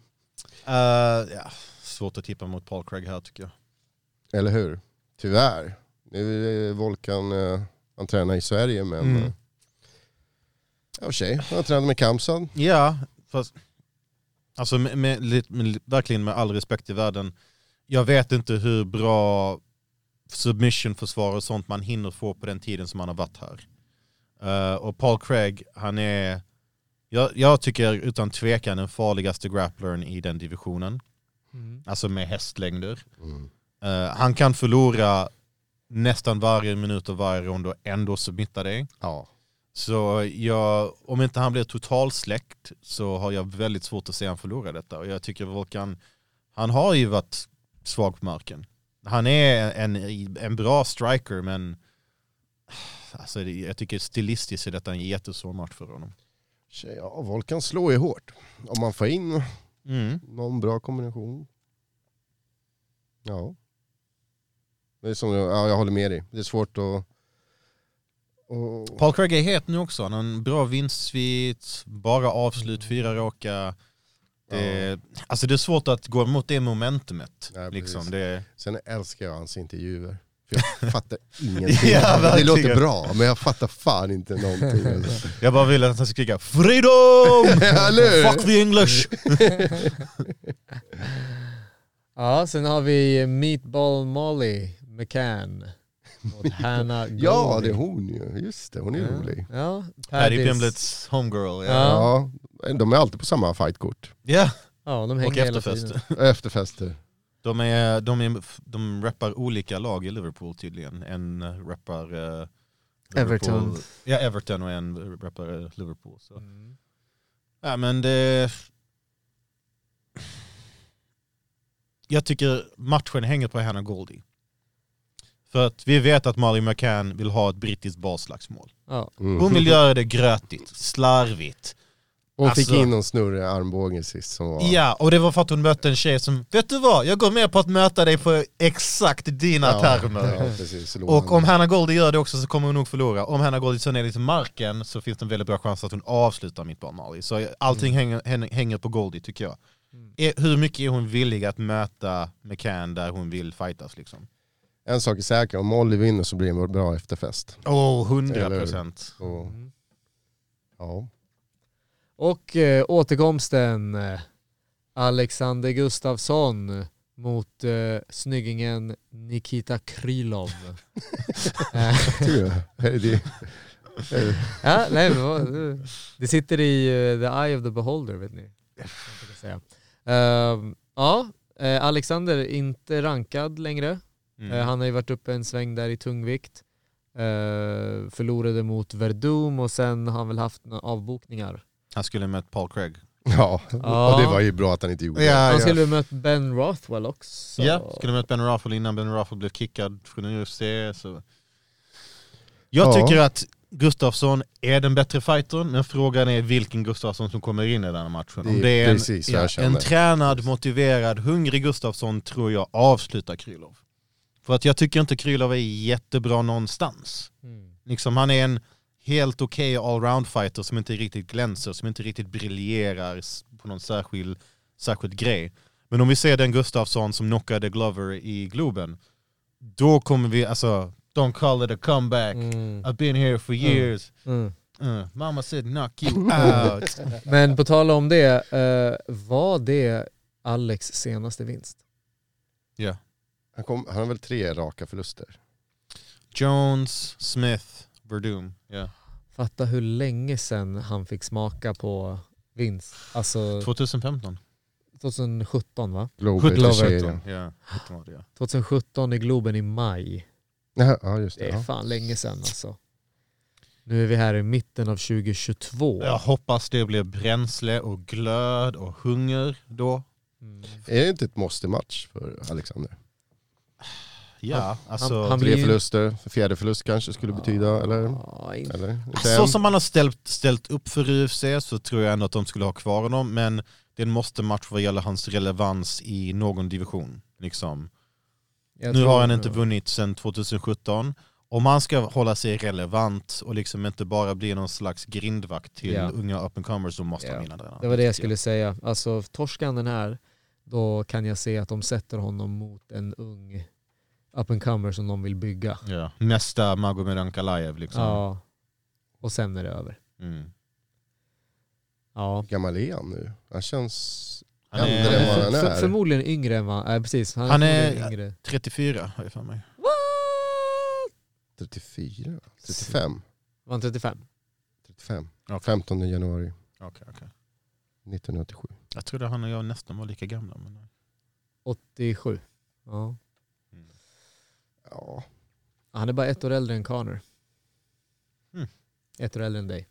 F: jag.
E: Eh, ja. Svårt att tippa mot Paul Craig här tycker jag.
F: Eller hur? Tyvärr. Nu är Volkan, eh, han tränar i Sverige men...
E: Mm.
F: eh, Ja, och tjej. Han har tränat med Kamsad.
E: Ja, fast alltså med, med, lit- med, verkligen med all respekt i världen. Jag vet inte hur bra submission-försvar och sånt man hinner få på den tiden som man har varit här. Eh, och Paul Craig, han är, jag, jag tycker utan tvekan den farligaste grapplern i den divisionen.
D: Mm.
E: Alltså med hästlängder. Eh, han kan förlora nästan varje minut och varje rond och ändå submitta dig.
F: Ja.
E: Så jag, om inte han blir totalsläckt så har jag väldigt svårt att se han förlora detta. Och jag tycker Volkan, han har ju varit svag på marken. Han är en, en bra striker men alltså, det- jag tycker stilistiskt är detta en jättesvår match för honom.
F: Tjej, ja, Volkan slår ju hårt. Om man får in någon bra kombination. Ja. Det är som, ja, jag håller med dig. Det är svårt att... Och,
E: Paul Craig är het nu också, han har en bra vinstsvit, bara avslut, fyra raka. Det, Alltså det är svårt att gå emot det momentumet.
F: Nej, precis.
E: liksom. det,
F: Sen älskar jag hans intervjuer. För jag fattar ingenting.
E: Ja,
F: det
E: verkligen.
F: låter bra, men jag fattar fan inte någonting. Alltså.
E: jag bara vill att han ska skrika FREEDOM!
F: Eller hur?
E: Fuck the English!
D: Ja, sen har vi Meatball Molly McCann mot Hannah Goldie.
F: Ja, det är hon ju. Just det, hon är rolig.
D: Ja,
E: Paddy
D: Paddys-
E: Pimblets homegirl. Ja,
D: Ja.
F: Ja, de är alltid på samma fightkort.
E: ja.
D: ja, de hänger
E: och
D: hela
E: efterfest.
D: tiden.
F: Efterfester.
E: De, är, de, är, de rappar olika lag i Liverpool tydligen. En rappar eh, Liverpool-
D: Everton.
E: Ja, Everton och en rappar eh, Liverpool. Så.
D: Mm.
E: Ja, men det... Jag tycker matchen hänger på Hannah Goldie. För att vi vet att Molly McCann vill ha ett brittiskt barslagsmål.
D: Ja.
F: Mm.
E: Hon vill göra det grötigt, slarvigt.
F: Hon fick
E: Alltså-
F: in någon snurre i armbågen sist som var...
E: Ja, och det var för att hon mötte en tjej som, vet du vad, jag går med på att möta dig på exakt dina termer.
F: Ja, precis, så låg
E: Och
F: han.
E: om Hannah Goldie gör det också så kommer hon nog förlora. Om Hannah Goldie sen är lite marken så finns det en väldigt bra chans att hon avslutar mitt barn Molly. Så
F: Mm.
E: allting hänger, häng- hänger på Goldie tycker jag. Är, hur mycket är hon villig att möta McCann där hon vill fightas liksom?
F: En sak är säker, om Molly vinner så blir det en bra efterfest.
E: Åh, hundra
F: Eller-
E: procent.
F: Och, ja.
D: Och eh, återkomsten eh, Alexander Gustafsson mot eh, snyggingen Nikita Krylov. Eh,
F: Tycker jag. Är det- är det-
D: ja, nej, men, vad- det sitter i eh, the eye of the beholder vet ni. vad man brukar Säga. Ehm, ja, eh, Alexander inte rankad längre.
E: Mm.
D: Eh, Han har ju varit uppe en sväng där i tungvikt. Eh, förlorade mot Verdum och sen har han väl haft några avbokningar.
E: Han skulle möta Paul Craig.
F: Ja,
D: Ja.
F: och det var ju bra att han inte gjorde det.
D: han skulle väl mött Ben Rothwell också.
E: Ja, skulle möta Ben Raffel innan Ben Raffel blev kickad från UFC. Så. Jag
F: Ja.
E: tycker att Gustafsson är den bättre fightern, men frågan är vilken Gustafsson som kommer in i den här matchen.
F: Det
E: Om
F: är
E: det är en,
F: precis vad
E: ja,
F: jag känner.
E: en tränad, motiverad, hungrig Gustafsson tror jag avslutar Krylov. För att jag tycker inte Krylov är jättebra någonstans.
D: Mm.
E: Liksom, han är en helt okej allround fighter som inte riktigt glänser, som inte riktigt briljerar s- på någon särskild, särskild grej. Men om vi ser den Gustafsson som knockade Glover i Globen, då kommer vi, alltså, don't call it a comeback,
D: Mm.
E: I've been here for years,
D: Mm.
E: Uh, mama said knock you out.
D: Men på tal om det, eh, var det Alex senaste vinst?
E: Ja.
F: Han, kom, han har väl tre raka förluster.
E: Jones, Smith, Verdum. Yeah.
D: Mm. Fatta hur länge sedan han fick smaka på vinst. Alltså
E: 2015.
D: 2017 va?
F: Glober till serien.
E: Ja, 17 var det, ja.
D: 2017 i Globen i maj.
F: Jaha, Ja, just det.
D: Det är
F: Ja.
D: fan länge sedan alltså. Nu är vi här i mitten av 2022.
E: Jag hoppas det blir bränsle och glöd och hunger då.
D: Mm.
F: Är det inte ett måste-match för Alexander?
E: Ja, alltså...
D: han
F: Tre
D: blir-
F: förluster, fjärde förlust kanske skulle betyda, eller?
D: Ja, inte-
F: eller? Inte
E: Så
F: än.
E: som han har ställt, ställt upp för UFC så tror jag ändå att de skulle ha kvar honom, men det är en måste-match vad gäller hans relevans i någon division. Liksom.
D: jag
E: Nu
D: tror-
E: har han inte vunnit sedan 2017. Om han ska hålla sig relevant och liksom inte bara bli någon slags grindvakt till
D: Ja.
E: unga up and comers så måste
D: Ja.
E: han vinna den.
D: Det var det jag skulle säga. Alltså torskan den här, då kan jag se att de sätter honom mot en ung up and comer som de vill bygga.
E: Ja. Nästa Magomed Ankalaev liksom.
D: Ja. Och sen är det över.
E: Mm.
D: Ja.
F: Hur gammal är han nu? Han känns...
E: Han
F: Äldre än vad
E: är
F: han- är.
D: För, förmodligen yngre än vad... Nej precis, han är,
E: Han är-
D: förmodligen yngre.
E: 34 har jag för mig.
D: What?
F: 34? 35?
D: Var han 35?
F: 35.
E: Okej.
F: 15 januari
E: Okay, okay.
F: 1987.
E: Jag trodde han och jag nästan var lika gamla. Men...
D: 87? Ja.
F: Ja,
D: Han är bara ett år äldre än Connor.
E: Mm.
D: Ett år äldre än dig.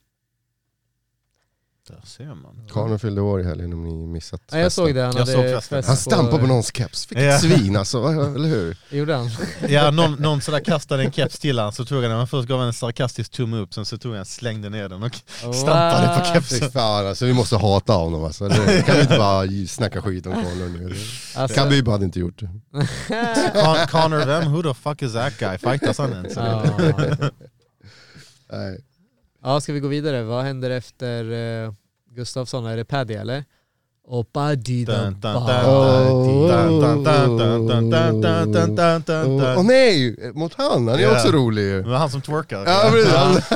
E: Där ser man.
F: Karin fyllde år i helgen om ni missat
D: Nej, jag såg det, han
E: Jag
D: hade
E: såg festen.
D: fest
F: Han stampade på någons keps, vilket
E: Alltså, Ja.
F: svin alltså, eller hur?
D: Gjorde han?
E: Ja, någon, någon sådär kastade en keps till han så tog han den, men först gav han en sarkastisk tumme upp, sen så tog han, slängde ner den och stampade på
F: Fy
E: kepsen.
F: fan alltså, vi måste hata honom alltså. Eller hur? Kan vi inte bara snacka skit om Karin nu?
D: Alltså,
F: Khabib hade inte gjort det.
E: Con Connor vem? Who the fuck is that guy? Fightas han ens?
D: ja.
F: Nej.
D: ja, ska vi gå vidare? Vad händer efter eh, Gustafsson? Är det Paddy eller? Oppa dida
E: Dun, dun, dun,
D: ba.
E: dun, dun, dun, dun, dun, dun, dun, dun, dun, dun,
F: Åh
E: dun.
F: nej, mot han, han är
E: Ja.
F: också rolig ju.
E: Det var han som twerkar.
F: Ja, precis.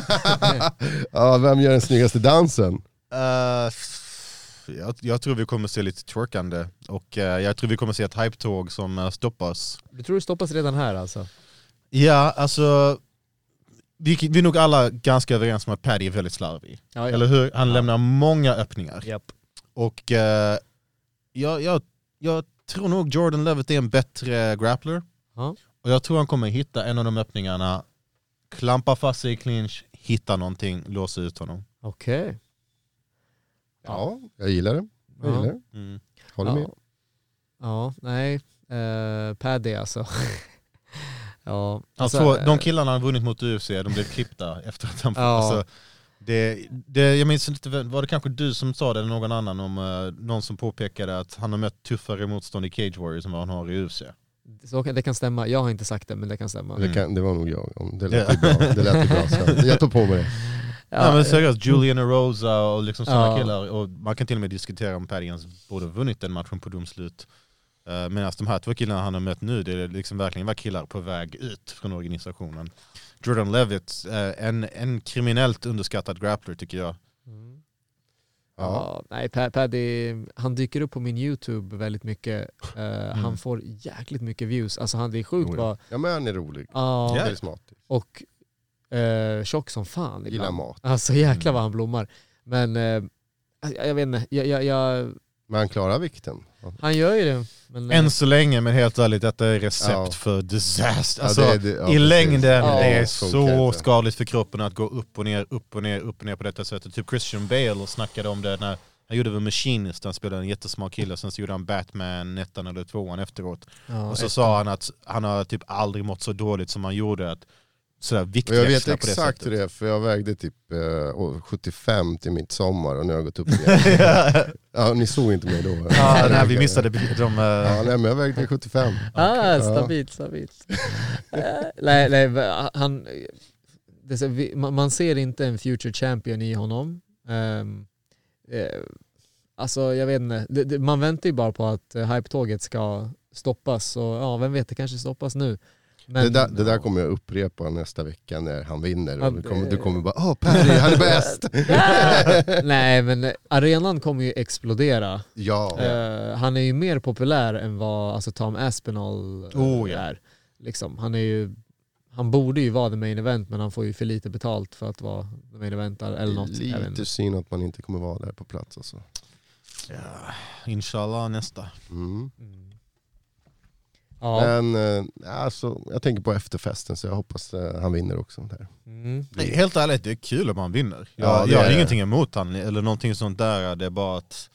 F: ja, vem gör den snyggaste dansen?
E: Eh, f- jag, jag tror vi kommer se lite twerkande och eh, jag tror vi kommer se ett hype-tåg som eh, stoppas.
D: Du tror det stoppas redan här alltså?
E: Ja, alltså vi, vi är nog alla ganska överens om att Paddy är väldigt slarvig.
D: Ja,
E: Eller hur? Han lämnar många öppningar.
D: Japp.
E: Och eh, jag, jag, jag tror nog Jordan Levitt är en bättre grappler.
D: Ja.
E: Och jag tror han kommer hitta en av de öppningarna, klampa fast sig i clinch, hitta någonting, låsa ut honom.
D: Okej.
F: Ja, jag gillar det. Jag gillar det.
E: Mm.
F: Håller med.
D: Ja, nej. Uh, Paddy alltså. ja.
E: Han
D: Alltså,
E: två,
D: eh,
E: de killarna han vunnit mot UFC, de blev klippta efter att han...
D: Ja.
E: Alltså, det, det, jag minns inte, vem- var det kanske du som sa det eller någon annan om eh, någon som påpekade att han har mött tuffare motstånd i Cage Warriors än vad han har i UFC?
D: eh, så, det kan stämma. Jag har inte sagt det, men det kan stämma.
F: Det, kan, det var nog jag. Om Det lät ju bra. Det lät ju bra så jag tar på mig det.
E: Ja, men seriöst, Julian Rosa och liksom sådana
D: Ja.
E: killar. Och man kan till och med diskutera om Paddy ens borde ha vunnit den matchen på domslut. Uh, Medan de här två killarna han har mött nu, det är liksom verkligen var killar på väg ut från organisationen. Jordan Levitt, eh, en, en kriminellt underskattad grappler tycker jag.
D: Mm. Ja.
F: Ja.
D: nej, Pa- Paddy, han dyker upp på min YouTube väldigt mycket. Eh, Han får jäkligt mycket views. Alltså han, det är sjukt
F: Jo, Mm. Oh, ja.
D: vad...
F: ja, men han är rolig.
D: Ja,
E: Ja.
F: Karismatisk.
D: och uh, tjock som fan ibland.
F: Gillar mat. Mm.
D: Alltså jäklar vad han blommar. Men eh, jag, jag vet inte, jag, jag, jag,
F: Men han klarar vikten. Ja,
D: han gör ju det. Men, eh,
E: Än så länge, men helt ärligt, detta är recept
F: Ja.
E: för disaster. Alltså,
F: det är det- ja,
E: I
F: precis.
E: längden,
D: Ja.
E: det är
F: Funkar
E: så
F: inte.
E: skadligt för kroppen att gå upp och ner, upp och ner, upp och ner på detta sättet. Typ Christian Bale snackade om det när han gjorde The Machinist, han spelade en jättesmart kille, sen så gjorde han Batman, ettan eller tvåan efteråt.
D: ja,
E: Och så
D: ett-
E: sa han att han har typ aldrig mått så dåligt som han gjorde, att sådär
F: Och jag vet
E: viktväxla på det
F: exakt hur
E: sättet.
F: det är, för jag vägde typ eh, å- 75 till mitt sommar och nu har jag gått upp igen. ja, ni såg inte mig då.
E: Ja, nej, vi missade eh, de... de
F: Ja, nej, men jag vägde 75.
D: Ah,
F: Ja.
D: stabilt, stabilt. Eh, nej, nej, va- han, det är så, vi, man man ser inte en future champion i honom. Um, eh, alltså jag vet inte, det, det, man väntar ju bara på att eh, hype-tåget ska stoppas och ja, vem vet, det kanske stoppas nu. Men,
F: det, där, det där kommer jag upprepa nästa vecka när han vinner.
D: Ja,
F: Och du, kommer, du
D: det-
F: kommer bara åh Perry, han är bäst!
D: Nej men eh, arenan kommer ju explodera.
F: Ja,
D: Eh, han är ju mer populär än vad alltså, Tom Aspinall eh,
E: Oh, ja.
D: är. Liksom, han, är ju, han borde ju vara the main event men han får ju för lite betalt för att vara the main event där, eller något. Jag vet inte.
F: lite synd att man inte kommer vara där på plats alltså.
E: ja, inshallah nästa.
F: Mm.
D: Mm. Ja.
F: Men eh, alltså, jag tänker på efterfesten så jag hoppas eh, han vinner också. Där.
D: Mm.
E: Nej, helt ärligt, det är kul om han vinner. Jag,
F: Ja, det
E: jag har
F: är det.
E: ingenting emot han eller någonting sånt där. Det är bara att...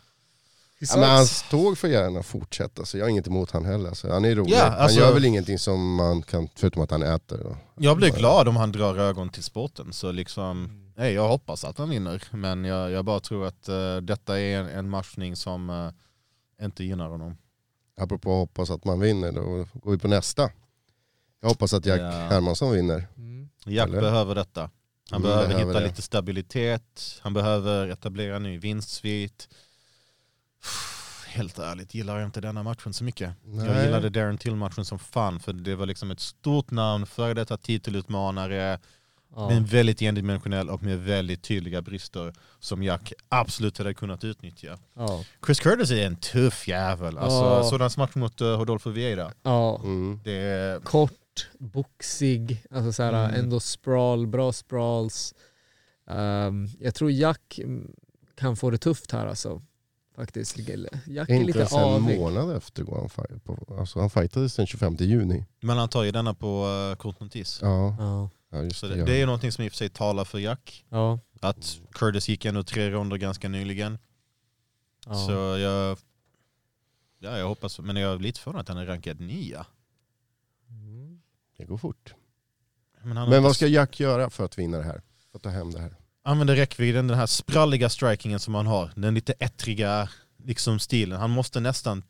F: Ja, men alltså- hans tåg får gärna fortsätta så jag har inget emot han heller. Alltså, han är rolig.
E: Ja, alltså-
F: Han gör väl ingenting som man kan, förutom att han äter. Då.
E: Jag blir glad om han drar ögon till sporten. Så liksom,
F: Mm.
E: nej, jag hoppas att han vinner. Men jag, jag bara tror att eh, detta är en, en matchning som eh, inte gynnar honom.
F: Apropå hoppas att man vinner, då går vi på nästa. Jag hoppas att Jack
E: Ja.
F: Hermansson vinner.
D: Mm.
E: Jack
F: Eller?
E: behöver detta. Han
F: Mm,
E: behöver,
F: behöver
E: hitta
F: det.
E: lite stabilitet. Han behöver etablera en ny vinstsvit. Helt ärligt gillar jag inte denna matchen så mycket. Jag
F: Nej.
E: gillade Darren Till-matchen som fan för det var liksom ett stort namn, före detta titelutmanare.
D: Ja.
E: Men väldigt endimensionell och med väldigt tydliga brister som Jack absolut hade kunnat utnyttja.
D: Ja.
E: Chris Curtis är en tuff jävel. Alltså,
D: Ja.
E: Sådan match mot uh, Rodolfo Vieira.
D: Ja.
F: Mm.
E: Det är,
D: Kort, boxig, alltså så här,
E: Mm.
D: ändå sprawl, bra sprawls. Ehm, jag tror Jack mm, kan få det tufft här alltså. Faktiskt. Jack är
F: Inte
D: lite
F: ens en
D: avig.
F: månad efter går han fight på. Alltså han fightades den 25 juni.
E: men han tar ju denna på uh, kort notis.
F: Ja,
D: Ja.
F: ja just
E: Så
F: det.
E: det, det är ju någonting som i och för sig talar för Jack.
D: Ja.
E: Att Curtis gick ändå tre ronder ganska nyligen.
D: Ja.
E: Så jag... Ja, jag hoppas, men jag är lite förvånad att han är rankad nia.
D: Mm.
F: det går fort.
E: Men, han har
F: Men
E: inte
F: vad ska Jack göra för att vinna det här? För att ta hem det här?
E: använder räckvidden, den här spralliga strikingen som han har, den lite ettriga liksom, stilen. Han måste nästan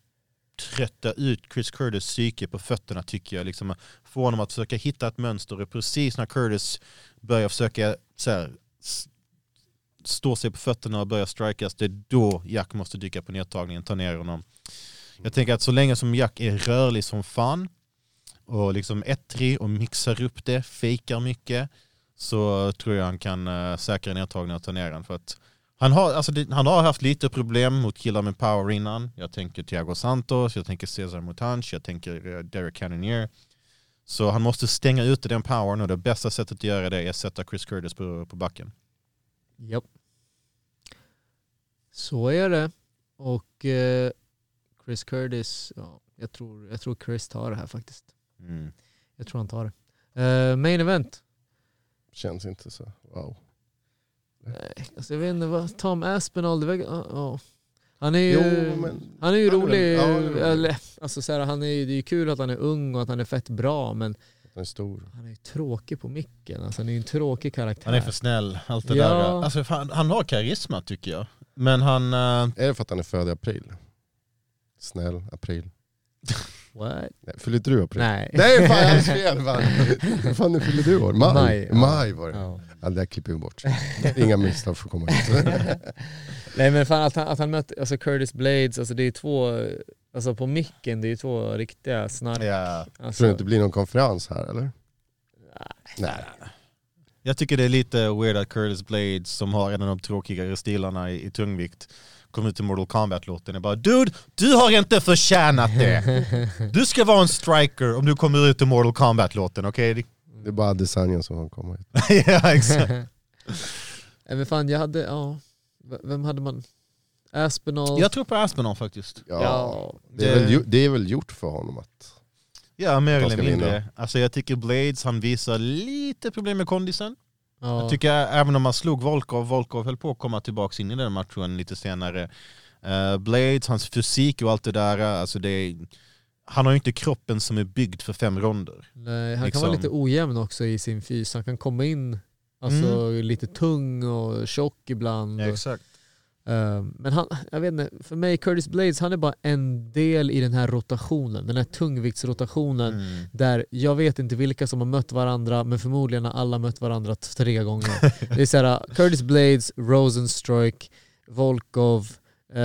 E: trötta ut Chris Curtis psyke på fötterna tycker jag. Liksom, få honom att försöka hitta ett mönster och precis när Curtis börjar försöka så här, s- står sig på fötterna och börjar strikas, det är då Jack måste dyka på nedtagningen, ta ner honom. Jag tänker att så länge som Jack är rörlig som fan och liksom ettrig och mixar upp det, fejkar mycket, så tror jag han kan eh, säkra nedtagningen och ta ner den. För att han, har, alltså, det- han har haft lite problem mot killar med power innan. Jag tänker Thiago Santos, jag tänker Cesar Mutanch, jag tänker eh, Derek Cannonier. Så han måste stänga ute den powern och det bästa sättet att göra det är att sätta Chris Curtis på, på backen.
D: Japp. Så är det. Och eh, Chris Curtis, ja, jag, tror, jag tror Chris tar det här faktiskt.
E: Mm.
D: Jag tror han tar det. Eh, main event.
F: Känns inte så. Wow.
D: Nej, Alltså, jag vet inte vad, Tom Aspinall, det var, ja, ja. han är ju...
F: Jo, men
D: Han är ju
F: Han är
D: rolig,
F: väl- ja, han är rolig.
D: eller alltså så här, han är, ju- det är ju kul att han är ung och att han är fett bra men
F: den är stor.
D: han är ju tråkig på micken. Alltså han är ju en tråkig karaktär.
E: Han är för snäll, allt det
D: Ja.
E: där. Alltså, fan, han har karisma tycker jag. Men han... eh,
F: Är det för att han är född i april? Snäll, april.
D: What?
F: Nej, fyller inte du april?
D: Nej.
F: Nej fan, jag hade fel. Fan, Hur fan nu fyller du år? Maj.
D: Maj,
F: Maj,
D: ja.
F: var det.
D: Ja.
F: Ja, det där klipper vi bort. Inga misstag får komma ut.
D: Nej men fan att han, att han mötte alltså Curtis Blades, alltså det är ju två, alltså på micken det är ju två riktiga snark.
E: ja.
D: Alltså,
F: Tror du inte det blir någon konferens här eller? Nej.
E: Jag tycker det är lite weird att Curtis Blades som har en av de tråkigare stilarna i, i tungvikt kom ut i Mortal Kombat-låten och bara Dude, du har inte förtjänat det! Du ska vara en striker om du kommer ut i Mortal Kombat-låten, okej?
F: Det är bara Adesanya som får komma ut.
E: ja, exakt.
D: Nej men fan jag hade, ja, V- vem hade man? Aspinall?
E: Jag tror på Aspinall faktiskt.
F: Ja.
D: ja.
F: Det, är väl, ju- det är väl gjort för honom att...
E: Ja, mer
F: De
E: eller
F: ska
E: mindre.
F: vinna.
E: Alltså jag tycker Blades, han visar lite problem med kondisen.
D: ja.
E: Jag tycker även om han slog Volkov, Volkov höll på att komma tillbaka in i den matchen lite senare. Eh, Blades, hans fysik och allt det där, alltså det är, han har ju inte kroppen som är byggd för fem ronder.
D: Nej, han
E: liksom-
D: kan vara lite ojämn också i sin fys. Han kan komma in alltså, lite tung och tjock ibland.
E: Mm. exakt.
D: Eh, men han, jag vet inte, för mig Curtis Blades, han är bara en del i den här rotationen, den här tungviktsrotationen.
E: Mm.
D: Där jag vet inte vilka som har mött varandra, men förmodligen har alla mött varandra t- tre gånger. det är såhär, Curtis Blades, Rosenstruik, Volkov, eh,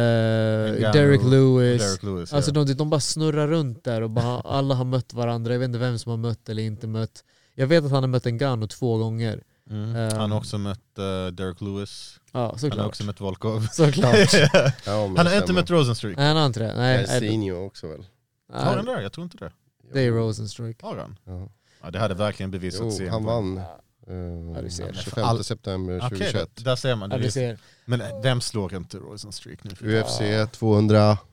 D: Derek Lewis.
E: Derek Lewis
D: Alltså
E: ja.
D: de, de bara snurrar runt där och bara, alla har mött varandra. Jag vet inte vem som har mött eller inte mött. Jag vet att han har mött en Gano två gånger.
E: mm.
D: ehm,
E: Han har också mött eh, Derek Lewis,
D: Ja, såklart.
E: han har också mött Volkov.
D: Såklart.
F: Ja,
E: han
F: men
E: har inte
F: stämmer.
E: mött Rosenstreak.
D: Nej, han har inte det. Nej, nej,
F: Jairzinho också väl?
E: Har han
D: nej,
E: det? Jag tror inte det.
D: det är Rosenstruik.
E: Har han?
F: Ja.
E: Ja, det hade verkligen bevisats.
F: Jo,
E: igen.
F: han vann.
D: Ja, du
F: Eh,
D: ser.
F: 25
E: All-
F: september
E: Okej,
F: 2021.
E: där- där ser man.
D: Ja,
E: Det
D: du
E: visst.
D: ser.
E: Men eh, vem slår inte Rosenstreak nu? för tiden?
F: UFC 266.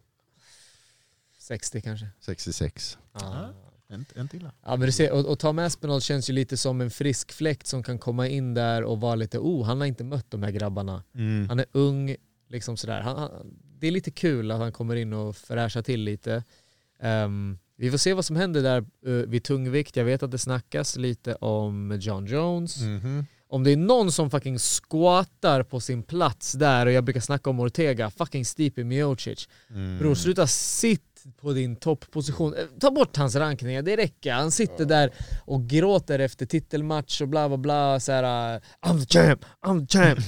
D: 60 kanske.
E: Ja. Inte, inte illa.
D: Ja, men du ser, och, och Tom Aspinall känns ju lite som en frisk fläkt som kan komma in där och vara lite, oh, han har inte mött de här grabbarna.
E: Mm.
D: Han är ung, liksom sådär. Han, han, det är lite kul att han kommer in och fräschar till lite. Ehm, vi får se vad som händer där uh, vid tungvikt. Jag vet att det snackas lite om John Jones.
E: Mhm.
D: Om det är någon som fucking squattar på sin plats där, och jag brukar snacka om Ortega, fucking Stipe Miocic.
E: Mm.
D: Bror, sluta sitt på din toppposition. Eh, Ta bort hans rankningar, det räcker. Han sitter där och gråter efter titelmatch och bla bla bla. Så här, eh, I'm the champ, I'm the champ.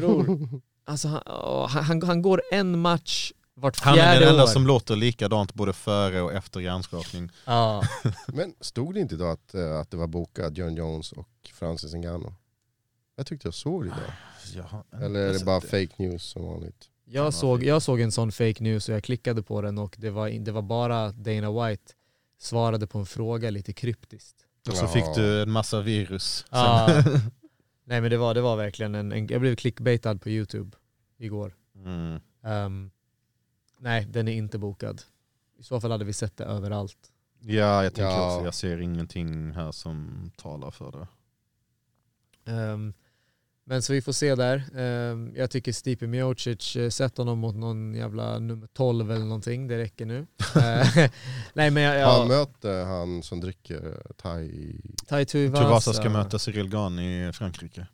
D: Bror, alltså han, åh, han- han, han går en match vart
E: Han
D: fjärde
E: är den enda
D: år.
E: som låter likadant både före och efter hjärnskakning.
D: Ja.
F: Men stod det inte idag att, eh, att det var bokat John Jones och Francis Ngannou? Jag tyckte jag såg det idag. Eller är alltså, det bara fake news som vanligt?
D: Jag, såg, jag såg en sån fake news och jag klickade på den och det var, in- det var bara att Dana White svarade på en fråga lite kryptiskt.
E: Och så
F: Ja.
E: fick du en massa virus.
D: Ja. Nej men det var, det var verkligen en, en, jag blev clickbaitad på YouTube igår.
E: Mm.
D: Ehm, nej, den är inte bokad. I så fall hade vi sett det överallt.
E: Ja, jag tänker
F: Ja.
E: också. Jag ser ingenting här som talar för det.
D: Ehm, men så vi får se där. Ehm, jag tycker Stipe Miocic, eh, sätt honom mot någon jävla nummer 12 eller någonting, det räcker nu. Ehm, nej men jag... jag
F: Han möter han som dricker thai...
D: Tai Tuivasa.
E: Tuvasa ska möta Cyril Gahn i Frankrike.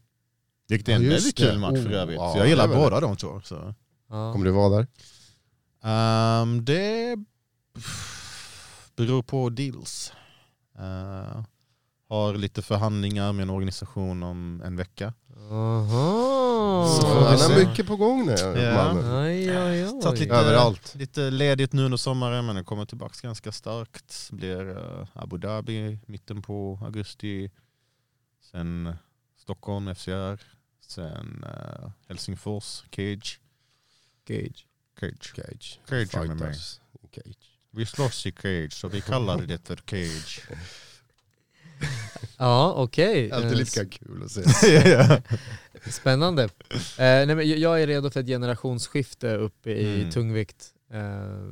E: Vilket är en
F: Ja, just
E: väldigt
F: det.
E: kul match för
F: Oh,
E: övrigt.
F: ja,
E: jag gillar
F: det var det.
E: båda de två. Så.
D: Ja.
F: Kommer du vara där?
E: Ehm, det beror på deals. Eh, har lite förhandlingar med en organisation om en vecka.
D: Aha.
F: Så
D: Ja.
F: Han
E: se.
F: har mycket på gång nu,
E: Ja.
F: mannen.
D: Aj, aj, aj.
E: Tagit lite,
F: Överallt.
E: lite ledigt nu under sommaren men den kommer tillbaka ganska starkt. Blir eh, Abu Dhabi mitten på augusti. Sen eh, Stockholm, FCR. Sen eh, Helsingfors, Cage.
D: Gage.
E: Cage.
F: Cage.
E: Cage med mig.
F: Fighters. Cage.
E: Vi slåss i Cage så vi kallar det för Cage.
D: Ja, okej.
F: Alltid
D: Eh,
F: lika kul att se.
D: Spännande. Eh, nej, men jag- jag är redo för ett generationsskifte uppe i
E: Mm.
D: tungvikt. Eh,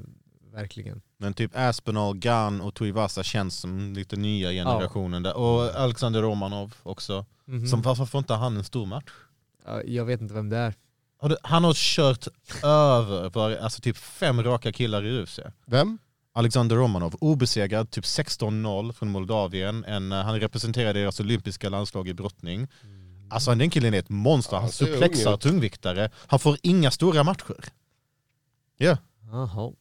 D: verkligen.
E: Men typ Aspinall, Gunn och Tuivasa känns som lite nya generationen där. Och Alexander Romanov också.
D: Mhm.
E: Som, varför får inte han en stor match?
D: Ja, jag vet inte vem det är.
E: Har du- Han har kört över var, alltså typ fem raka killar i UFC.
F: Vem?
E: Alexander Romanov, obesegrad, typ 16-0 från Moldavien. En, eh, han representerar deras olympiska landslag i brottning. Alltså den killen är ett monster,
F: Mm. Ja,
E: han
F: han ser ung
E: suplexar
F: ut.
E: tungviktare. Han får inga stora matcher.
D: Jaha.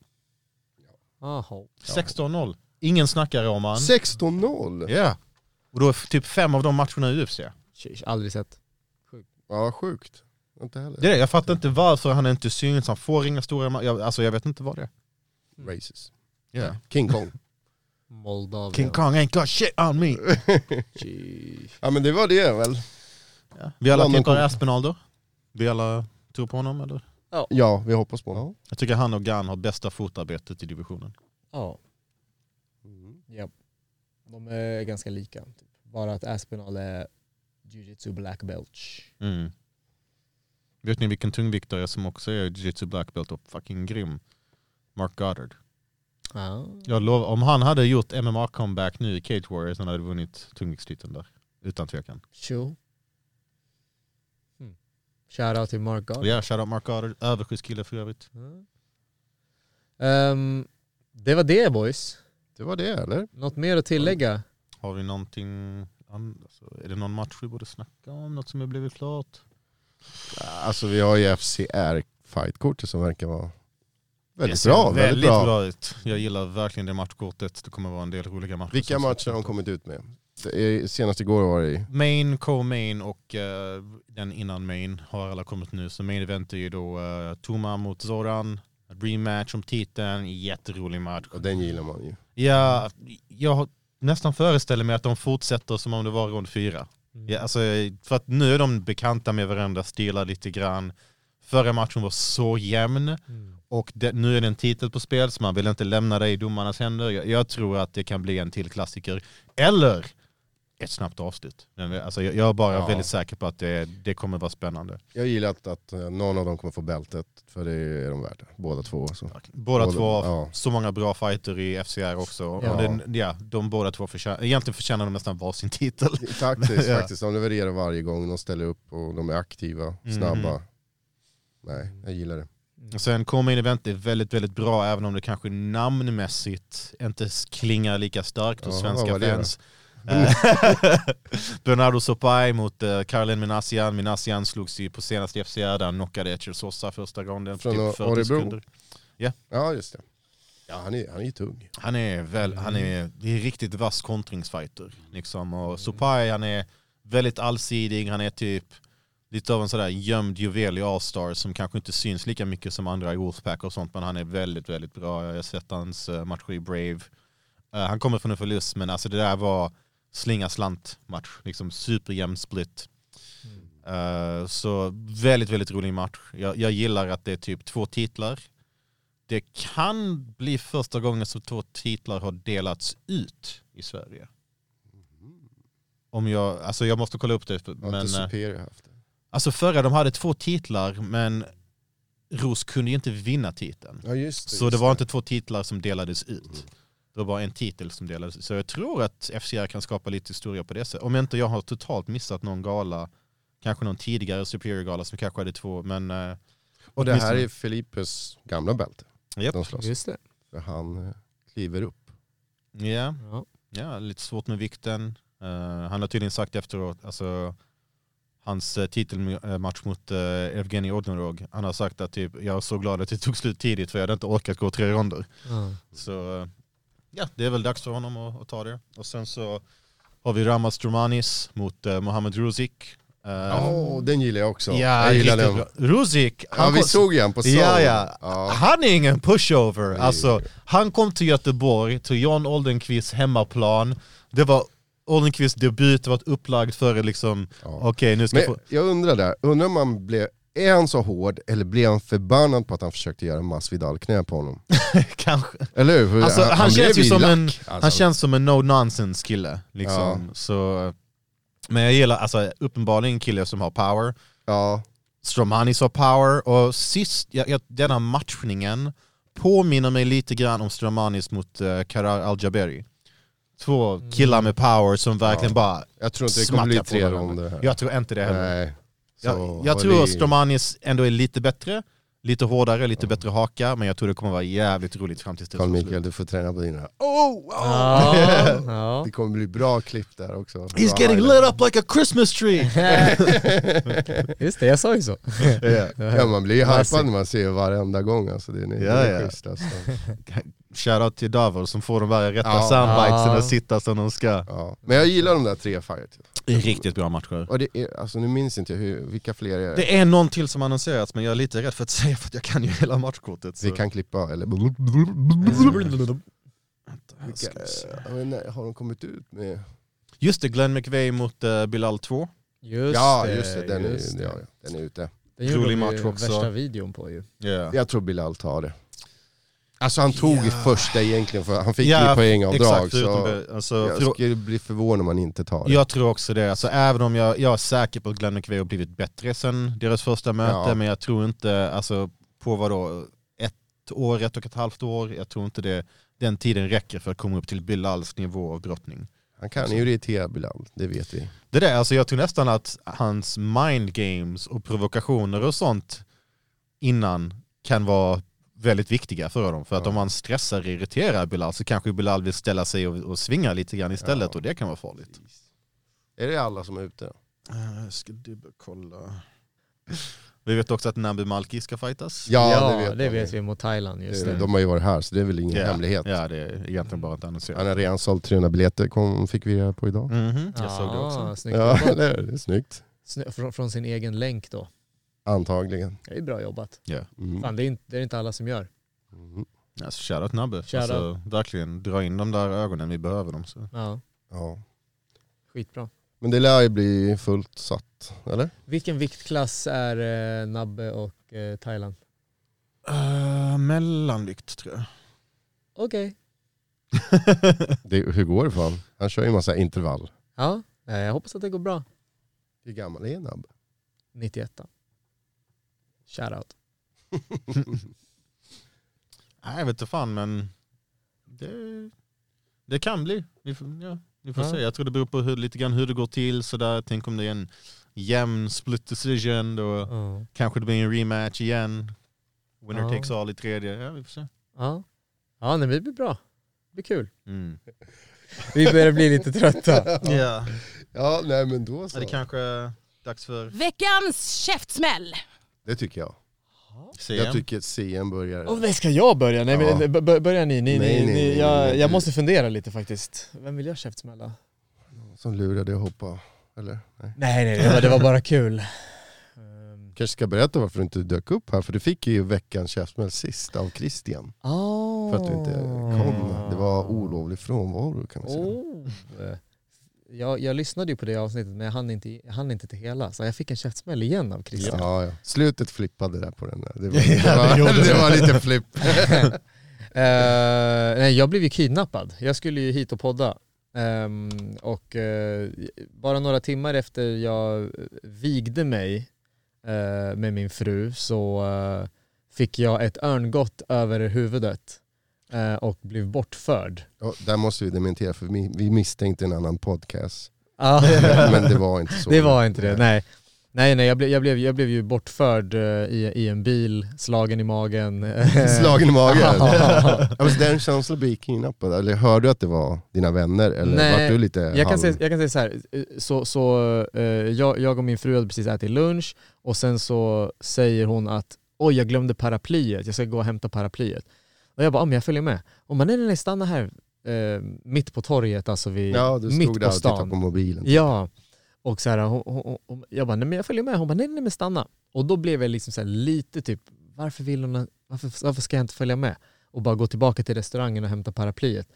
D: Jaha.
E: 16-0, ingen snackar om han.
F: 16-0?
E: Ja. Och då är f- typ fem av de matcherna i UFC.
D: Sheesh, Aldrig sett.
F: Ja, sjukt. Inte heller.
E: Det är det. Jag fattar inte varför han inte syns, han får inga stora matcher. Jag, alltså jag vet inte vad det är.
F: Racist.
E: Yeah.
F: King Kong.
D: Moldavien.
E: King Kong ain't got shit on me!
D: Sheesh.
F: ja men det var det väl.
E: Vi alla
F: London
E: tippar
F: Kong.
E: Aspinall då? Vi alla tror på honom eller?
F: Ja, vi hoppas på honom.
E: Jag tycker han och Gunn har bästa fotarbetet i divisionen.
D: Ja. ja. De är ganska lika. Typ. Bara att Aspinall är jujitsu black belt.
E: Mm. Vet ni vilken tungviktare som också är jiu-jitsu black belt och fucking grym? Mark Goddard.
D: Ah.
E: Jag lovar, om han hade gjort MMA-comeback nu i Cage Warriors, han hade vunnit tungviktstiteln där. Utan tvekan.
D: Sure. Hmm. Shoutout till Mark
E: Och
D: Goddard.
E: ja, shoutout Mark Goddard, överskyddskille för övrigt.
D: Mm. Ehm, det var det boys.
F: Det var det eller?
D: Något mer att tillägga?
E: Har vi någonting annat? Alltså, är det någon match vi borde snacka om? Något som har blivit klart?
F: Alltså vi har ju FCR fightkortet som verkar vara
E: Det
F: väldigt
E: ser
F: bra. Väldigt,
E: väldigt
F: bra.
E: ut. Jag gillar verkligen det matchkortet. Det kommer vara en del roliga matcher.
F: Vilka
E: som
F: matcher har de
E: sagt.
F: kommit ut med? Det är- Senast igår var det i
E: Main, co-main och eh, den innan main har alla kommit nu. Så main event är ju då uh, Tuma mot Zoran. Rematch om titeln, jätterolig match.
F: och den gillar man ju.
E: Ja, jag har- nästan föreställer mig att de fortsätter som om det var rond fyra.
F: Mm.
E: Ja, alltså, för att nu är de bekanta med varandra, stilar lite grann. Förra matchen var så jämn
F: Mm.
E: och det, nu är det en titel på spel så man vill inte lämna det i domarnas händer. Jag, jag tror att det kan bli en till klassiker. Eller ett snabbt avslut. Men, alltså, jag, jag är bara
F: Ja.
E: väldigt säker på att det, det kommer vara spännande.
F: Jag gillar att, att eh, någon av dem kommer få bältet, för det är de värda. Båda två. alltså. Så.
E: Båda
F: Båda-
E: två har
F: ja.
E: så många bra fighter i FCR också.
D: Ja.
E: Och den, ja, de båda två förtjänar, egentligen förtjänar de nästan varsin titel.
F: Faktiskt,
E: Ja.
F: faktiskt. De levererar varje gång, de ställer upp och de är aktiva,
E: Mhm.
F: snabba. Nej, jag gillar det.
E: Och Sen Come In Event är väldigt, väldigt bra, även om det kanske namnmässigt inte s- klingar lika starkt hos
F: Jaha, vad
E: svenska
F: var det Mm.
E: fans. Eh, Bernardo Sopai mot uh, Caroline Minassian. Minassian slogs ju på senaste FCR där han knockade Echer Sosa första gången.
F: Från
E: typ 40
F: Örebro.
E: sekunder.
F: Ja, just det. Ja, han är, han är ju tung.
E: Han är väl,
F: Mm.
E: han är, det är en riktigt vass kontringsfighter. Liksom. Och Sopai han är väldigt allsidig, han är typ lite av en sådär gömd juvel i All-Star som kanske inte syns lika mycket som andra i Wolfpack och sånt men han är väldigt, väldigt bra. Jag har sett hans eh, matcher i Brave. Eh, Han kommer från en förlust men alltså det där var slinga slant match, liksom superjämn split. Eh, Så väldigt, väldigt rolig match. Jag, jag gillar att det är typ två titlar. Det kan bli första gången som två titlar har delats ut i Sverige. Om jag, alltså jag måste kolla upp det.
F: Har
E: Men,
F: inte
E: eh,
F: Superior haft det?
E: Alltså förra de hade två titlar men Ros kunde ju inte vinna titeln.
F: Ja, just det. Mm.
E: Så
F: just
E: det var inte två titlar som delades ut. Det var bara en titel som delades ut. Så jag tror att FCR kan skapa lite historia på det sättet. Om inte jag har totalt missat någon gala, kanske någon tidigare Superior-gala som kanske hade två, men... eh,
F: Och det här
E: åtminstone-
F: är Filippes gamla bälte.
E: Japp.
F: De slåss.
D: Just det.
F: För han eh, kliver upp.
E: Ja,
D: Ja.
E: ja, lite svårt med vikten. Eh, han har tydligen sagt efteråt, alltså hans eh, titelmatch mot uh, Evgenij Odnorog, han har sagt att typ, jag är så glad att det tog slut tidigt för jag hade inte orkat gå tre ronder.
D: Ja.
E: Så eh, ja, det är väl dags för honom att, att ta det. Och sen så har vi Ramas Dromanis mot eh, Mohamed Ruzik. Eh,
F: Åh, den gillar jag också.
E: ja,
F: jag gillar
E: riktigt
F: den.
E: bra. Ruzik,
F: Ja,
E: han
F: vi
E: kom-
F: såg ju han på Soul.
E: Ja, ja.
F: ja.
E: Han är ingen pushover. Alltså, han kom till Göteborg, till John Oldenqvists hemmaplan. Det var Oldenqvists debut, det var upplagt för liksom, okej nu ska
F: Men
E: jag få...
F: jag undrar där, undrar om han blev, är han så hård eller blev han förbannad på att han försökte göra Masvidal-knä på honom?
E: Kanske.
F: Eller hur? För
E: Alltså, han, känns ju
F: blev
E: som
F: lack,
E: en, han
F: alltså.
E: känns som en no nonsense kille. Liksom. Så, men jag gillar, alltså uppenbarligen en kille som har power.
F: Ja,
E: Stromanis har power och sist, jag, jag, den här matchningen påminner mig lite grann om Stromanis mot eh, Karar Al-Jaberi. Två killar med power som verkligen bara
F: jag tror inte det kommer bli
E: smackar på
F: tre
E: varandra.
F: ronder här.
E: Jag tror inte det heller.
F: Nej. Så
E: jag jag
F: håll
E: tror
F: i.
E: att Stromanis ändå är lite bättre, lite hårdare, lite bättre haka, men jag tror det kommer vara jävligt roligt fram tills det
F: Carl
E: är slut.
F: Mikael, du får träna på dina.
D: Ja, ja.
F: Det kommer bli bra klipp där också.
E: He's
F: Bra
E: getting
F: highlight.
E: lit up like a Christmas tree!
D: Just det, jag sa ju så.
F: Ja, man blir ju
D: Classic.
F: hypad när man ser varenda gång alltså. Det är, det
E: Ja,
F: är
E: ja.
F: schysst alltså.
E: Shoutout till Davor som får de där rätta
F: Ja.
E: soundbitesen
D: Ja.
E: att sitta som de ska.
F: Ja. Men jag gillar de där tre fight.
E: Riktigt bra matcher.
F: Och det är, alltså nu minns inte jag hur, vilka fler är det?
E: Det är någon till som annonserats men jag är lite rädd för att säga för att jag kan ju hela matchkortet. Så.
F: Vi kan klippa eller...
E: Ska vi se.
F: Jag vet inte, har de kommit ut med...
E: Just det, Glenn McVeigh mot eh, Bilal 2.
D: Just
F: ja just det, den,
D: just
F: är, ja, ja, den är ute.
D: Den gjorde
E: Rolig
D: de
E: match
D: ju
E: också.
D: värsta videon på ju.
F: Jag tror Bilal tar det. Alltså han tog i första egentligen, för han fick
E: Ja,
F: ju poängavdrag.
E: Exakt,
F: Så
E: förutom Be- alltså,
F: jag
E: för,
F: skulle bli förvånad om han inte tar det.
E: jag tror också det. Alltså, även om jag, jag är säker på att Glenn McVeigh har blivit bättre sen deras första möte,
F: Ja.
E: men jag tror inte, alltså, på vad då, ett år, ett och ett halvt år, jag tror inte det, den tiden räcker för att komma upp till Bilals nivå av brottning.
F: Han kan ju irritera Bilal, det vet vi.
E: Det där, alltså jag tror nästan att hans mind games och provokationer och sånt innan kan vara väldigt viktiga för dem. För att om han stressar och irriterar Bilal så kanske Bilal vill ställa sig och, och svinga lite grann istället
F: Ja.
E: och det kan vara farligt.
F: Är det alla som är ute?
E: Jag ska dubbelkolla. Vi vet också att Nabi Malki ska fightas.
F: Ja,
D: det,
F: det vet, man.
D: vi mot Thailand just
F: Det-
D: det.
F: De har ju varit här så det är väl ingen
E: Ja,
F: hemlighet.
E: Ja, det är egentligen bara att annonsera.
F: Han har redan sålt 300 biljetter, kom, fick vi reda på idag.
E: Mhm, jag såg det också.
D: Ah, snyggt
F: Ja,
D: jobbat.
F: det är, det är snyggt.
D: Snö- Från, från sin egen länk då.
F: Antagligen.
D: Det är bra jobbat.
F: Mm.
D: Fan, det, är inte, det är inte alla som gör.
F: Mm.
E: Alltså, shoutout Nabi.
D: Shoutout.
E: Alltså, verkligen, dra in de där ögonen, vi behöver dem. Så.
D: Ja,
F: Ja.
D: skitbra.
F: Men det lär ju bli fullt satt, eller?
D: Vilken viktklass är eh, Nabbe och eh, Thailand?
E: Uh, mellanvikt tror jag.
D: Okej.
F: Det, hur går det för honom? Han kör ju massa intervall.
D: Ja, eh, jag hoppas att det går bra.
F: Hur gammal är Nab?
D: 91 Shoutout.
E: Nej, jag vet inte fan men det, det kan bli. Vi får, ja, vi får
D: Ja.
E: se. Jag tror det beror på hur, lite grann hur det går till. Sådär. Tänk om det är en jämn split decision. Då
D: Ja.
E: kanske det blir en rematch igen. Winner
D: Ja.
E: takes all i tredje. Ja, vi får se.
D: Ja, ja nej, men det blir bra. Det blir kul.
E: Mm.
D: Vi börjar bli lite trötta.
E: Ja.
F: Ja, nej men då
E: Ja,
F: så.
E: det
F: Det,
E: kanske är dags för
G: Veckans käftsmäll!
F: tycker jag.
E: CM.
F: Jag tycker att CM börjar.
D: Och det ska jag börja? Nej,
F: Ja.
D: men, b- b- börja ni. ni,
F: Nej,
D: ni,
F: nej,
D: ni
F: nej,
D: jag,
F: nej,
D: jag
F: du.
D: måste fundera lite faktiskt. Vem vill jag käftsmälla?
F: Som lurade att hoppa. Eller? Nej.
D: Nej, nej, det var, det var bara kul. Ehm,
F: Kanske ska berätta varför du inte dök upp här, för du fick ju veckans käftsmäll sist av Christian.
D: Oh.
F: För att du inte kom. Det
D: Ah.
F: var olovlig frånvaro kan man säga.
D: Oh. Jag, jag lyssnade ju på det avsnittet men jag hann inte, jag hann inte till hela så jag fick en käftsmäll igen av Christian.
F: Ja, ja. Slutet flippade där på den där. Det var,
E: Ja, det
F: det
E: gjorde
F: var, det
E: det.
F: var lite flipp.
D: Eh, nej, jag blev ju kidnappad. Jag skulle ju hit och podda. Ehm, och eh, bara några timmar efter jag eh, vigde mig eh, med min fru så eh, fick jag ett örngott över huvudet eh, och blev bortförd.
F: Ja, där måste vi dementera för vi, vi misstänkte en annan podcast.
D: Ah.
F: Men det var inte så.
D: Det var inte det, nej. Nej, nej jag, blev, jag, blev, jag blev ju bortförd eh, i, i en bil, slagen i magen.
F: Slagen i magen.
D: Ja.
F: Ja, men den känslan att bli kidnappad, eller hörde du att det var dina vänner? Eller
D: Nej,
F: var du lite
D: jag, kan
F: halv...
D: säga, jag kan säga så här, eh, så, så eh, jag, jag och min fru hade precis ätit lunch och sen så säger hon att oj jag glömde paraplyet, jag ska gå och hämta paraplyet. Och jag bara, "Ja, men jag följer med. Och man nej nej nej stanna här eh, mitt på torget, alltså vid,
F: Ja, du
D: mitt
F: stod
D: på
F: där och tittade
D: stan.
F: på mobilen.
D: Ja, Och så här, hon, hon, hon, jag bara, nej men jag följer med. Hon bara, nej nej men stanna. Och då blev jag liksom så här lite typ, varför vill hon, varför, varför ska jag inte följa med? Och bara gå tillbaka till restaurangen och hämta paraplyet.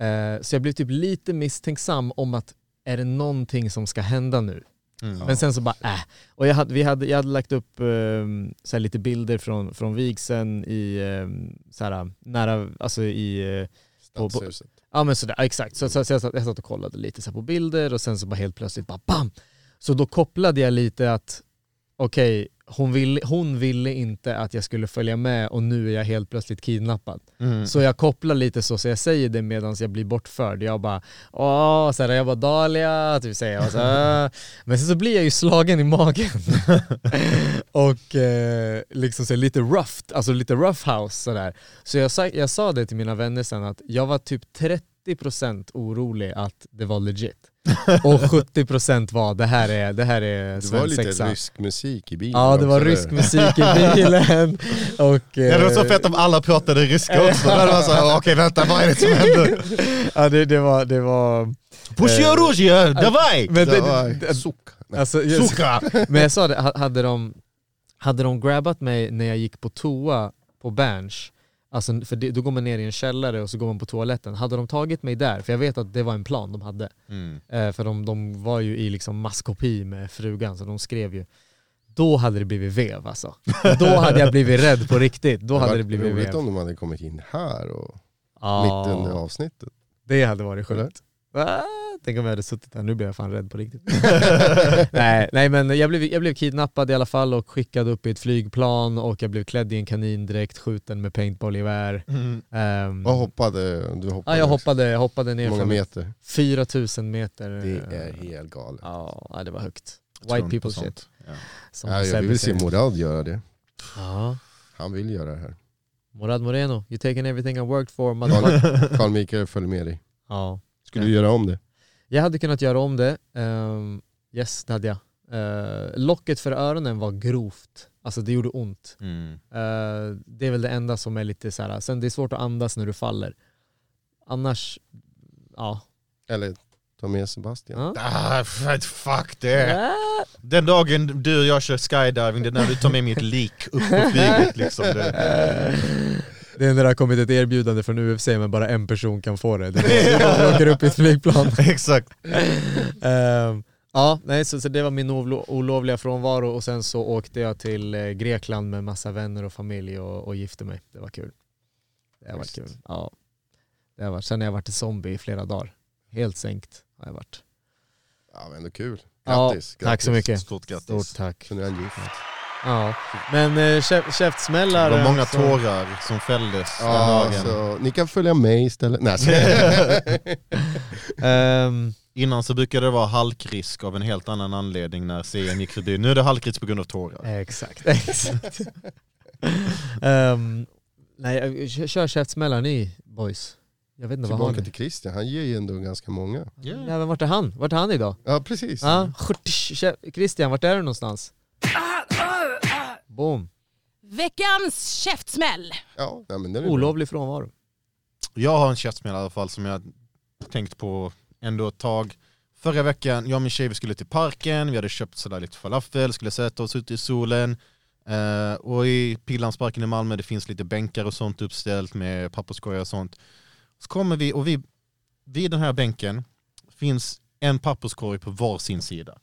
D: Eh, så jag blev typ lite misstänksam om att är det någonting som ska hända nu?
E: Mm.
D: Men sen så bara äh. Och jag hade, vi hade, jag hade lagt upp eh, så här lite bilder från, från vigseln i, eh, så här, nära, alltså i eh, på- på-
F: Stadshuset.
D: Ja men sådär, ja, exakt. Så, så, så jag, satt, jag satt och kollade lite så här på bilder och sen så bara helt plötsligt bara BAM! Så då kopplade jag lite att okej, hon, vill, hon ville inte att jag skulle följa med och nu är jag helt plötsligt kidnappad.
E: Mm.
D: Så jag kopplar lite så, så jag säger det medan jag blir bortförd. Jag bara åh, så här, jag bara Dahlia, typ säger jag. Och Så, "Ah." Men sen så blir jag ju slagen i magen. och eh, liksom så här, lite roughed, alltså lite roughhouse sådär. Så jag sa, jag sa det till mina vänner sen att jag var typ 30% orolig att det var legit. Och 70% var det här är, det här är
F: Det var lite
D: svensexa.
F: rysk musik i bilen
D: Ja det var
F: också,
D: rysk
F: eller?
D: musik i bilen och...
E: Ja, det var så
D: eh,
E: fett om alla pratade ryska också. Då hade man såhär, okej vänta vad är det som händer?
D: Ja det, det var, det var...
E: Pusha Rosia,
D: eh,
E: davaj!
D: Men,
F: Det
D: det,
F: var
D: det-
F: suck. Nej.
D: alltså, jag,
E: Suka!
D: men jag sa det, ha- hade de, hade de grabbat mig när jag gick på toa på Berns, alltså, för det, då går man ner i en källare och så går man på toaletten, hade de tagit mig där, för jag vet att det var en plan de hade,
E: Mm.
D: eh, för de, de var ju i liksom masskopi med frugan så de skrev ju då hade det blivit vev alltså. Då hade jag blivit rädd på riktigt. Då hade
F: varit
D: det blivit
F: roligt
D: vev.
F: om de hade kommit in här och
D: Ja.
F: mitt under avsnittet.
D: Det hade varit
F: Eller?
D: skönt. Ah, tänk om jag hade suttit här, nu blir jag fan rädd på riktigt. nej, nej men jag blev, jag blev kidnappad i alla fall och skickad upp i ett flygplan och jag blev klädd i en kanindräkt, skjuten med paintballgevär.
E: Mm.
D: Ehm,
F: Vad hoppade du? Hoppade
D: ja, jag
F: också.
D: hoppade, jag hoppade ner
F: Hur många
D: från
F: meter?
D: 4000 meter.
F: Det är helt galet.
D: Ja, nej, det var högt.
E: Tror
D: White
E: inte på
D: people shit.
E: sånt. Ja.
D: Som
F: Ja, jag
D: Sebbe
F: vill se
D: säger.
F: Morad göra det.
D: Ja.
F: Han vill göra det här.
D: Morad Moreno, you taken everything I worked for. motherfucker.
F: Carl Mikael följer med dig.
D: ja.
F: Skulle du göra om det?
D: Jag hade kunnat göra om det. Ehm, yes, det hade jag. Eh, locket för öronen var grovt. Alltså det gjorde ont.
E: Mm.
D: Eh, det är väl det enda som är lite så här. Sen det är svårt att andas när du faller. Annars, ja.
F: Eller ta med Sebastian?
D: Ja.
E: Ah, f- fuck det. Den dagen du och jag kör skydiving, det är när du tar med mitt lik upp på flyget liksom. Det.
D: Det är när det har kommit ett erbjudande från UFC men bara en person kan få det. Det är bara åker upp i ett flygplan.
E: Exakt.
D: Ehm, ja, nej, så, så det var min olo- olovliga frånvaro och sen så åkte jag till eh, Grekland med massa vänner och familj och, och gifte mig. Det var kul. Det har varit
E: Schysst.
D: kul. Ja. Det har varit. Sen har jag varit en zombie i flera dagar. Helt sänkt har jag varit.
F: Ja men ändå kul.
D: Ja,
F: Grattis.
D: tack så mycket.
E: Stort
D: Stort
E: grattis.
D: tack.
F: Kunde han gift.
D: Ja. Men eh, käf-
E: Det
D: käftsmällar.
E: var många
D: alltså.
E: tårar som fälldes den
F: Ja,
E: dagen.
F: så, ni kan följa mig istället. Nej, så,
D: Ehm,
E: Innan så brukade det vara halkrisk av en helt annan anledning när CN gick förbi. Nu är det halkrisk på grund av tårar.
D: Exakt, exakt. Ehm, nej, kör, kör käftsmällar ni boys. Jag vet inte vad har
F: tillbaka
D: ni?
F: till Christian, han ger ju ändå ganska många.
E: Yeah.
D: Ja, men vart är han? Vart är han idag?
F: Ja precis.
D: Ja, skjortish, kä- Christian, vart är du någonstans? Boom.
G: Veckans käftsmäll.
F: Ja, nej, men det är bra.
D: Olovlig frånvaro.
E: Jag har en käftsmäll i alla fall som jag tänkt på ändå ett tag. Förra veckan, jag och min tjej vi skulle till parken, vi hade köpt sådär lite falafel, skulle sätta oss ute i solen. Eh, och i Pillansparken i Malmö det finns lite bänkar och sånt uppställt med papperskorgar och sånt. Så kommer vi och vi, vid den här bänken finns en papperskorg på var sin sida.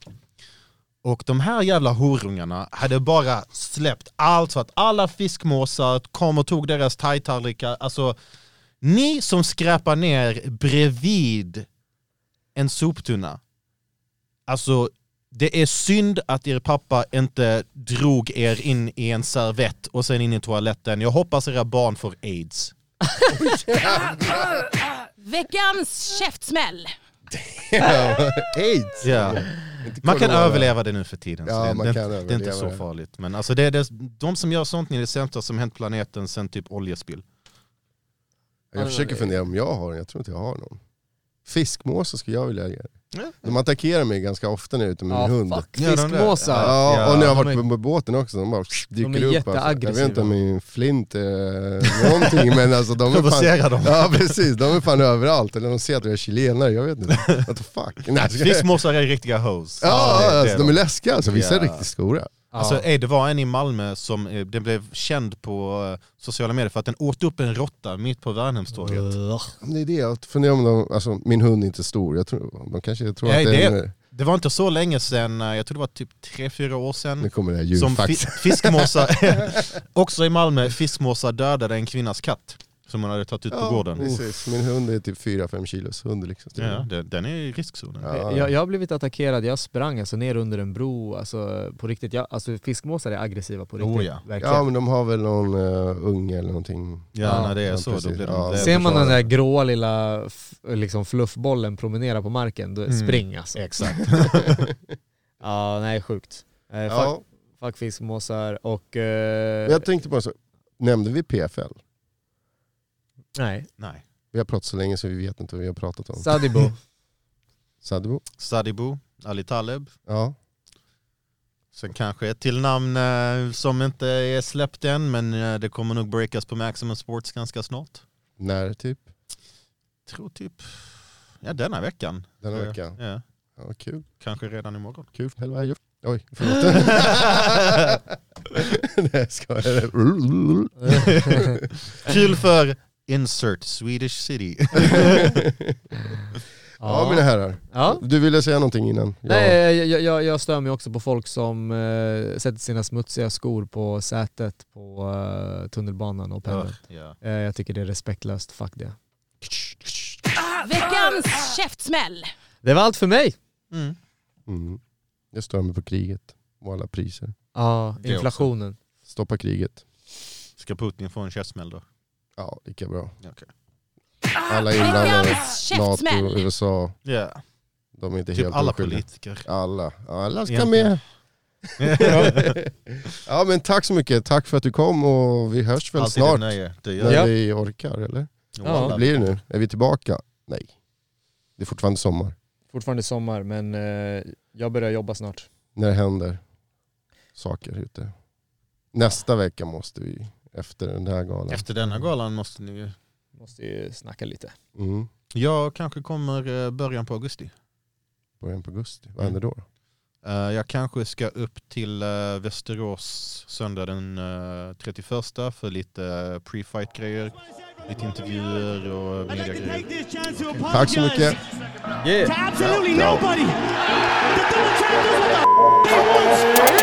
E: Och de här jävla horungarna hade bara släppt allt så att alla fiskmåsar kom och tog deras thai-tallrikar. Alltså, ni som skräpar ner bredvid en soptunna. Alltså, det är synd att er pappa inte drog er in i en servett och sen in i toaletten. Jag hoppas era barn får aids.
G: Veckans käftsmäll.
F: Aids!
E: Ja.
F: Inte
E: Man kan
F: corona.
E: överleva det nu för tiden. så
F: Ja,
E: det,
F: man
E: det,
F: kan
E: det är inte
F: överleva
E: så
F: det.
E: farligt. Men alltså det är det, de som gör sånt ni är det sämsta som hänt planeten sen typ oljespill.
F: Jag försöker fundera om jag har en, jag tror inte jag har någon. Fiskmåsar skulle jag vilja ge. De attackerar mig ganska ofta när jag är ute med
D: Ja,
F: min hund.
D: fuck.
E: Gör de det?
D: Fiskmåsar.
F: Ja, och när jag har
D: de
F: varit
D: är-
F: på båten också, de bara
D: är
F: dyker upp. Alltså. Jag
D: jätteaggressiva.
F: vet inte om min flint är någonting, men alltså de är
E: Provocera dem.
F: fan... Ja precis, de är fan överallt. Eller de ser att jag är chilenare, jag vet inte. What the fuck? Nej, jag ska-
E: Fiskmåsar är riktiga hoes.
F: Ja,
E: det- det
F: alltså, de är läskiga alltså. Vissa är
E: Ja.
F: riktigt stora.
E: Alltså, eh, det var en i Malmö som eh, den blev känd på eh, sociala medier för att den åt upp en råtta mitt på
F: Mm.
E: Värnhemstorget.
F: Det är det, jag funderar om de... Alltså min hund är inte stor. Jag tror, de kanske tror
E: Nej,
F: att
E: det-
F: den... är-
E: Det var inte så länge sedan, eh, jag tror det var typ tre fyra år
F: Nu
E: sedan,
F: kommer det här
E: som fi
F: djurfaxen.
E: fiskmåsar, också i Malmö, fiskmåsar dödade en kvinnas katt som hon hade tagit ut på gården.
F: precis. Min hund är typ 4-5 kilos hund liksom.
E: Ja, den, den är i riskzonen.
F: Ja.
D: Jag, jag har blivit attackerad, jag sprang alltså ner under en bro, alltså på riktigt. Jag, alltså fiskmåsar är aggressiva på riktigt.
E: Oh, ja.
D: verkligen.
F: Ja men de har väl någon eh, unge eller någonting.
E: Ja,
D: Ja,
E: när det är
F: ja,
E: så
F: precis.
E: då blir det,
F: Ja.
E: det
D: Ser man
F: Eh, försvarar.
D: den där gråa lilla f- liksom fluffbollen promenera på marken, då
E: Mm.
D: spring alltså. Exakt. ja, nej sjukt. Eh, fuck,
F: Ja,
D: fuck fiskmåsar och... Eh,
F: jag tänkte bara så, nämnde vi PFL?
D: Nej,
E: Nej.
F: Vi har pratat så länge så vi vet inte vad vi har pratat om.
D: Sadibo.
F: Sadebo?
E: Sadibo, Ali Taleb.
F: Ja.
E: Sen kanske ett till namn eh, som inte är släppt än men eh, det kommer nog breakas på Maximum Sports ganska snart.
F: När typ?
E: Tror typ, ja denna veckan.
F: Denna
E: Eh,
F: veckan?
E: Ja,
F: Ja, kul.
E: kanske redan imorgon.
F: Kul för helvete. Oj, förlåt. Nej, ska jag
E: Kul för Insert Swedish City.
F: Ja mina herrar.
D: Ja.
F: Du ville säga någonting innan? Ja.
D: Nej, jag, jag- jag, jag stör mig också på folk som eh, sätter sina smutsiga skor på sätet på eh, tunnelbanan och pendeln.
E: ja.
D: Eh, jag tycker det är respektlöst, fuck det.
G: Veckans käftsmäll.
D: Det var allt för mig!
E: mm.
F: Mm. Jag stör mig på kriget och alla priser.
D: Ja,
E: Det också.
D: Ah, inflationen.
F: Stoppa kriget.
E: Ska Putin få en käftsmäll då?
F: Ja, lika bra.
E: Okej.
F: Alla inblandade.
G: Veckans
F: NATO,
G: käftsmäll.
F: USA.
E: Ja.
F: De är inte
E: Typ
F: helt
E: alla
F: oskyldiga.
E: politiker.
F: Alla. Alla ska
E: Egentligen.
F: med. ja men tack så mycket. Tack för att du kom och vi hörs väl
E: Alltid ett
F: snart.
E: nöje. Det gör
F: När
D: Ja.
F: vi orkar eller?
D: Ja.
F: Vad blir det nu? Är vi tillbaka? Nej. Det är fortfarande sommar.
D: Fortfarande sommar, men eh, jag börjar jobba snart.
F: När det händer saker ute. Nästa vecka måste vi, efter den här galan.
E: Efter denna galan måste ni ju-
D: Måste ju snacka lite.
F: Mm.
E: Jag kanske kommer eh, början på augusti.
F: Början på augusti. Vad händer då?
E: Eh, Jag kanske ska upp till eh, Västerås söndag den eh, 31 för lite eh, pre-fight grejer, lite intervjuer och
A: I'd like to
E: mediagrejer.
A: take this chance to
F: Tack så mycket.
A: apologize to absolutely nobody. The double champ does what the f- he wants.